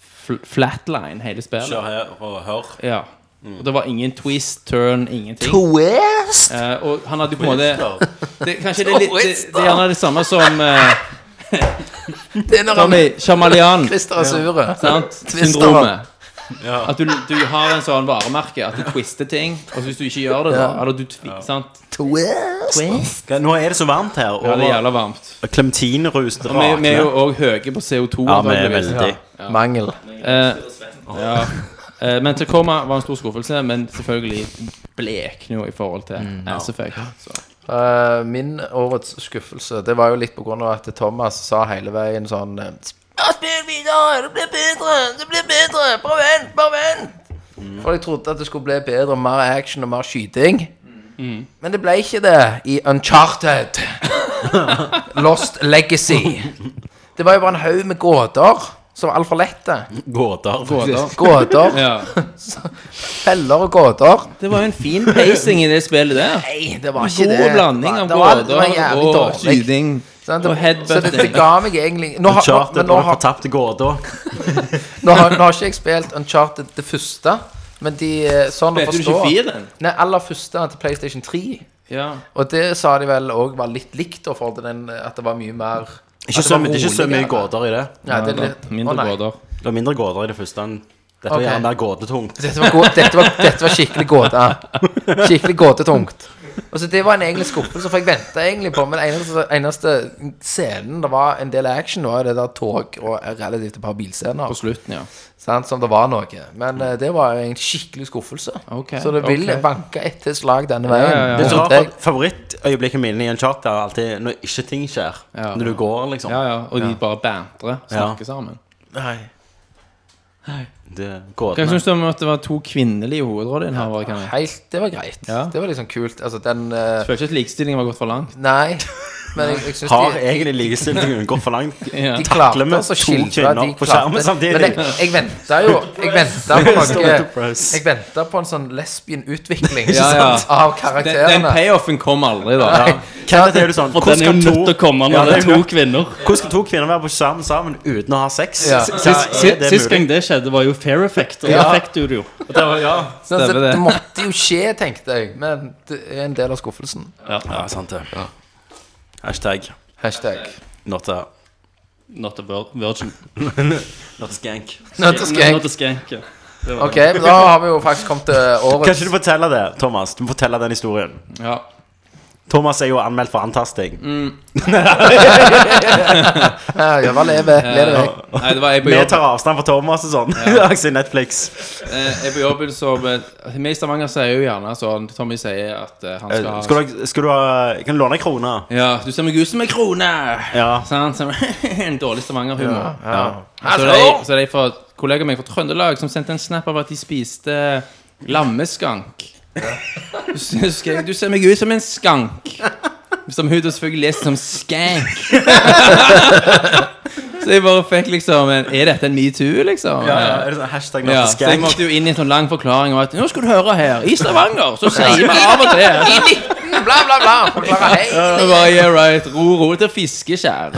fl flatline, hele spillet. Kjør her og hør. Ja. Mm. Og det var ingen twist, turn, ingenting. Twist! Eh, og han hadde jo på en måte Klar. det, Kanskje det er litt det, det er gjerne det samme som eh, Det er når han Tommy Shamalian Christer er sure. sant? Twister Syndromet. Ja. At du, du har en sånn varemerke at du twister ting, og hvis du ikke gjør det, da Eller du tvi, sant? Twist! Ok, Nå er det så varmt her. Ja, det er Og jævla varmt. klementinrus Og vi, vi er jo rakner. òg høye på CO2. Ja, vi er antageligvis. veldig Mangel. Eh, ja. Eh, men Tacoma var en stor skuffelse, men selvfølgelig blekner jo i forhold til Mm. Mass Effect. Så. Eh, min årets skuffelse Det var jo litt på grunn av at Thomas sa hele veien sånn eh, Spill videre! Det blir bedre! Det blir bedre! Bare vent! Bare vent! For jeg trodde at det skulle bli bedre, mer action og mer skyting. Mm. Men det ble ikke det i Uncharted. Lost Legacy. Det Det var jo bare en haug med gåter som var altfor lette. Gåter. faktisk. Gåter, Ja. feller og gåter. Det var jo en fin pacing i det spillet der. Nei, det var ikke God det. blanding av Det var- det var gåter jævlig og dårlig. skyting. Sant? Og Det, så det, det headbutting. ga meg egentlig Nå har, nå, Uncharted men nå og har, fortapte gåter. nå, har, nå har ikke jeg spilt Uncharted det første, men de eh, sånn å Vet du forstå ikke fire, den? Nei, aller første til PlayStation 3. Ja. Og det sa de vel òg var litt likt, da, for at, den, eh, at det var mye mer at Ikke det så, var mye- det er ikke så mye roligere. gåter i det. Nei, det er litt, å, Mindre nei. gåter. Det var mindre gåter i det første. enn- Dette var Ok. gjerne mer gåtetungt. Dette var, gå- dette, var, dette var skikkelig gåte. Skikkelig gåtetungt. Og så Det var en egen skuffelse, for jeg venta egentlig på Men eneste, eneste scenen det var en del action, var jo det der tog og relativt et par bilscener. På slutten, ja. Sant, som det var noe. Men eh, det var jo en skikkelig skuffelse. Ok, så det vil ok. vanke ett til slag denne veien. ja, ja. Det er så Og rart, det- for Favorittøyeblikket mine i en chart er alltid når ikke ting skjer. Ja. Når du går, liksom. ja, ja. Og de bare bantrer. Snakker sammen. Det, Hva gåtene. syns du om at det var to kvinnelige hovedrolleinnehavere? Kenneth? Helt, det var greit. Ja. Det var liksom kult. Altså, den eh, Jeg Føler ikke at likestillingen var gått for langt. Nei. Men jeg, jeg syns Har de, egentlig likestillingen gått for langt? Ja. de klarte med altså å to skildre kvinner de på skjermen klarte- samtidig. Men jeg, jeg venta jo Jeg venta på noe Enterprise. Jeg venta på en sånn lesbian utvikling Ja, ja. av Den, karakterene. den payoffen kom aldri, da. Ja. Kenneth er jo sånn For den er jo hvordan skal nødt til å Ja, komme når det det er er jo to nødt. kvinner. Hvordan skal to kvinner være på skjermen sammen uten å ha sex? Ja. S- Sist, er sist, det sist mulig? gang det skjedde, var jo Fair Effect. Og Ja. da fikk du det jo. Så Sånn det, Stemmer det. måtte jo skje, tenkte jeg. Men det er en del av skuffelsen. Ja, sant det. Hashtag Hashtag. not a, Not a vir- virgin. not a skank. Nå til Not skrenk. a skank, ja. Ok, men da har vi jo faktisk kommet til Kan årets ikke du fortelle det, Thomas? Du må fortelle den historien. Ja. Mm. Thomas er jo anmeldt for antasting. Ja, Ja, hva lever? Lever jeg? Nei, det var jeg på Vi jobb. tar avstand fra Thomas og sånn. Også i Netflix. Eh, Jeg på jobben så Vi i Stavanger sier jo gjerne sånn Tommy sier at eh, han Eh, skal ha Skal du, skal du ha Jeg kan låne en krone. Ja, du ser meg ut som en krone! Ja. Sant? Som en dårlig Stavanger-humor. Ja, Så Altså, det er, så det er fra et kollega av meg fra Trøndelag som sendte en snap av at de spiste lammeskank. Du ser- husker jeg, du ser meg ut som en skank. Som hun da selvfølgelig leste som skank. Så jeg bare fikk liksom en, Er dette en metoo, liksom? Ja, ja, er det sånn hashtag not Ja, a så jeg skank? måtte jo inn i en sånn lang forklaring om at nå skal du høre her, i Stavanger så sier vi av og til Bla, bla, bla. Forklare hei. Det var, yeah, right, Ro, ro til fiskeskjær.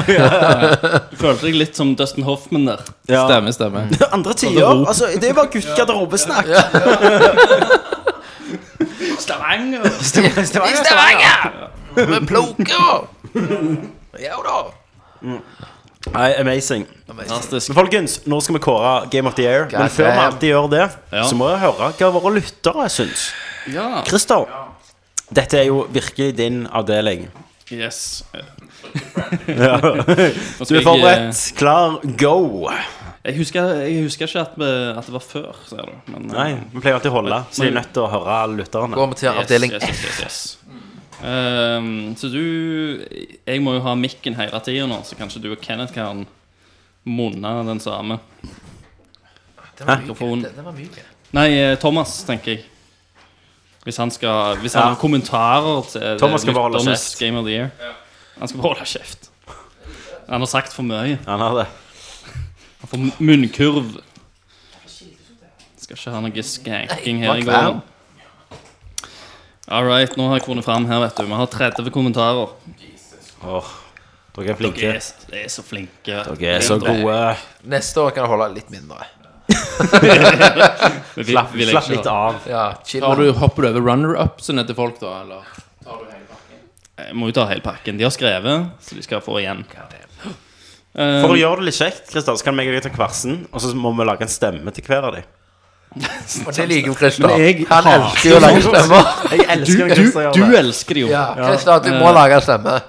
Følte deg litt som Dustin Hoffman der. Ja. Stemmer, stemmer. Andre tider. Altså, det er jo bare guttgarderobesnakk. Stavanger! I Stavanger! Med plukker. Ja da. Nei, amazing. Fantastisk. Men folkens, nå skal vi kåre Game of the Year. Men før vi damn. alltid gjør det, Ja. så må jeg høre hva våre lyttere syns. Ja. Christer, dette er jo virkelig din avdeling. Yes. Altså, Du er forberedt, klar, go. Jeg husker, jeg husker ikke at, vi, at det var før, ser du. Men, eh, Nei, vi pleier alltid å holde, så vi er nødt til å høre alle lytterne. Går vi til avdeling yes, yes, yes, yes. Ehm, så du Jeg må jo ha mikken hele tida nå, så kanskje du og Kenneth kan munne den samme. Mikrofonen. Det var mye. Nei, eh, Thomas, tenker jeg. Hvis han skal Hvis han Ja. har kommentarer til Thomas skal bare holde lytternes kjeft. Game of the Year. Han skal bare holde kjeft. Han har sagt for mye. Han har det. Han får munnkurv. Skal ikke ha noe skanking her i går. All right, nå har jeg kommet fram her, vet du. Vi har 30 kommentarer. Åh, dere er flinke. Dere er, dere er så flinke. Dere er så gode. Neste år kan jeg holde litt mindre. Vi- Slapp, vil jeg slapp ikke litt ha. av. Ja, chill. Har du, hopper du over runner-upsene til folk, da? eller? Jeg må jo ta hele pakken. De har skrevet, så de skal få igjen. For å Um, gjøre det litt kjekt, Christer, så kan vi ta kvarsen, og så må vi lage en stemme til hver av dem. Og det liker jo Christer. Men jeg Han hater elsker jo å lage stemmer. Jeg elsker du, du elsker det jo. Ja, Christer, du må lage stemme.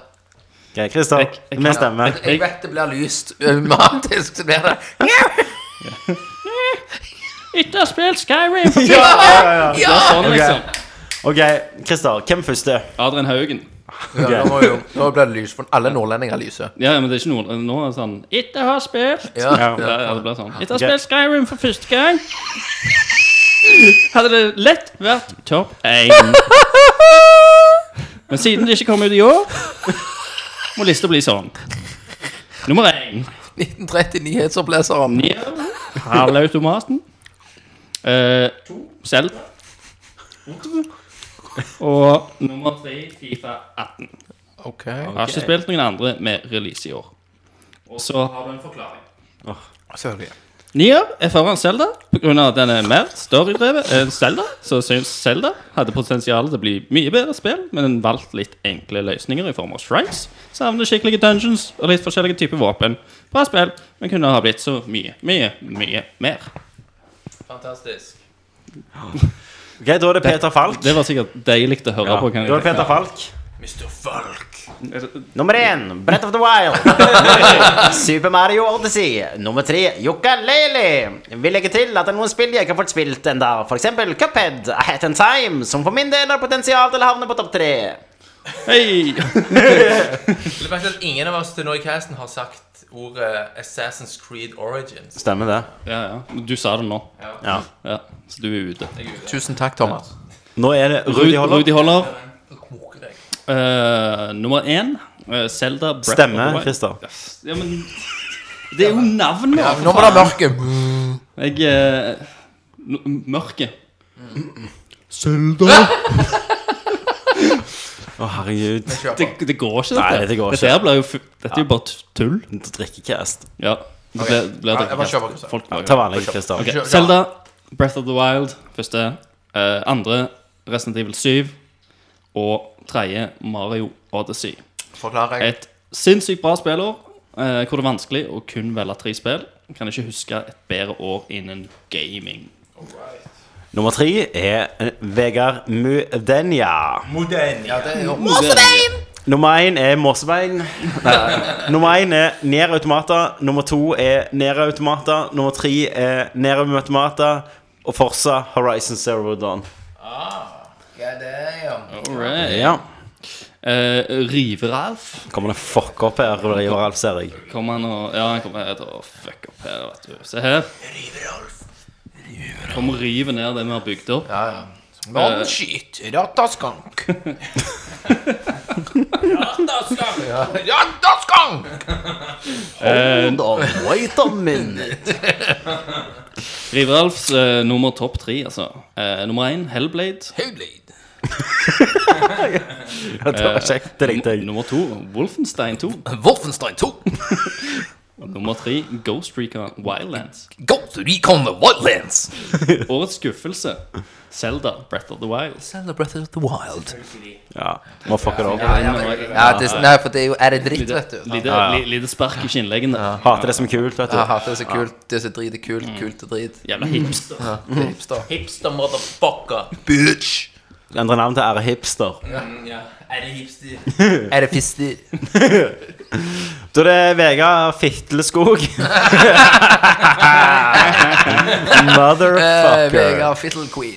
Ok, Christer, Jeg- jeg vi kan- stemmer. Jeg vet det blir lyst automatisk. Så blir det Ikke har spilt Skyrim! for Ja, ja, ja. Det er sånn, liksom. Ok, Christer, hvem første? Adrian Haugen. Ja, nå, må jo, nå blir det lys for alle nordlendinger lyse. Ja, ja, men det er ikke noe Nå er det sånn Ikke har spilt Ja, Ja, ja. ja, det ble sånn. Etter å ha Ok. spilt Skyrim for første gang hadde det lett vært topp én. Men siden det ikke kom ut i år, må lista bli sånn. Nummer én. 1930 nyhetsoppleseren. Halvautomaten. Eh, selv. Og nummer tre, Fifa 18. Ok. Jeg har ikke spilt noen andre med release i år. Og så har du en forklaring. Selvfølgelig. Nier er foran Zelda pga. at den er mer storydrevet enn Zelda. Så syns Zelda hadde potensial til å bli mye bedre spill, men den valgte litt enkle løsninger i form av shrines. Savner skikkelige dungeons og litt forskjellige typer våpen. Bra spill, men kunne ha blitt så mye, mye, mye mer. Fantastisk. Ok, da er det Peter Falk. Det var sikkert deilig å høre Ja. på. Kan Da er det jeg, Peter Falk. Mr. Falk. Nummer én, Brett of the Wild. Super Mario Odyssey. Nummer tre, Yukalele. Vi legger til at det er noen spill jeg ikke har fått spilt enda For eksempel Cuphead, A Hat in Time, som for min del har potensial til å havne på topp tre. hei! Det er at ingen av oss til nå i casten har sagt ordet Assassin's Creed Origins. Stemmer det. Ja, ja. Du sa det nå. Ja. Ja, så du er ute. Tusen takk, Thomas. Nå er det Rudi Rudi Holler. Rudi Holler. Koker deg. Eh, nummer én, eh, Zelda Breath of the Stemmer, Wild. Christer. Ja, men Det er jo navnet! Ja, nå må det være mørke. Mm. Jeg eh, n- Mørket. Å, herregud. Det, det går ikke, dette. Nei, dette går ikke. Dette her blir jo fu- Dette er jo bare t- tull. Drikkecast. Ja. Det blir, blir Ja, jeg bare drikkekast. kjøper det. Folk lager. Ta vanlig, Christer. Ok, Zelda, Breath of the Wild, første. eh, andre, Resident Evil 7. Og tredje, Mario Odyssey. Forklarer jeg. Et sinnssykt bra spillår, eh, hvor det er vanskelig å kun velge tre spill. Kan ikke huske et bedre år innen gaming. Nummer tre er eh, Vegard Ja, Mudenia. det er jo Nummer én er Mossebein. Nei, Nummer én er Nier Automata. Nummer to er Nier Automata. Nummer tre er Nier Automata. Og Forsa Horizon Zero Dawn. Ja, det er jo Ja. Eh, Rive-Ralf Kommer det fuck opp her, River Alf, ser jeg. Kommer han og Ja, han kommer her til å fucke opp her, vet du. Se her. Kommer og river ned det vi har bygd opp. Ja, ja. Noen Eh. skyter rattaskank. Rattaskank! Ja. Rattaskank! Hold on, wait a minute. Rive-Ralfs eh, nummer topp tre, altså. Eh, nummer én, Hellblade. Hudlyd. Ja, det var kjekt. Det likte jeg. Nummer to, Wolfenstein 2. Wolfenstein 2. Nummer tre, Ghost Recon Wildlands. Go to recon the wildlands. Årets skuffelse, Zelda Breath of the Wild. Sell the breath of the wild. Ja, Må fucke det opp. Ja, det, nei, for det er jo Er det dritt, Lite, vet du? lite, Ja, ja. li- lite spark i skinnleggene. Hater det som kult, vet Jeg du. hater det så kult. Det er så drit er kult. Mm. Kult og drit. Jævla hipster. Ja, det er hipster. Hipster motherfucker. Bitch. Endre navn til Ære Hipster. Er det hipster? Er det fister? Da er det Vegard Fitleskog. Eh, Motherfucker. Vegard Fiddle Queen.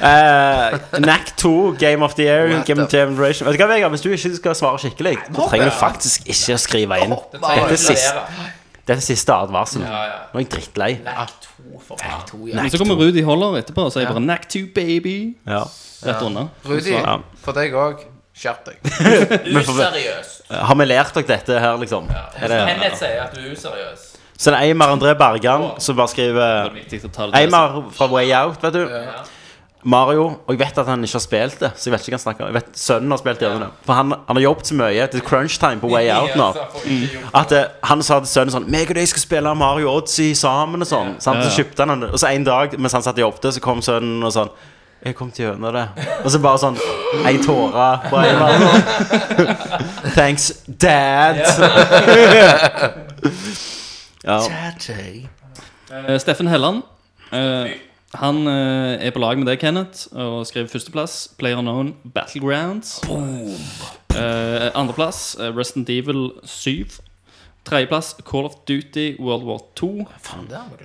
Eh, NAC 2, Game of the Year, What Game of the- Generation Vet du hva, Vegard, Hvis du ikke skal svare skikkelig, så trenger du faktisk ikke å skrive inn. Dette er siste, dette er siste advarsel. Nå er jeg drittlei. Men så kommer Rudi Holler etterpå og sier bare 'Nack 2, baby'. Ja. Rett unna. Rudi, Ja. for deg òg. Skjerp deg. Har vi lært dere dette her, liksom? Er det, sier at du er useriøs. så det er Eimar André Bergan som bare skriver Viktig å ta det til seg. Eimar fra Way Out, vet du. Mario. Og jeg vet at han ikke har spilt det, så jeg vet ikke hva han snakker om. Jeg vet Sønnen har spilt gjennom det. For han, han har jobbet så mye til crunch time på Way Out nå. At eh, han sa til sønnen sånn Meg og deg skal spille Mario Odyssey sammen og sånn. sant? Ja, ja. Så kjøpte han den. Og så en dag mens han satt og jobbet, så kom sønnen og sånn Jeg kom til gjennom det. Og så bare sånn Ei tåre på en eller annen. Thanks, dad. ja. Eh, Steffen Helland. eh, han eh, er på lag med deg, Kenneth, og skriver førsteplass. Player Known Battlegrounds. Eh, andreplass eh, Resident Evil 7. Tredjeplass Call of Duty World War Eh, 2. Uh,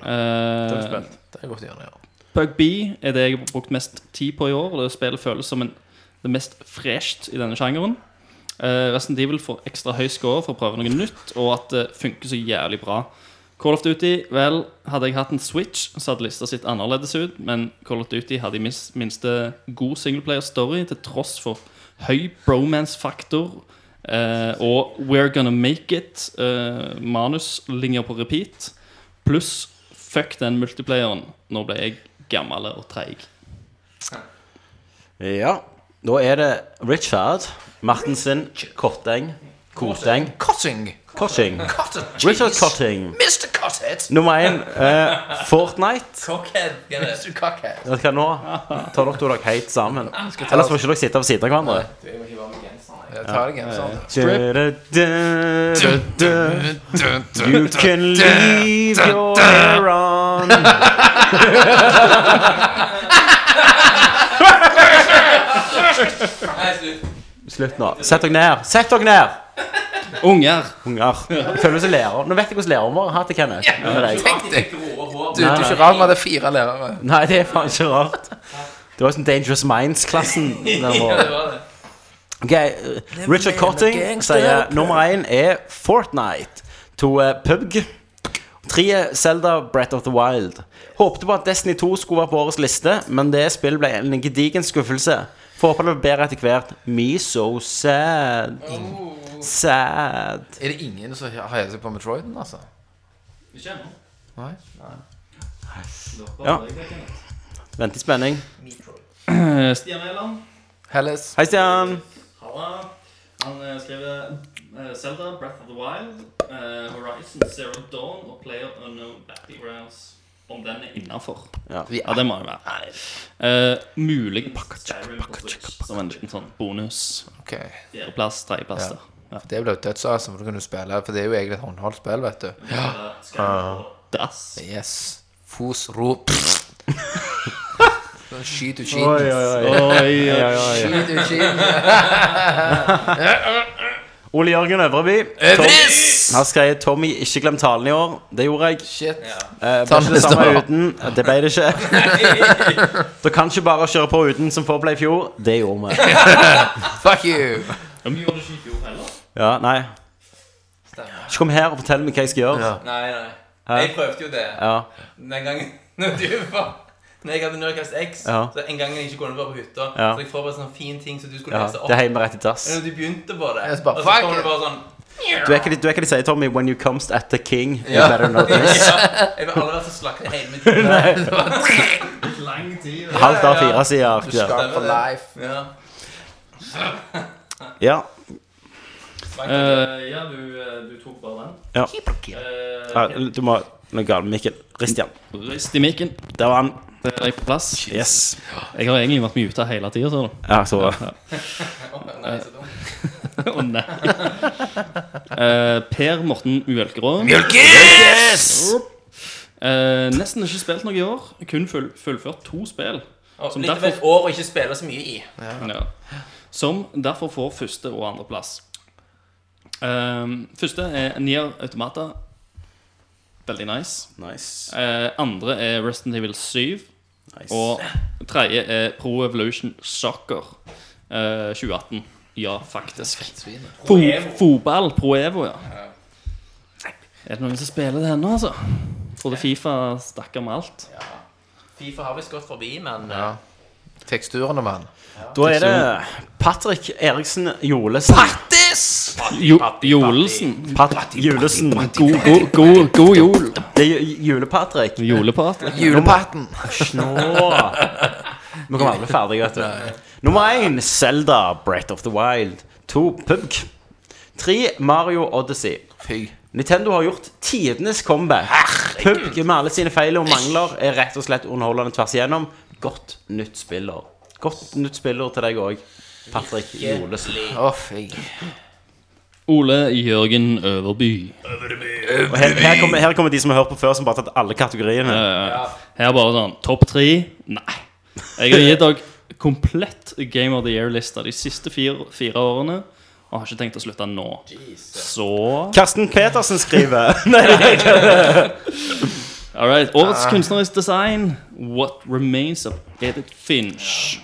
Det er godt å gjøre, ja. Bug B er det jeg har brukt mest tid på i år, og det spillet føles som en, det mest fresht i denne sjangeren. Uh, Resident Evil får ekstra høy score for å prøve noe nytt, og at det funker så jævlig bra. Call of Duty, vel, hadde jeg hatt en Switch, så hadde lista sett annerledes ut, men Call of Duty hadde i mis, minste god singleplayer-story, til tross for høy bromance-faktor, Eh, og We're Gonna Make It, eh, manuslinjer på repeat, pluss fuck den multiplayeren. Nå ble jeg gammel og treig. Ja. Da er det Richard Martensen Kotteng Koteng Cutting! Kotting. Cutting! Richard Cotting. Mr. Cutthead! Nummer én eh, Fortnite. Cockhead! Mr. Cockhead! Vet du hva nå? Tar dere to dere helt sammen. Ellers får ikke dere sitte ved siden av hverandre. Jeg tar deg en sånn. Du can leave your hair on. Slutt nå. Sett dere ned. Sett dere ned! Unger! Unger. Føler du som lærer? Nå vet jeg hvordan læreren vår har hatt det, Kenneth. Med deg. Tenk deg! Du, du er ikke rar med at det er fire lærere. Nei, det er faen ikke rart. Det var sånn Dangerous Minds-klassen. den var. Ok, eh, Richard Cotting sier nummer én er Fortnite. To er PUBG. Tre er Zelda Breath of the Wild. Håpte på at Destiny 2 skulle være på årets liste, men det spillet ble en gedigen skuffelse. Får håpe det blir bedre etter hvert. Me so sad. Sad. Er det ingen som heier seg på Metroiden, altså? Nei? Ja. Vent i spenning. Eh, Stian Eland Hellas? Hei, Stian. Halla. Han eh, skrev eh, Zelda, Breath of the Wild, eh, Horizon Zero Dawn og Player Unknown Battlegrounds. Om den er innafor. Ja. ja, det må den være. Eh, muligens Skyrim på Switch som en liten sånn bonus. Ok. Fjerdeplass, tredjeplass der. Ja. Det ble jo dødsawesome, for du kunne spille, for det er jo egentlig et håndholdt spill, vet du. Eh, Skyrim på dass. Yes. Fos, ro, Sånn Skyt ut Oi, skiten. oi, oi. Oi, oi. Skyt ut skiten. Ole Jørgen Øvreby. Øvris! Han skrev 'Tommy, ikke glem talen i år'. Det gjorde jeg. Shit. Eh, Ta ble ikke det neste år. samme uten. Det ble det ikke. Dere kan ikke bare kjøre på uten som påble i fjor. Det gjorde vi. Fuck you! Ja, men gjorde det ikke i fjor heller. Ja, nei. Ikke kom her og fortell meg hva jeg skal gjøre. Nei, nei. Jeg prøvde jo det Ja, den gangen når du var Når jeg hadde Nerdcast X, Ja. så en gang jeg ikke kunne være på hytta, Ja. så jeg forberedte sånne fine ting som du skulle ja. lese opp. Det er hjemme rett i dass. Når du begynte på det, Jeg så bare, og så fuck kom it. det bare sånn Du er ikke det- du er ikke det de sier, Tommy, 'When you comes at the king'. You better know this. Jeg vil aldri være så slakta hele mitt liv. Lang tid. ja. Halvt av fire sider. Du Ja. skal for life. Ja. ja. Eh, ja, du, eh, du tok bare den. Ja. Eh, Ja, Du må Noe galt med mikken. Rist igjen. Rist i mikken. Der var han. Det er jeg på plass. Yes. Jeg har egentlig vært muta hele tida, ser du. Ja, så Å nei. Eh, per Morten Mjølkerå. Mjølkes! Eh, nesten ikke spilt noe i år. Kun full, fullført to spill. Og Som litt av et derfor- år å ikke spille så mye i. Ja. Som derfor får første og andreplass. Uh, første er Nier Automata. Veldig nice. Nice. Eh, andre er Resident Evil 7. nice. Og tredje er Pro Evolution Soccer eh, 2018. Ja, faktisk. Fo fotball, Pro Evo, ja. Er det noen som spiller det ennå, altså? Trodde Fifa stakk av med alt. Fifa har visst gått forbi, men eh, Ja. Teksturene, mann. Da er det Patrick Eriksen Jolesen. Jo Jolesen. Pat Julesen. God, god, god, god jol. Det er ju- Jule-Patrick. Julepart. Julepatten. Nå Nå kan vi alle bli ferdige, vet du. Nummer én Zelda Breath of the Wild. To PubG. Tre Mario Odyssey. Fy. Nintendo har gjort tidenes comeback. PubG med alle sine feil og mangler er rett og slett underholdende tvers igjennom. Godt nytt spiller. Godt nytt spiller til deg òg, Patrick Jolesen. Å, fy. Ole Jørgen Øverby. Og her, her, kommer, her kommer de som har hørt på før, som bare har tatt alle kategoriene. Her Eh, bare sånn Topp tre? Nei. Jeg har gitt dere komplett Game of the Year-lista de siste fire, fire årene. Og har ikke tenkt å slutte nå. Så Karsten Petersen skriver All right. Årets kunstnerisk design. What Remains of Edith Finch.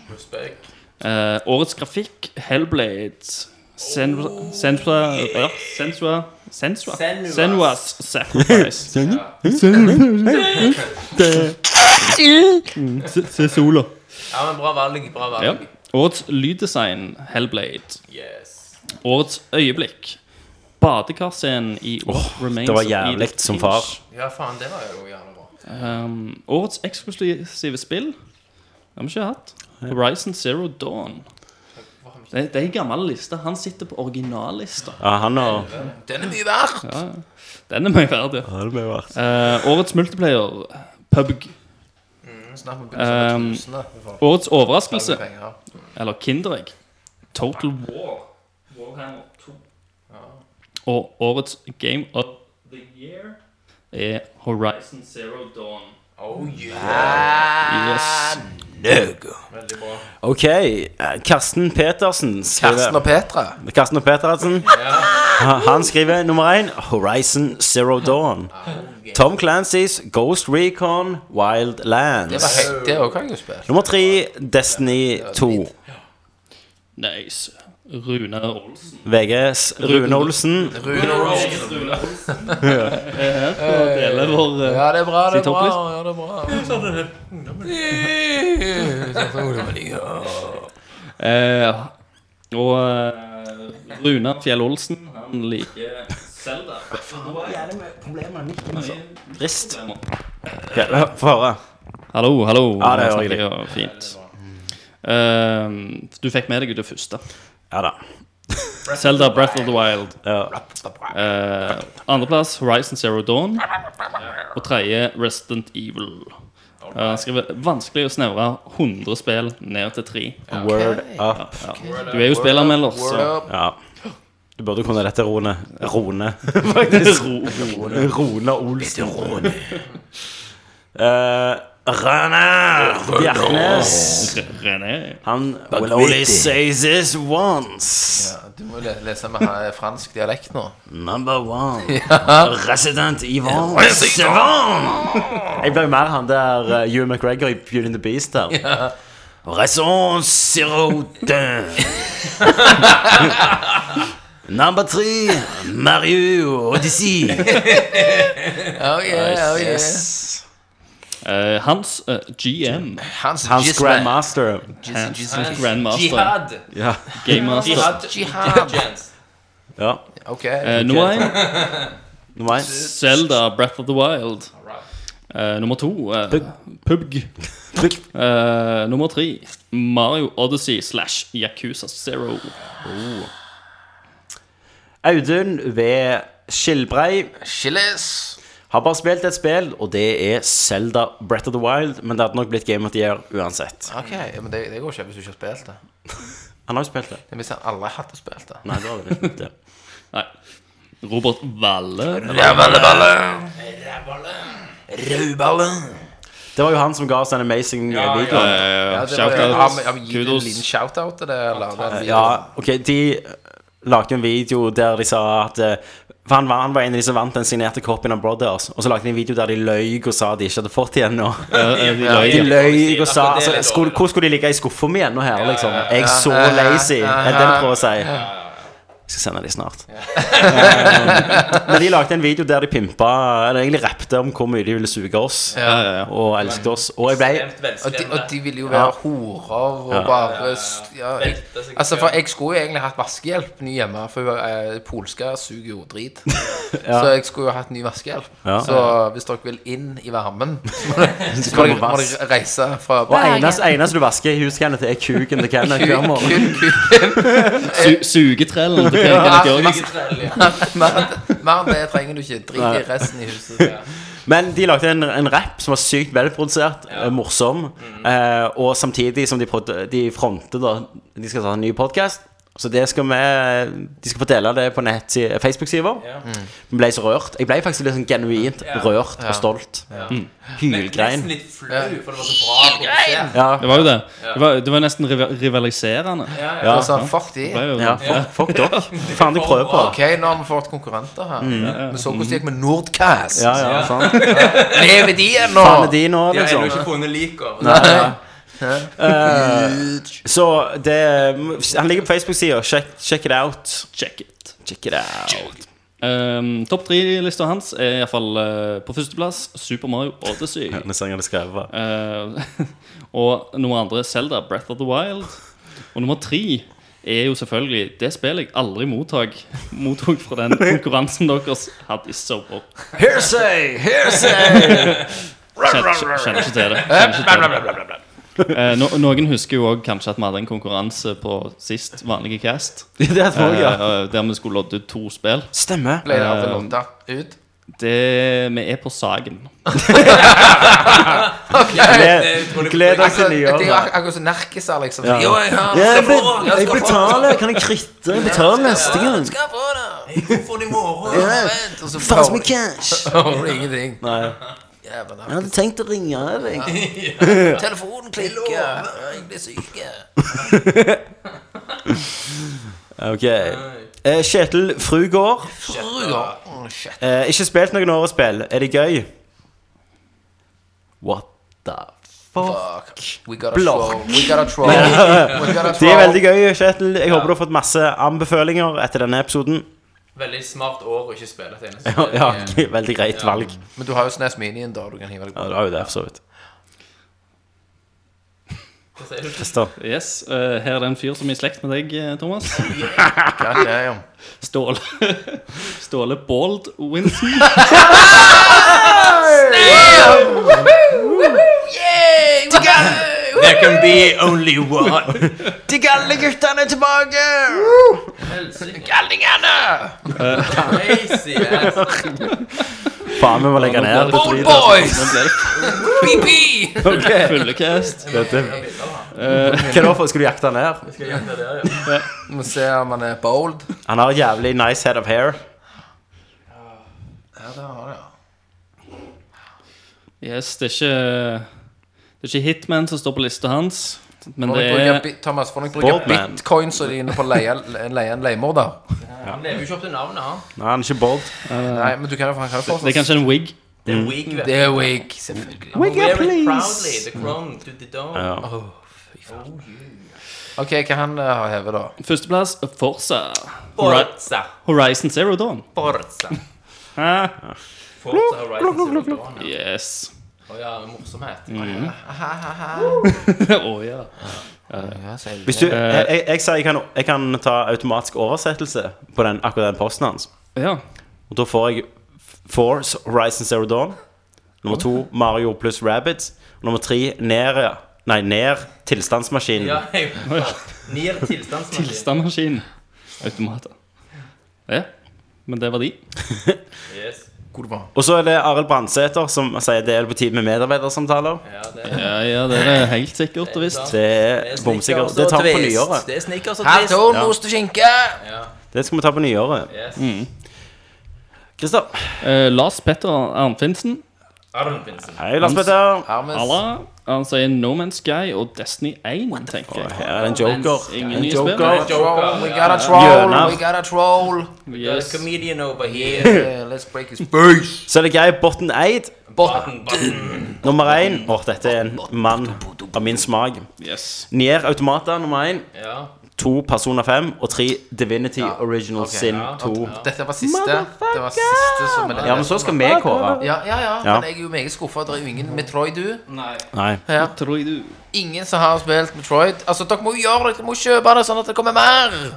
Eh, årets grafikk. Hellblade. Senra Senra ja, Senra Senra Senras Sacrifice. Mm, Se sola. Ja, men bra valg. Bra valg. Ja. Årets lyddesign. Hellblade. Yes. Årets øyeblikk. Badekarscenen i What Remains det var of Edith jævlig som Finch. far. Ja, faen, det var jo gjerne bra. Um, årets eksklusive spill Det har vi ikke hatt. Horizon Zero Dawn. Det, det er en gammel liste. Han sitter på originallista. Ja, han har- Den er mye verdt! Ja, ja. den er mye verdt, ja. Ja, det ble verdt. Eh, årets multiplayer, PubG. Snakk om Eh. begynnelsen av Um, tusen, da. årets overraskelse, Alle penger. eller Kinderegg, Total War Warhammer 2. og årets Game of the Year er Horizon Zero Dawn. Oh yeah! Yes. Veldig bra. Ok, eh, Karsten Petersen skriver Karsten og Petra. Karsten og Petersen. Ha- Han skriver nummer én Horizon Zero Dawn. Tom Clancys Ghost Recon Det var helt, Wildlands. det også har jeg jo spilt. Nummer tre Destiny 2. Nice. Rune Olsen. VGs Rune Olsen. Rune Olsen. Ja. Er her for å dele vår eh, Ja, det er bra, det sin er bra. toppliste. Ja, det er bra. Eh, og eh, Rune Fjell Olsen, han liker Zelda. Trist. Ja, Få høre. Hallo, hallo. Ja, det hører Nå jeg snakker jeg Fint. Eh, du fikk med deg det første. Ja da. Zelda Breath of the Wild. Ja. Eh, Andreplass Horizon Zero Dawn. Og tredje Resident Evil. Eh, Han skriver vanskelig å snevre 100 spill ned til tre. Word up. Ja. Du er jo spillanmelder, så Ja. Du burde kunne dette, Rone. Rone, faktisk. Rone, Olsen. Rone. Eh, Rane Bjerknes. René Han will only say this once. Ja, du må le- lese med ha- fransk dialekt nå. Number one. Resident Evil. Jeg ble jo mer han der eh, Hugh McGregor i Beauty and the Beast der. Raison zero d'un. Number three, Mario Odyssey. Oh yeah, oh yeah. Yes. Eh, Hans eh, GM, Hans, Hans Gisle. grandmaster. Hans Gisle. Hans Grandmaster, Jihad. Ja. Game Master Jihad. Jihad. ja. Ok. Eh, Nummer én Nummer én. Zelda Breath of the Wild. Eh, nummer to eh, PubG. Eh, nummer tre Mario Odyssey slash Yakuza Zero. Audun ved Skilbrei Chiles. har bare spilt et spill, og det er Zelda Breath of the Wild, men det hadde nok blitt Game of the Year uansett. Ok, ja, men det, det går ikke hvis du ikke har spilt det. Han har jo spilt det. Det er Hvis han aldri hadde spilt det. Nei, det var det ikke. Nei. Robert Valle. Det var jo han som ga oss den amazing ja, videoen. Ja, Eh, Ja, det var- Har vi- har vi Shoutout. gitt en liten Kudos. shoutout til det? Eller? ok, de eh, lagde jo en video der de sa at eh, for han var, han var en av de som vant den signerte copyen av Brothers. altså. Og så lagde de en video der de løy og sa de ikke hadde fått igjen nå. Eh, eh, de De løy. løy og sa Ja, det er altså, litt skulle, Hvor skulle de ligge i skuffa mi ennå her, liksom? Jeg er så lazy. Er det det du prøver å si? Jeg skal sende de snart. Eh, Men de lagde en video der de pimpa Eller egentlig rappte om hvor mye de ville suge oss. Og elsket oss. Og jeg ble Ekstremt Og de, og velskrevne. de ville jo være horer og bare ja, jeg, Altså, for jeg skulle jo egentlig hatt vaskehjelp ny hjemme, for hun eh, polske suger jo drit. Så jeg skulle jo hatt ny vaskehjelp. Ja. Så hvis dere vil inn i varmen, så må dere- så må dere må dere reise fra Og eneste, eneste du vasker i huset, Kenneth, er kuken til Kenneth hver morgen. Su sugetrellen til Per Kenneth Jørgensen. Mer mer enn det trenger du ikke. Drit i resten i huset. Men de lagde en, en rap som var sykt velprodusert, eh, morsom, eh, og samtidig som de, prod- de fronter da De skal ta en ny podkast. Så det skal vi De skal fordele det på nett Facebook-sida. Vi ble så rørt. Jeg ble faktisk litt sånn genuint rørt og stolt. Mm. Hylgrein. Nesten litt flau, for det var så bra. produsert. Ja. Det var jo det. Det var, det var nesten riva- rivaliserende. Ja. Sånn, fuck de. Det var jo- ja. Fuck, fuck dere. Faen, de prøver på. Ok, nå har vi fått konkurrenter her. Vi så hvordan det gikk med Nordcast. Mm. Ja, ja, sant. Lever de ennå? Faen er de nå, De har ennå liksom. ikke funnet liker. Eh, Så det Han ligger på Facebook-sida. Check, check it out. Check it. Check it out. Um, Topp tre-lista hans er iallfall uh, på førsteplass Super Mario Odyssey. Denne sangen er skrevet. Eh, og nummer andre Zelda Breath of the Wild. Og nummer tre er jo selvfølgelig det spillet jeg aldri mottok, mottok fra den konkurransen deres hadde i sommer. Hearsay! Hearsay! Kjenner ikke- kjenner ikke til det. Kjenner ikke til det. Eh, no, noen husker jo også kanskje at vi hadde en konkurranse på sist vanlige cast. det tror jeg, ja. Eh, Der vi skulle lodde ut to spill. Stemmer. Ble det alltid Eh, lodda ut? Det, vi er på Sagen. gled deg til nye år, Det er jo da. ak- akkurat som narkiser, liksom. Ja. Jo, jeg har- Ja, jeg, skal få den, be- jeg skal få den. betaler. Kan jeg kritte? Jeg betaler neste gang. Skal få det. Jeg får det i morgen. Ja. Vent, og så Faen, så får mye du- cash. Får du ingenting. Nei. Jævla Jeg hadde tenkt å ringe deg. narkiser. Telefonen klikker. Ja, Jeg blir syk. Ok. Eh, Kjetil Frugård. Fruer. Å, oh, shit. Eh, ikke spilt noen årespill. Er det gøy? What the Fuck. We got a Blokk. troll. We got a troll. We got a Det er troll. veldig gøy, Kjetil. Jeg håper du har fått masse anbefalinger etter denne episoden. Veldig smart år å ikke spille et eneste Ja, spill. ja ok, Veldig greit valg. Men du har jo SNES Minien, da. Du kan hive deg på. Ja, det var jo det, for så vidt. Hva sier du? Christer. Yes, eh, Her er det en fyr som er i slekt med deg, eh, Thomas. Ah. Ja, det er jo. Ståle Ståle Bald Winson. There can be only one. Crazy ass. Faen, vi må legge ned. Bone Boys! BB! Fullekast. Hva er det for? Skal du jakte han ned? Vi må se om han er bold. Han har jævlig nice head of hair. Yes, det er ikke Det er ikke Hitman som står på lista hans. Men Får det jeg bruke, er bi- Thomas, får jeg bruke Boldman. bitcoins og dine på å leie leie en leiemorder? Han lever jo ikke opp til navnet, han. Nei, han er ikke bald. Nei, men du kan jo han kan jo Det er fortsatt kanskje en wig. Det Mm. er weak, vet du. Det er wig, selvfølgelig. Wear it proudly, Mm. the crown to the dome. Ja. OK, hva han eh, har hevet, da? Førsteplass Forza Hori- Forza. Horizon Zero Dawn. Forza. Hæ? Forza Horizon Zero Dawn. ja. Yes. Å ja, morsomhet. Mm. Å ja. Hvis du, jeg, jeg, jeg sier jeg kan, jeg kan ta automatisk oversettelse på den, akkurat den posten hans. ja. Og da får jeg Force Horizon Zero Dawn. Nummer to Mario pluss Rabbits. Nummer tre Ned Nei, Ned tilstandsmaskinen. Ja, jeg Nir tilstandsmaskin. Tilstandmaskin. Automater. Ja. Men det var de. Yes. God barn. Og så er det Arild Brandsæter som sier det er på tide med medarbeidersamtaler. Ja, det Ja, ja, det er helt sikkert og visst. Det er bomsikker. Det tar vi på nyåret. altså. Det er snickers og Her twist. står ost og skinke! Det skal vi ta på nyåret. Mm. Yes. Christer. Eh, Lars Petter Arnfinsen. Arnfinsen. Hei, Lars Petter. Hermes. Alla. Han sier No Man's Sky og Destiny 1, tenker jeg. Her er en joker. Ingen En nye joker. spill. Joker. We got a troll, Hjørner. we got a troll. Yes. Yes. Comedian over here. Yeah, let's break his face. Så er det Geir Botten Eid. Button, button. Nummer én. Åh, dette er en mann av min smak. yes. Nier Automata nummer én. Ja. To Persona 5 og tre Divinity Original ok. Sin 2. Dette var siste. Det var siste som Ja, men så skal vi kåre. Ja, ja, ja, Ja. men jeg er jo meget skuffa. Det er jo ingen Metroid, du. Nei. Nei. Ja. Tror jeg du Ingen som har spilt Metroid. Altså, Dere må jo gjøre det, dere må kjøpe det sånn at det kommer mer. Mm.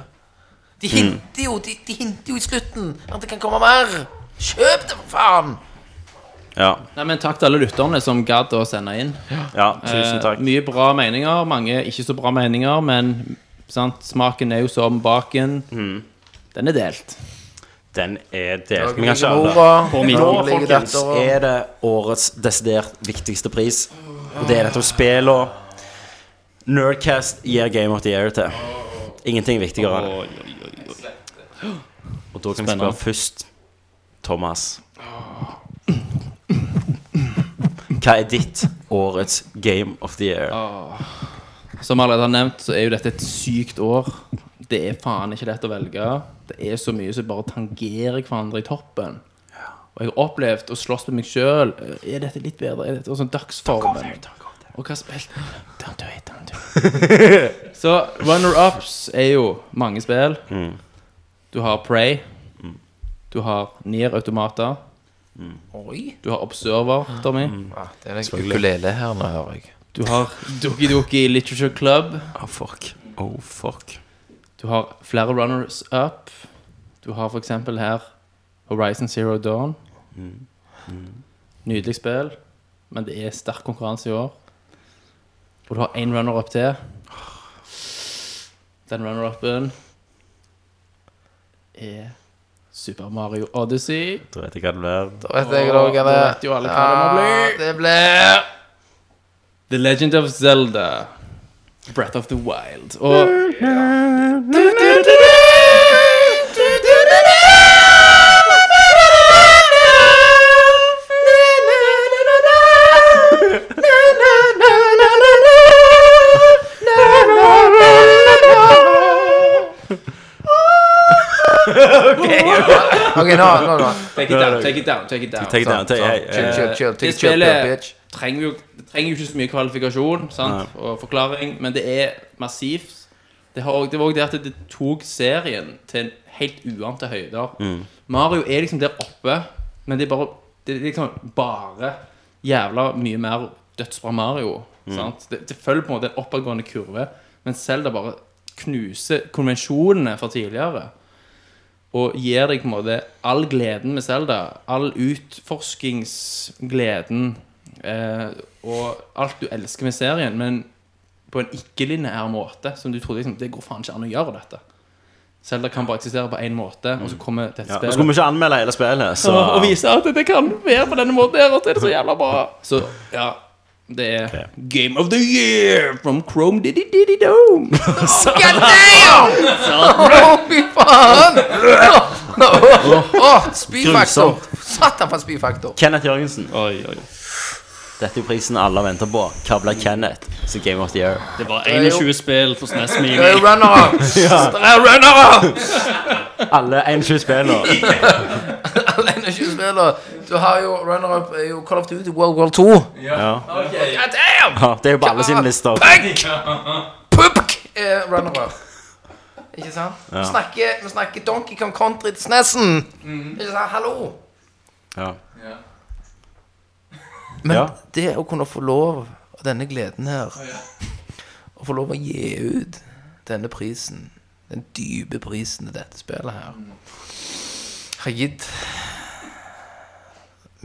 De hinter jo de, de hinter jo i slutten at det kan komme mer. Kjøp det, for faen! Ja. Nei, men Takk til alle lytterne som gadd å sende inn. ja tusen takk. Eh, mye bra meninger, mange ikke så bra meninger, men sant, smaken er jo som baken. Den er delt. Den er delt. Vi kan ikke alle. På Nå, folkens, er det årets desidert viktigste pris. Og det er nettopp spillene Nerdcast gir Game of the Year til. Ingenting viktigere enn det. Oi, oi, oi, oi. Og da kan jeg spørre først, Thomas Hva er ditt årets Game of the Year? Ah. Som allerede har nevnt, så er jo dette et sykt år. Det er faen ikke lett å velge. Det er så mye som bare tangerer hverandre i toppen. Og jeg har opplevd å slåss med meg sjøl. Er dette litt bedre? Er dette og sånn dagsformen? Og hva spilt Don't do it, don't do it. Så runner-ups er jo mange spill. Du har Prey. Mm. Du har Nier Automata. Oi. Du har Observer, Tommy. Ah, det er en ukulele her nå, hører jeg. Du har Doki Doki Literature Club. Oh, fuck. Oh, fuck. Du har flere runners up. Du har f.eks. her Horizon Zero Dawn. Nydelig spill, men det er sterk konkurranse i år. Og du har én runner-up til. Den runner-upen er Super Mario Odyssey. Da vet jeg hva det blir. Da vet jeg da hva det- vet jo alle hva det må Ja, bli. det blir The Legend of Zelda. Breath of the Wild. Og Ok, nå, nå, nå. Take it down, take it down. Take it down. Take it down, Sånn, take- hey, sånn. hey, chill, chill, take Det it chill, spillet chill, bitch. trenger jo, det trenger jo ikke så mye kvalifikasjon sant? og forklaring, men det er massivt. Det, har, også- det var òg det at det tok serien til en helt uante høyder. Mm. Mario er liksom der oppe, men det er bare Det er liksom bare jævla mye mer dødsbra Mario. Mm. Sant? Det, det følger på en måte en oppadgående kurve, men Zelda bare knuser konvensjonene fra tidligere. Og gir deg på en måte all gleden med Zelda. All utforskingsgleden eh, og alt du elsker med serien, men på en ikke-lineær måte. Som du trodde liksom, det går faen ikke an å gjøre dette. Zelda kan bare eksistere på én måte, Mm. og så kommer dette Ja, nå spillet. skulle vi ikke anmelde hele spillet, så Og- Og vise at det kan være på denne måten her, og det er så jævla bra. Så ja, det er Game of the Year from Chrome Diddy Diddy Dome. Så- God damn! Så- Fy faen! Åh, åh, Spyfaktor. Grusomt. Satan for en spyfaktor. Kenneth Jørgensen. Dette er jo prisen alle venter på. Hva blir Kenneth som Game of the Year? Det var 21 spill for SNES Mini. Det er Eh, jo runner-ups. Det er runner-ups. Alle 21 spiller. Alene ikke spiller. Du har jo runner-up er jo Call of Duty World War 2. Ja. God damn! Ja, det er jo på alle sine lister. Punk! Pupk er runner-up. Ikke sant? Ja. Vi, snakker, vi snakker Donkey Kong Country til Snesen. Mm. Ikke sant? Hallo! Ja. Men Ja. det å kunne få lov av denne gleden her Å få lov å gi ut denne prisen, den dype prisen til dette spillet her, har gitt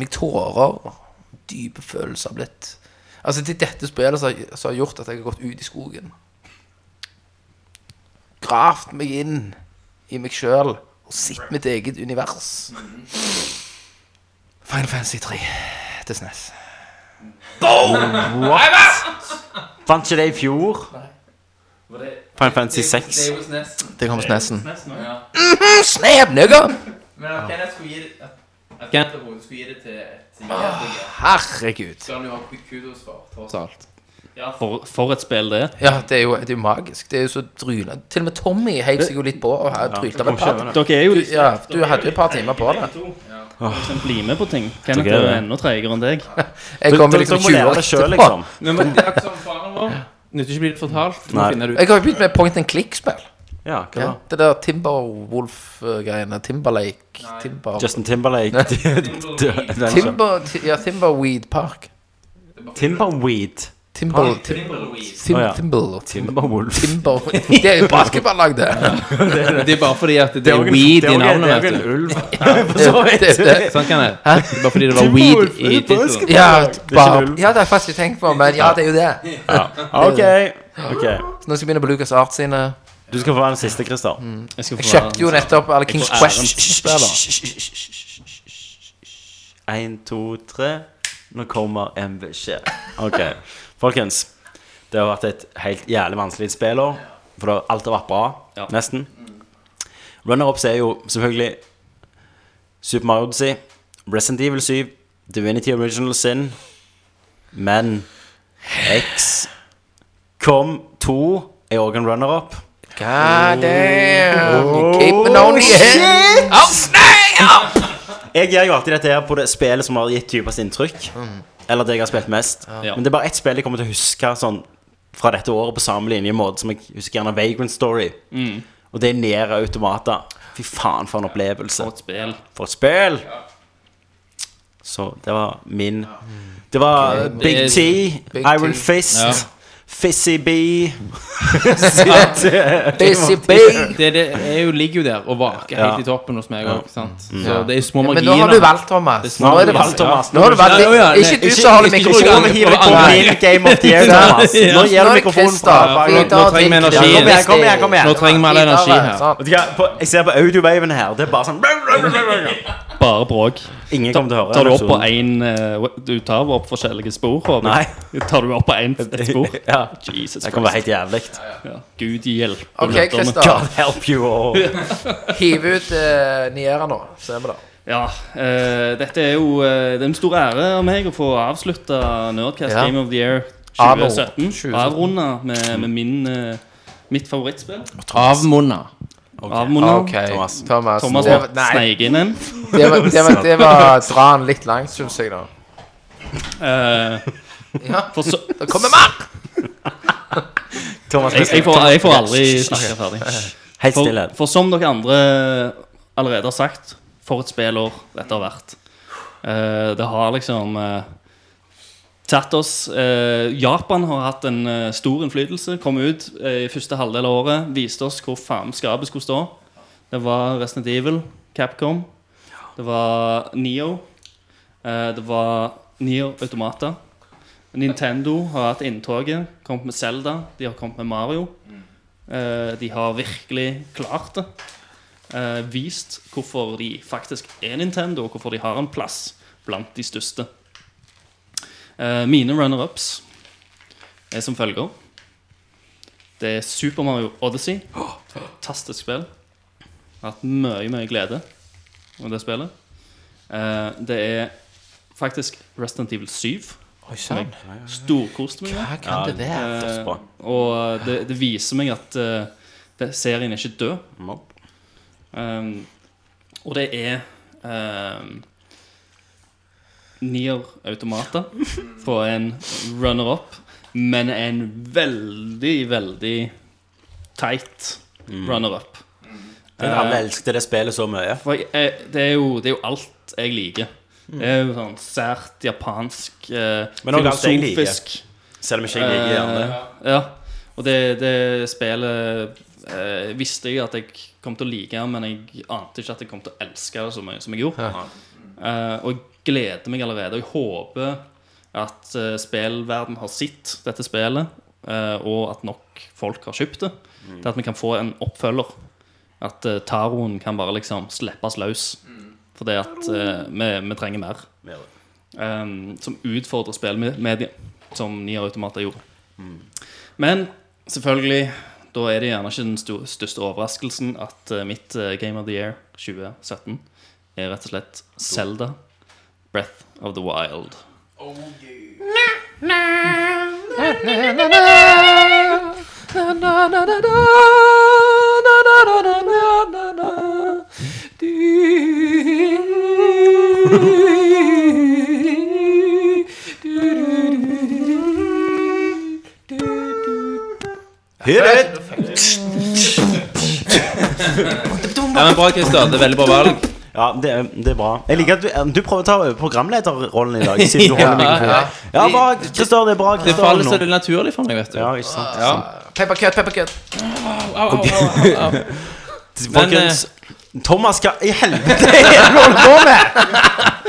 meg tårer, dype følelser blitt Altså, det er dette spillet som har- som har gjort at jeg har gått ut i skogen. Gravd meg inn i meg sjøl og sett mitt eget univers. Final Fantasy 3 til E SNES. What? Vant ikke det i fjor? Final Fantasy 6. Det er jo SNES. Det kommer SNES-en. Ja. Mhm, Snap, nigga! Men at Kenneth skulle gi det at- at Kenneth skulle gi det til et Ah. JRPG, Herregud. skal han jo ha kudos for, tross alt. For, for et spill, det. Ja, det er jo, det er jo magisk. Det er jo så dryla. Til og med Tommy heiv seg jo litt på og her trylte av et par. Dere er jo Du, ja, du hadde jo et par timer på det. som blir med på ting. Kenneth er Dere jo er det. enda treigere enn deg. Jeg kommer Da- da- liksom da må du 20 lære år det selv, etterpå. liksom. Men det er ikke som faren vår. Nytter ikke å bli det fortalt. Du må Nei. finne det ut. Jeg har jo begynt med point and click-spill. Ja, hva Ja, da? det der Timberwolf-greiene. Timberlake Timber... Justin Timberlake. Timber, ti- ja, Timberweed Park. Timberweed. Timber... Tim, tim, Å, ja. Timber... Timberwolf. Timber... Det er jo basketballag, det. Det er bare fordi at det, er er jo en- weed det er i jo en- navnet, det er vet jo en du. ulv. Så Det- vidt. det- det- Sånn kan jeg. Det er bare fordi det var weed i tittelen. Ja, ikke bare, null. ja, det har jeg faktisk ikke tenkt på, men ja, det er jo det. OK. ok Så nå skal jeg begynne på Lucas Art sine. Du skal få være den siste, Christer. Jeg skal få Jeg kjøpte jo nettopp alle Kings får æren. Quest-spiller. Én, to, tre. Nå kommer en beskjed. OK. Folkens. Det har vært et helt jævlig vanskelig spillår. For det, har- alt har vært bra. Ja. Nesten. Runner-ups er jo selvfølgelig Super Mario Odyssey, Resident Evil 7, Divinity Original Sin, men X Kom 2 er òg en runner-up. God Ah, damn. You Oh, keep it on the head. Oh, snap! Jeg gjør jo alltid dette her på det spillet som har gitt dypest inntrykk. Eller det jeg har spilt mest. Ja. Men det er bare ett spill jeg kommer til å huske sånn fra dette året på samme linje måte som jeg husker gjerne Vagrant Story. Og det er Nera Automata. Fy faen, for en opplevelse. For et spill. For et spill! Så det var min Det var Big Det er- T, Big Iron T. Fist, Fizzy Bee. Det, det er jo, ligger jo der og vaker Ja. helt i toppen hos meg Ja. òg. sant? Mm. Så det er Ja, små men marginer. nå har du valgt, Thomas. Det er Nå små er det marginer. valgt, Thomas. Nå har du valgt- Ja, ja, ja. Ikke du som holder Ikke- ikke mikrofonen. over hele Over alle. Computer Game of the Year, Thomas. Nå Nå gir du er det mikrofonen. Christer. Ja, for nå- nå trenger vi energi. Kom igjen, kom igjen, kom igjen. Nå trenger vi all energi her. Sånn. Vet du hva, på, jeg ser på audiowaven her. Det er bare sånn Bare bråk. Ingen Ta- kommer til å høre Tar du opp på episoden. en, eh, we- Du tar opp forskjellige spor? Håvard. Nei. Tar du opp på en, et spor? Ja. Jesus Det kommer Christ. helt jævlig. Ja. Gud hjelpe Ok, lytterne. Christer. God help you all. Hiv ut eh, Niera nå, så er vi der. Ja, eh, dette er jo eh, det er en stor ære av meg å få avslutte Nerdcast Ja. Game of the Year Anno 2017. 2017. Avrunde med, med min, eh, mitt favorittspill. Avmunna. Avmunna. Ok, Thomas. Thomas, Thomas det, må nei, sneike inn en. det, var, det, var, det var dra den litt langt, syns jeg, da. Eh, Ja, for så, da kommer Mark! Thomas, jeg, jeg, får, jeg får aldri snakke ferdig. helt stille. For, for som dere andre allerede har sagt, for et spillår dette har vært. Eh, det har liksom eh, tatt oss eh, Japan har hatt en eh, stor innflytelse. Kom ut eh, i første halvdel av året, viste oss hvor faen skapet skulle stå. Det var Resident Evil, Capcom, det var Neo, eh, det var Neo Automata. Nintendo har hatt inntoget. Kommet med Zelda, de har kommet med Mario. Eh, de har virkelig klart det. Eh, vist hvorfor de faktisk er Nintendo, og hvorfor de har en plass blant de største. Eh, mine runner-ups er som følger. Det er Super Mario Odyssey. Fantastisk spill. Har hatt mye, mye glede av det spillet. Eh, det er faktisk Resident Evil 7. Oi sann, Storkoste meg med. hva kan det være? Eh, dødsbra. og det, det viser meg at eh, det, serien er ikke død. Um, og det er um, Nier Automata fra en runner-up, men en veldig, veldig tight runner-up. Den Alle elsket det spillet så mye. For jeg, jeg, det, er jo, det er jo alt jeg liker. Det er jo sånn sært japansk, eh, Men også alt jeg liker. filosofisk Selv om ikke jeg liker gjerne det. Eh, ja. Og det, det spillet eh, visste jeg at jeg kom til å like, men jeg ante ikke at jeg kom til å elske det så mye som jeg gjorde. Eh, og jeg gleder meg allerede. Og jeg håper at uh, spillverden har sett dette spillet, eh, og at nok folk har kjøpt det, til at vi kan få en oppfølger. At eh, taroen kan bare liksom slippes løs. For det at eh, vi, vi trenger mer Mer. um, som utfordrer spillmediet, som Nier Automata gjorde. Men selvfølgelig, da er det gjerne ikke den sto- største overraskelsen at eh, mitt eh, Game of the Year 2017 er rett og slett Zelda Breath of the Wild. Ja, men bra, Christer. Det er veldig bra valg. Ja, det, er- det er bra. Jeg liker at du, du prøver å ta over programlederrollen i dag. Siden du Ja, holder mikrofonen. ja. Ja, bra, Christer. Det er bra. Det Christer, faller så nå. det er naturlig for meg, vet du. Ja, ikke sant. Peppercut, peppercut. Folkens, Thomas, hva i helvete er det du holder på med?!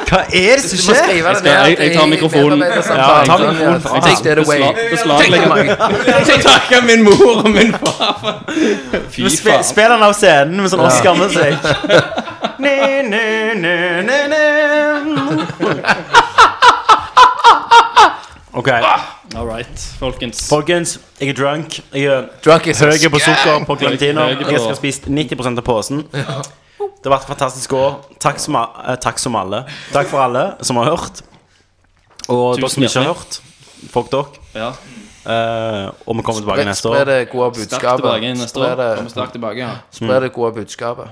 Hva er det som Du må skjer? skrive det skal- ned. jeg- jeg i tar mikrofonen. medarbeidersamtalen. Ja, ta mikrofonen fra Take that away. Beslag- Beslaglegger meg. Jeg takker min mor og min far. Du spe- Spiller han av scenen med sånn Oscar-musikk? Ne, ne, ne, ne, ne. Ok, All right, folkens. folkens. Jeg er drunk. Jeg er Drunk is høy på sukker på klementiner. Høy på- Jeg skal ha spist 90 av posen. Det har vært et fantastisk år. Takk som, eh, takk som alle. Takk for alle som har hørt. Og dere Tusen som ikke har hjertelig. hørt. Fuck dere. Ja, Eh, og vi kommer tilbake neste Spre år. det gode budskapet. tilbake neste Spre år. Mm. det- Kommer sterkt tilbake, ja. Spre det gode budskapet.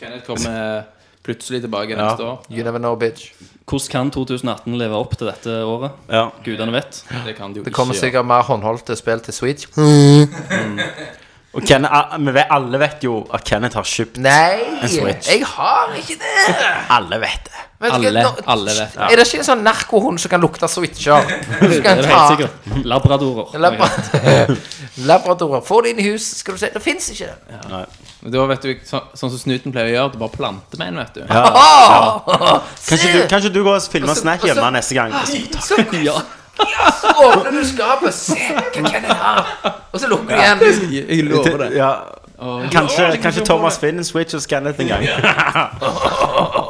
Kenneth kommer eh, plutselig tilbake neste år. You never know, bitch. Hvordan kan 2018 leve opp til dette året? Ja. Gudene vet. Det kan du jo Det kommer ikke gjøre. sikkert mer håndholdte spill til Switch. Og Kenneth, a- vi vet, alle vet jo at Kenneth har kjøpt en Switch. Jeg har ikke det! Alle vet det. Vet du Alle- hva, nå- alle vet det. Er det ikke en sånn narkohund som kan lukte switcher? Som Det kan er ta- helt sikkert. Labradorer. Labra Labradorer. Få det inn i huset, skal du se. Det fins ikke. det Men Da vet du, så, Sånn som snuten pleier å gjøre, du bare planter med en, vet du. Ja. Ja. Kanskje, du, kanskje du går og filmer Og så- snack og så- hjemme neste gang? og så- Så så åpner du skapet, se hva Kenneth har, og så lukker du igjen. Jeg, jeg lover det. Ja. Åh. Kanskje, Åh, kanskje det- Thomas finner en Switch hos Kenneth en gang.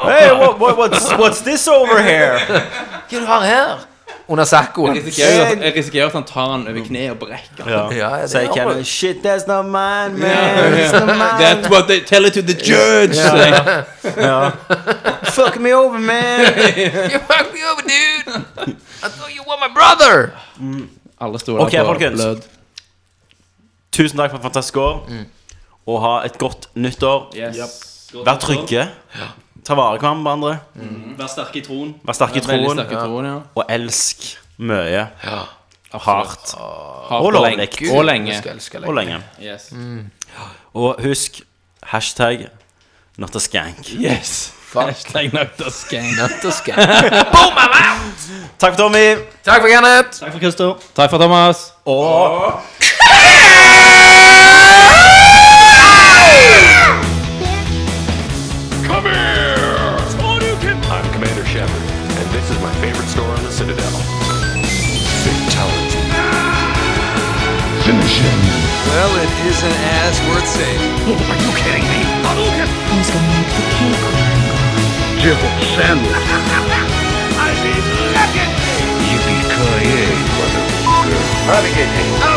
hey, what, what, what's, what's this over here? Hva du har her? Under sakkoen. Jeg risikerer, at- jeg risikerer at han tar den over kneet og brekker den. Ja. Ja, det Sier er Kenneth jo- Shit, that's not mine, man. It's not mine. That's what they tell it to the judge! Ja. Ja. Fuck me over, man. You fucked me over, dude! I thought you were my brother! Alle stoler Ok, folkens. Tusen takk for et fantastisk år. Og ha et godt nyttår. Yes. Godt Vær nyttår. trygge. Ta vare på hverandre. Vær sterke i troen. Vær sterke i Veldig troen. sterke troen, ja. Og elsk mye. Hardt. Har Og på lovlig. lenge. Og lenge. Jeg elsker Og deg. lenge. Yes. Mm. Og husk hashtag not a skank. yes. Fuck. Hashtag nøkter skank. Nødt og skal. Takk, Tommy. Takk for Kenneth! Takk for Christer. Takk for Thomas. Come here! I'm Commander Shepard, and this is my favorite store on the Citadel. Fatality. Well, it isn't as worth saying. Homeschool Maniac the Cake Club. I mean, look at me! Yippee-ki-yay, motherfucker.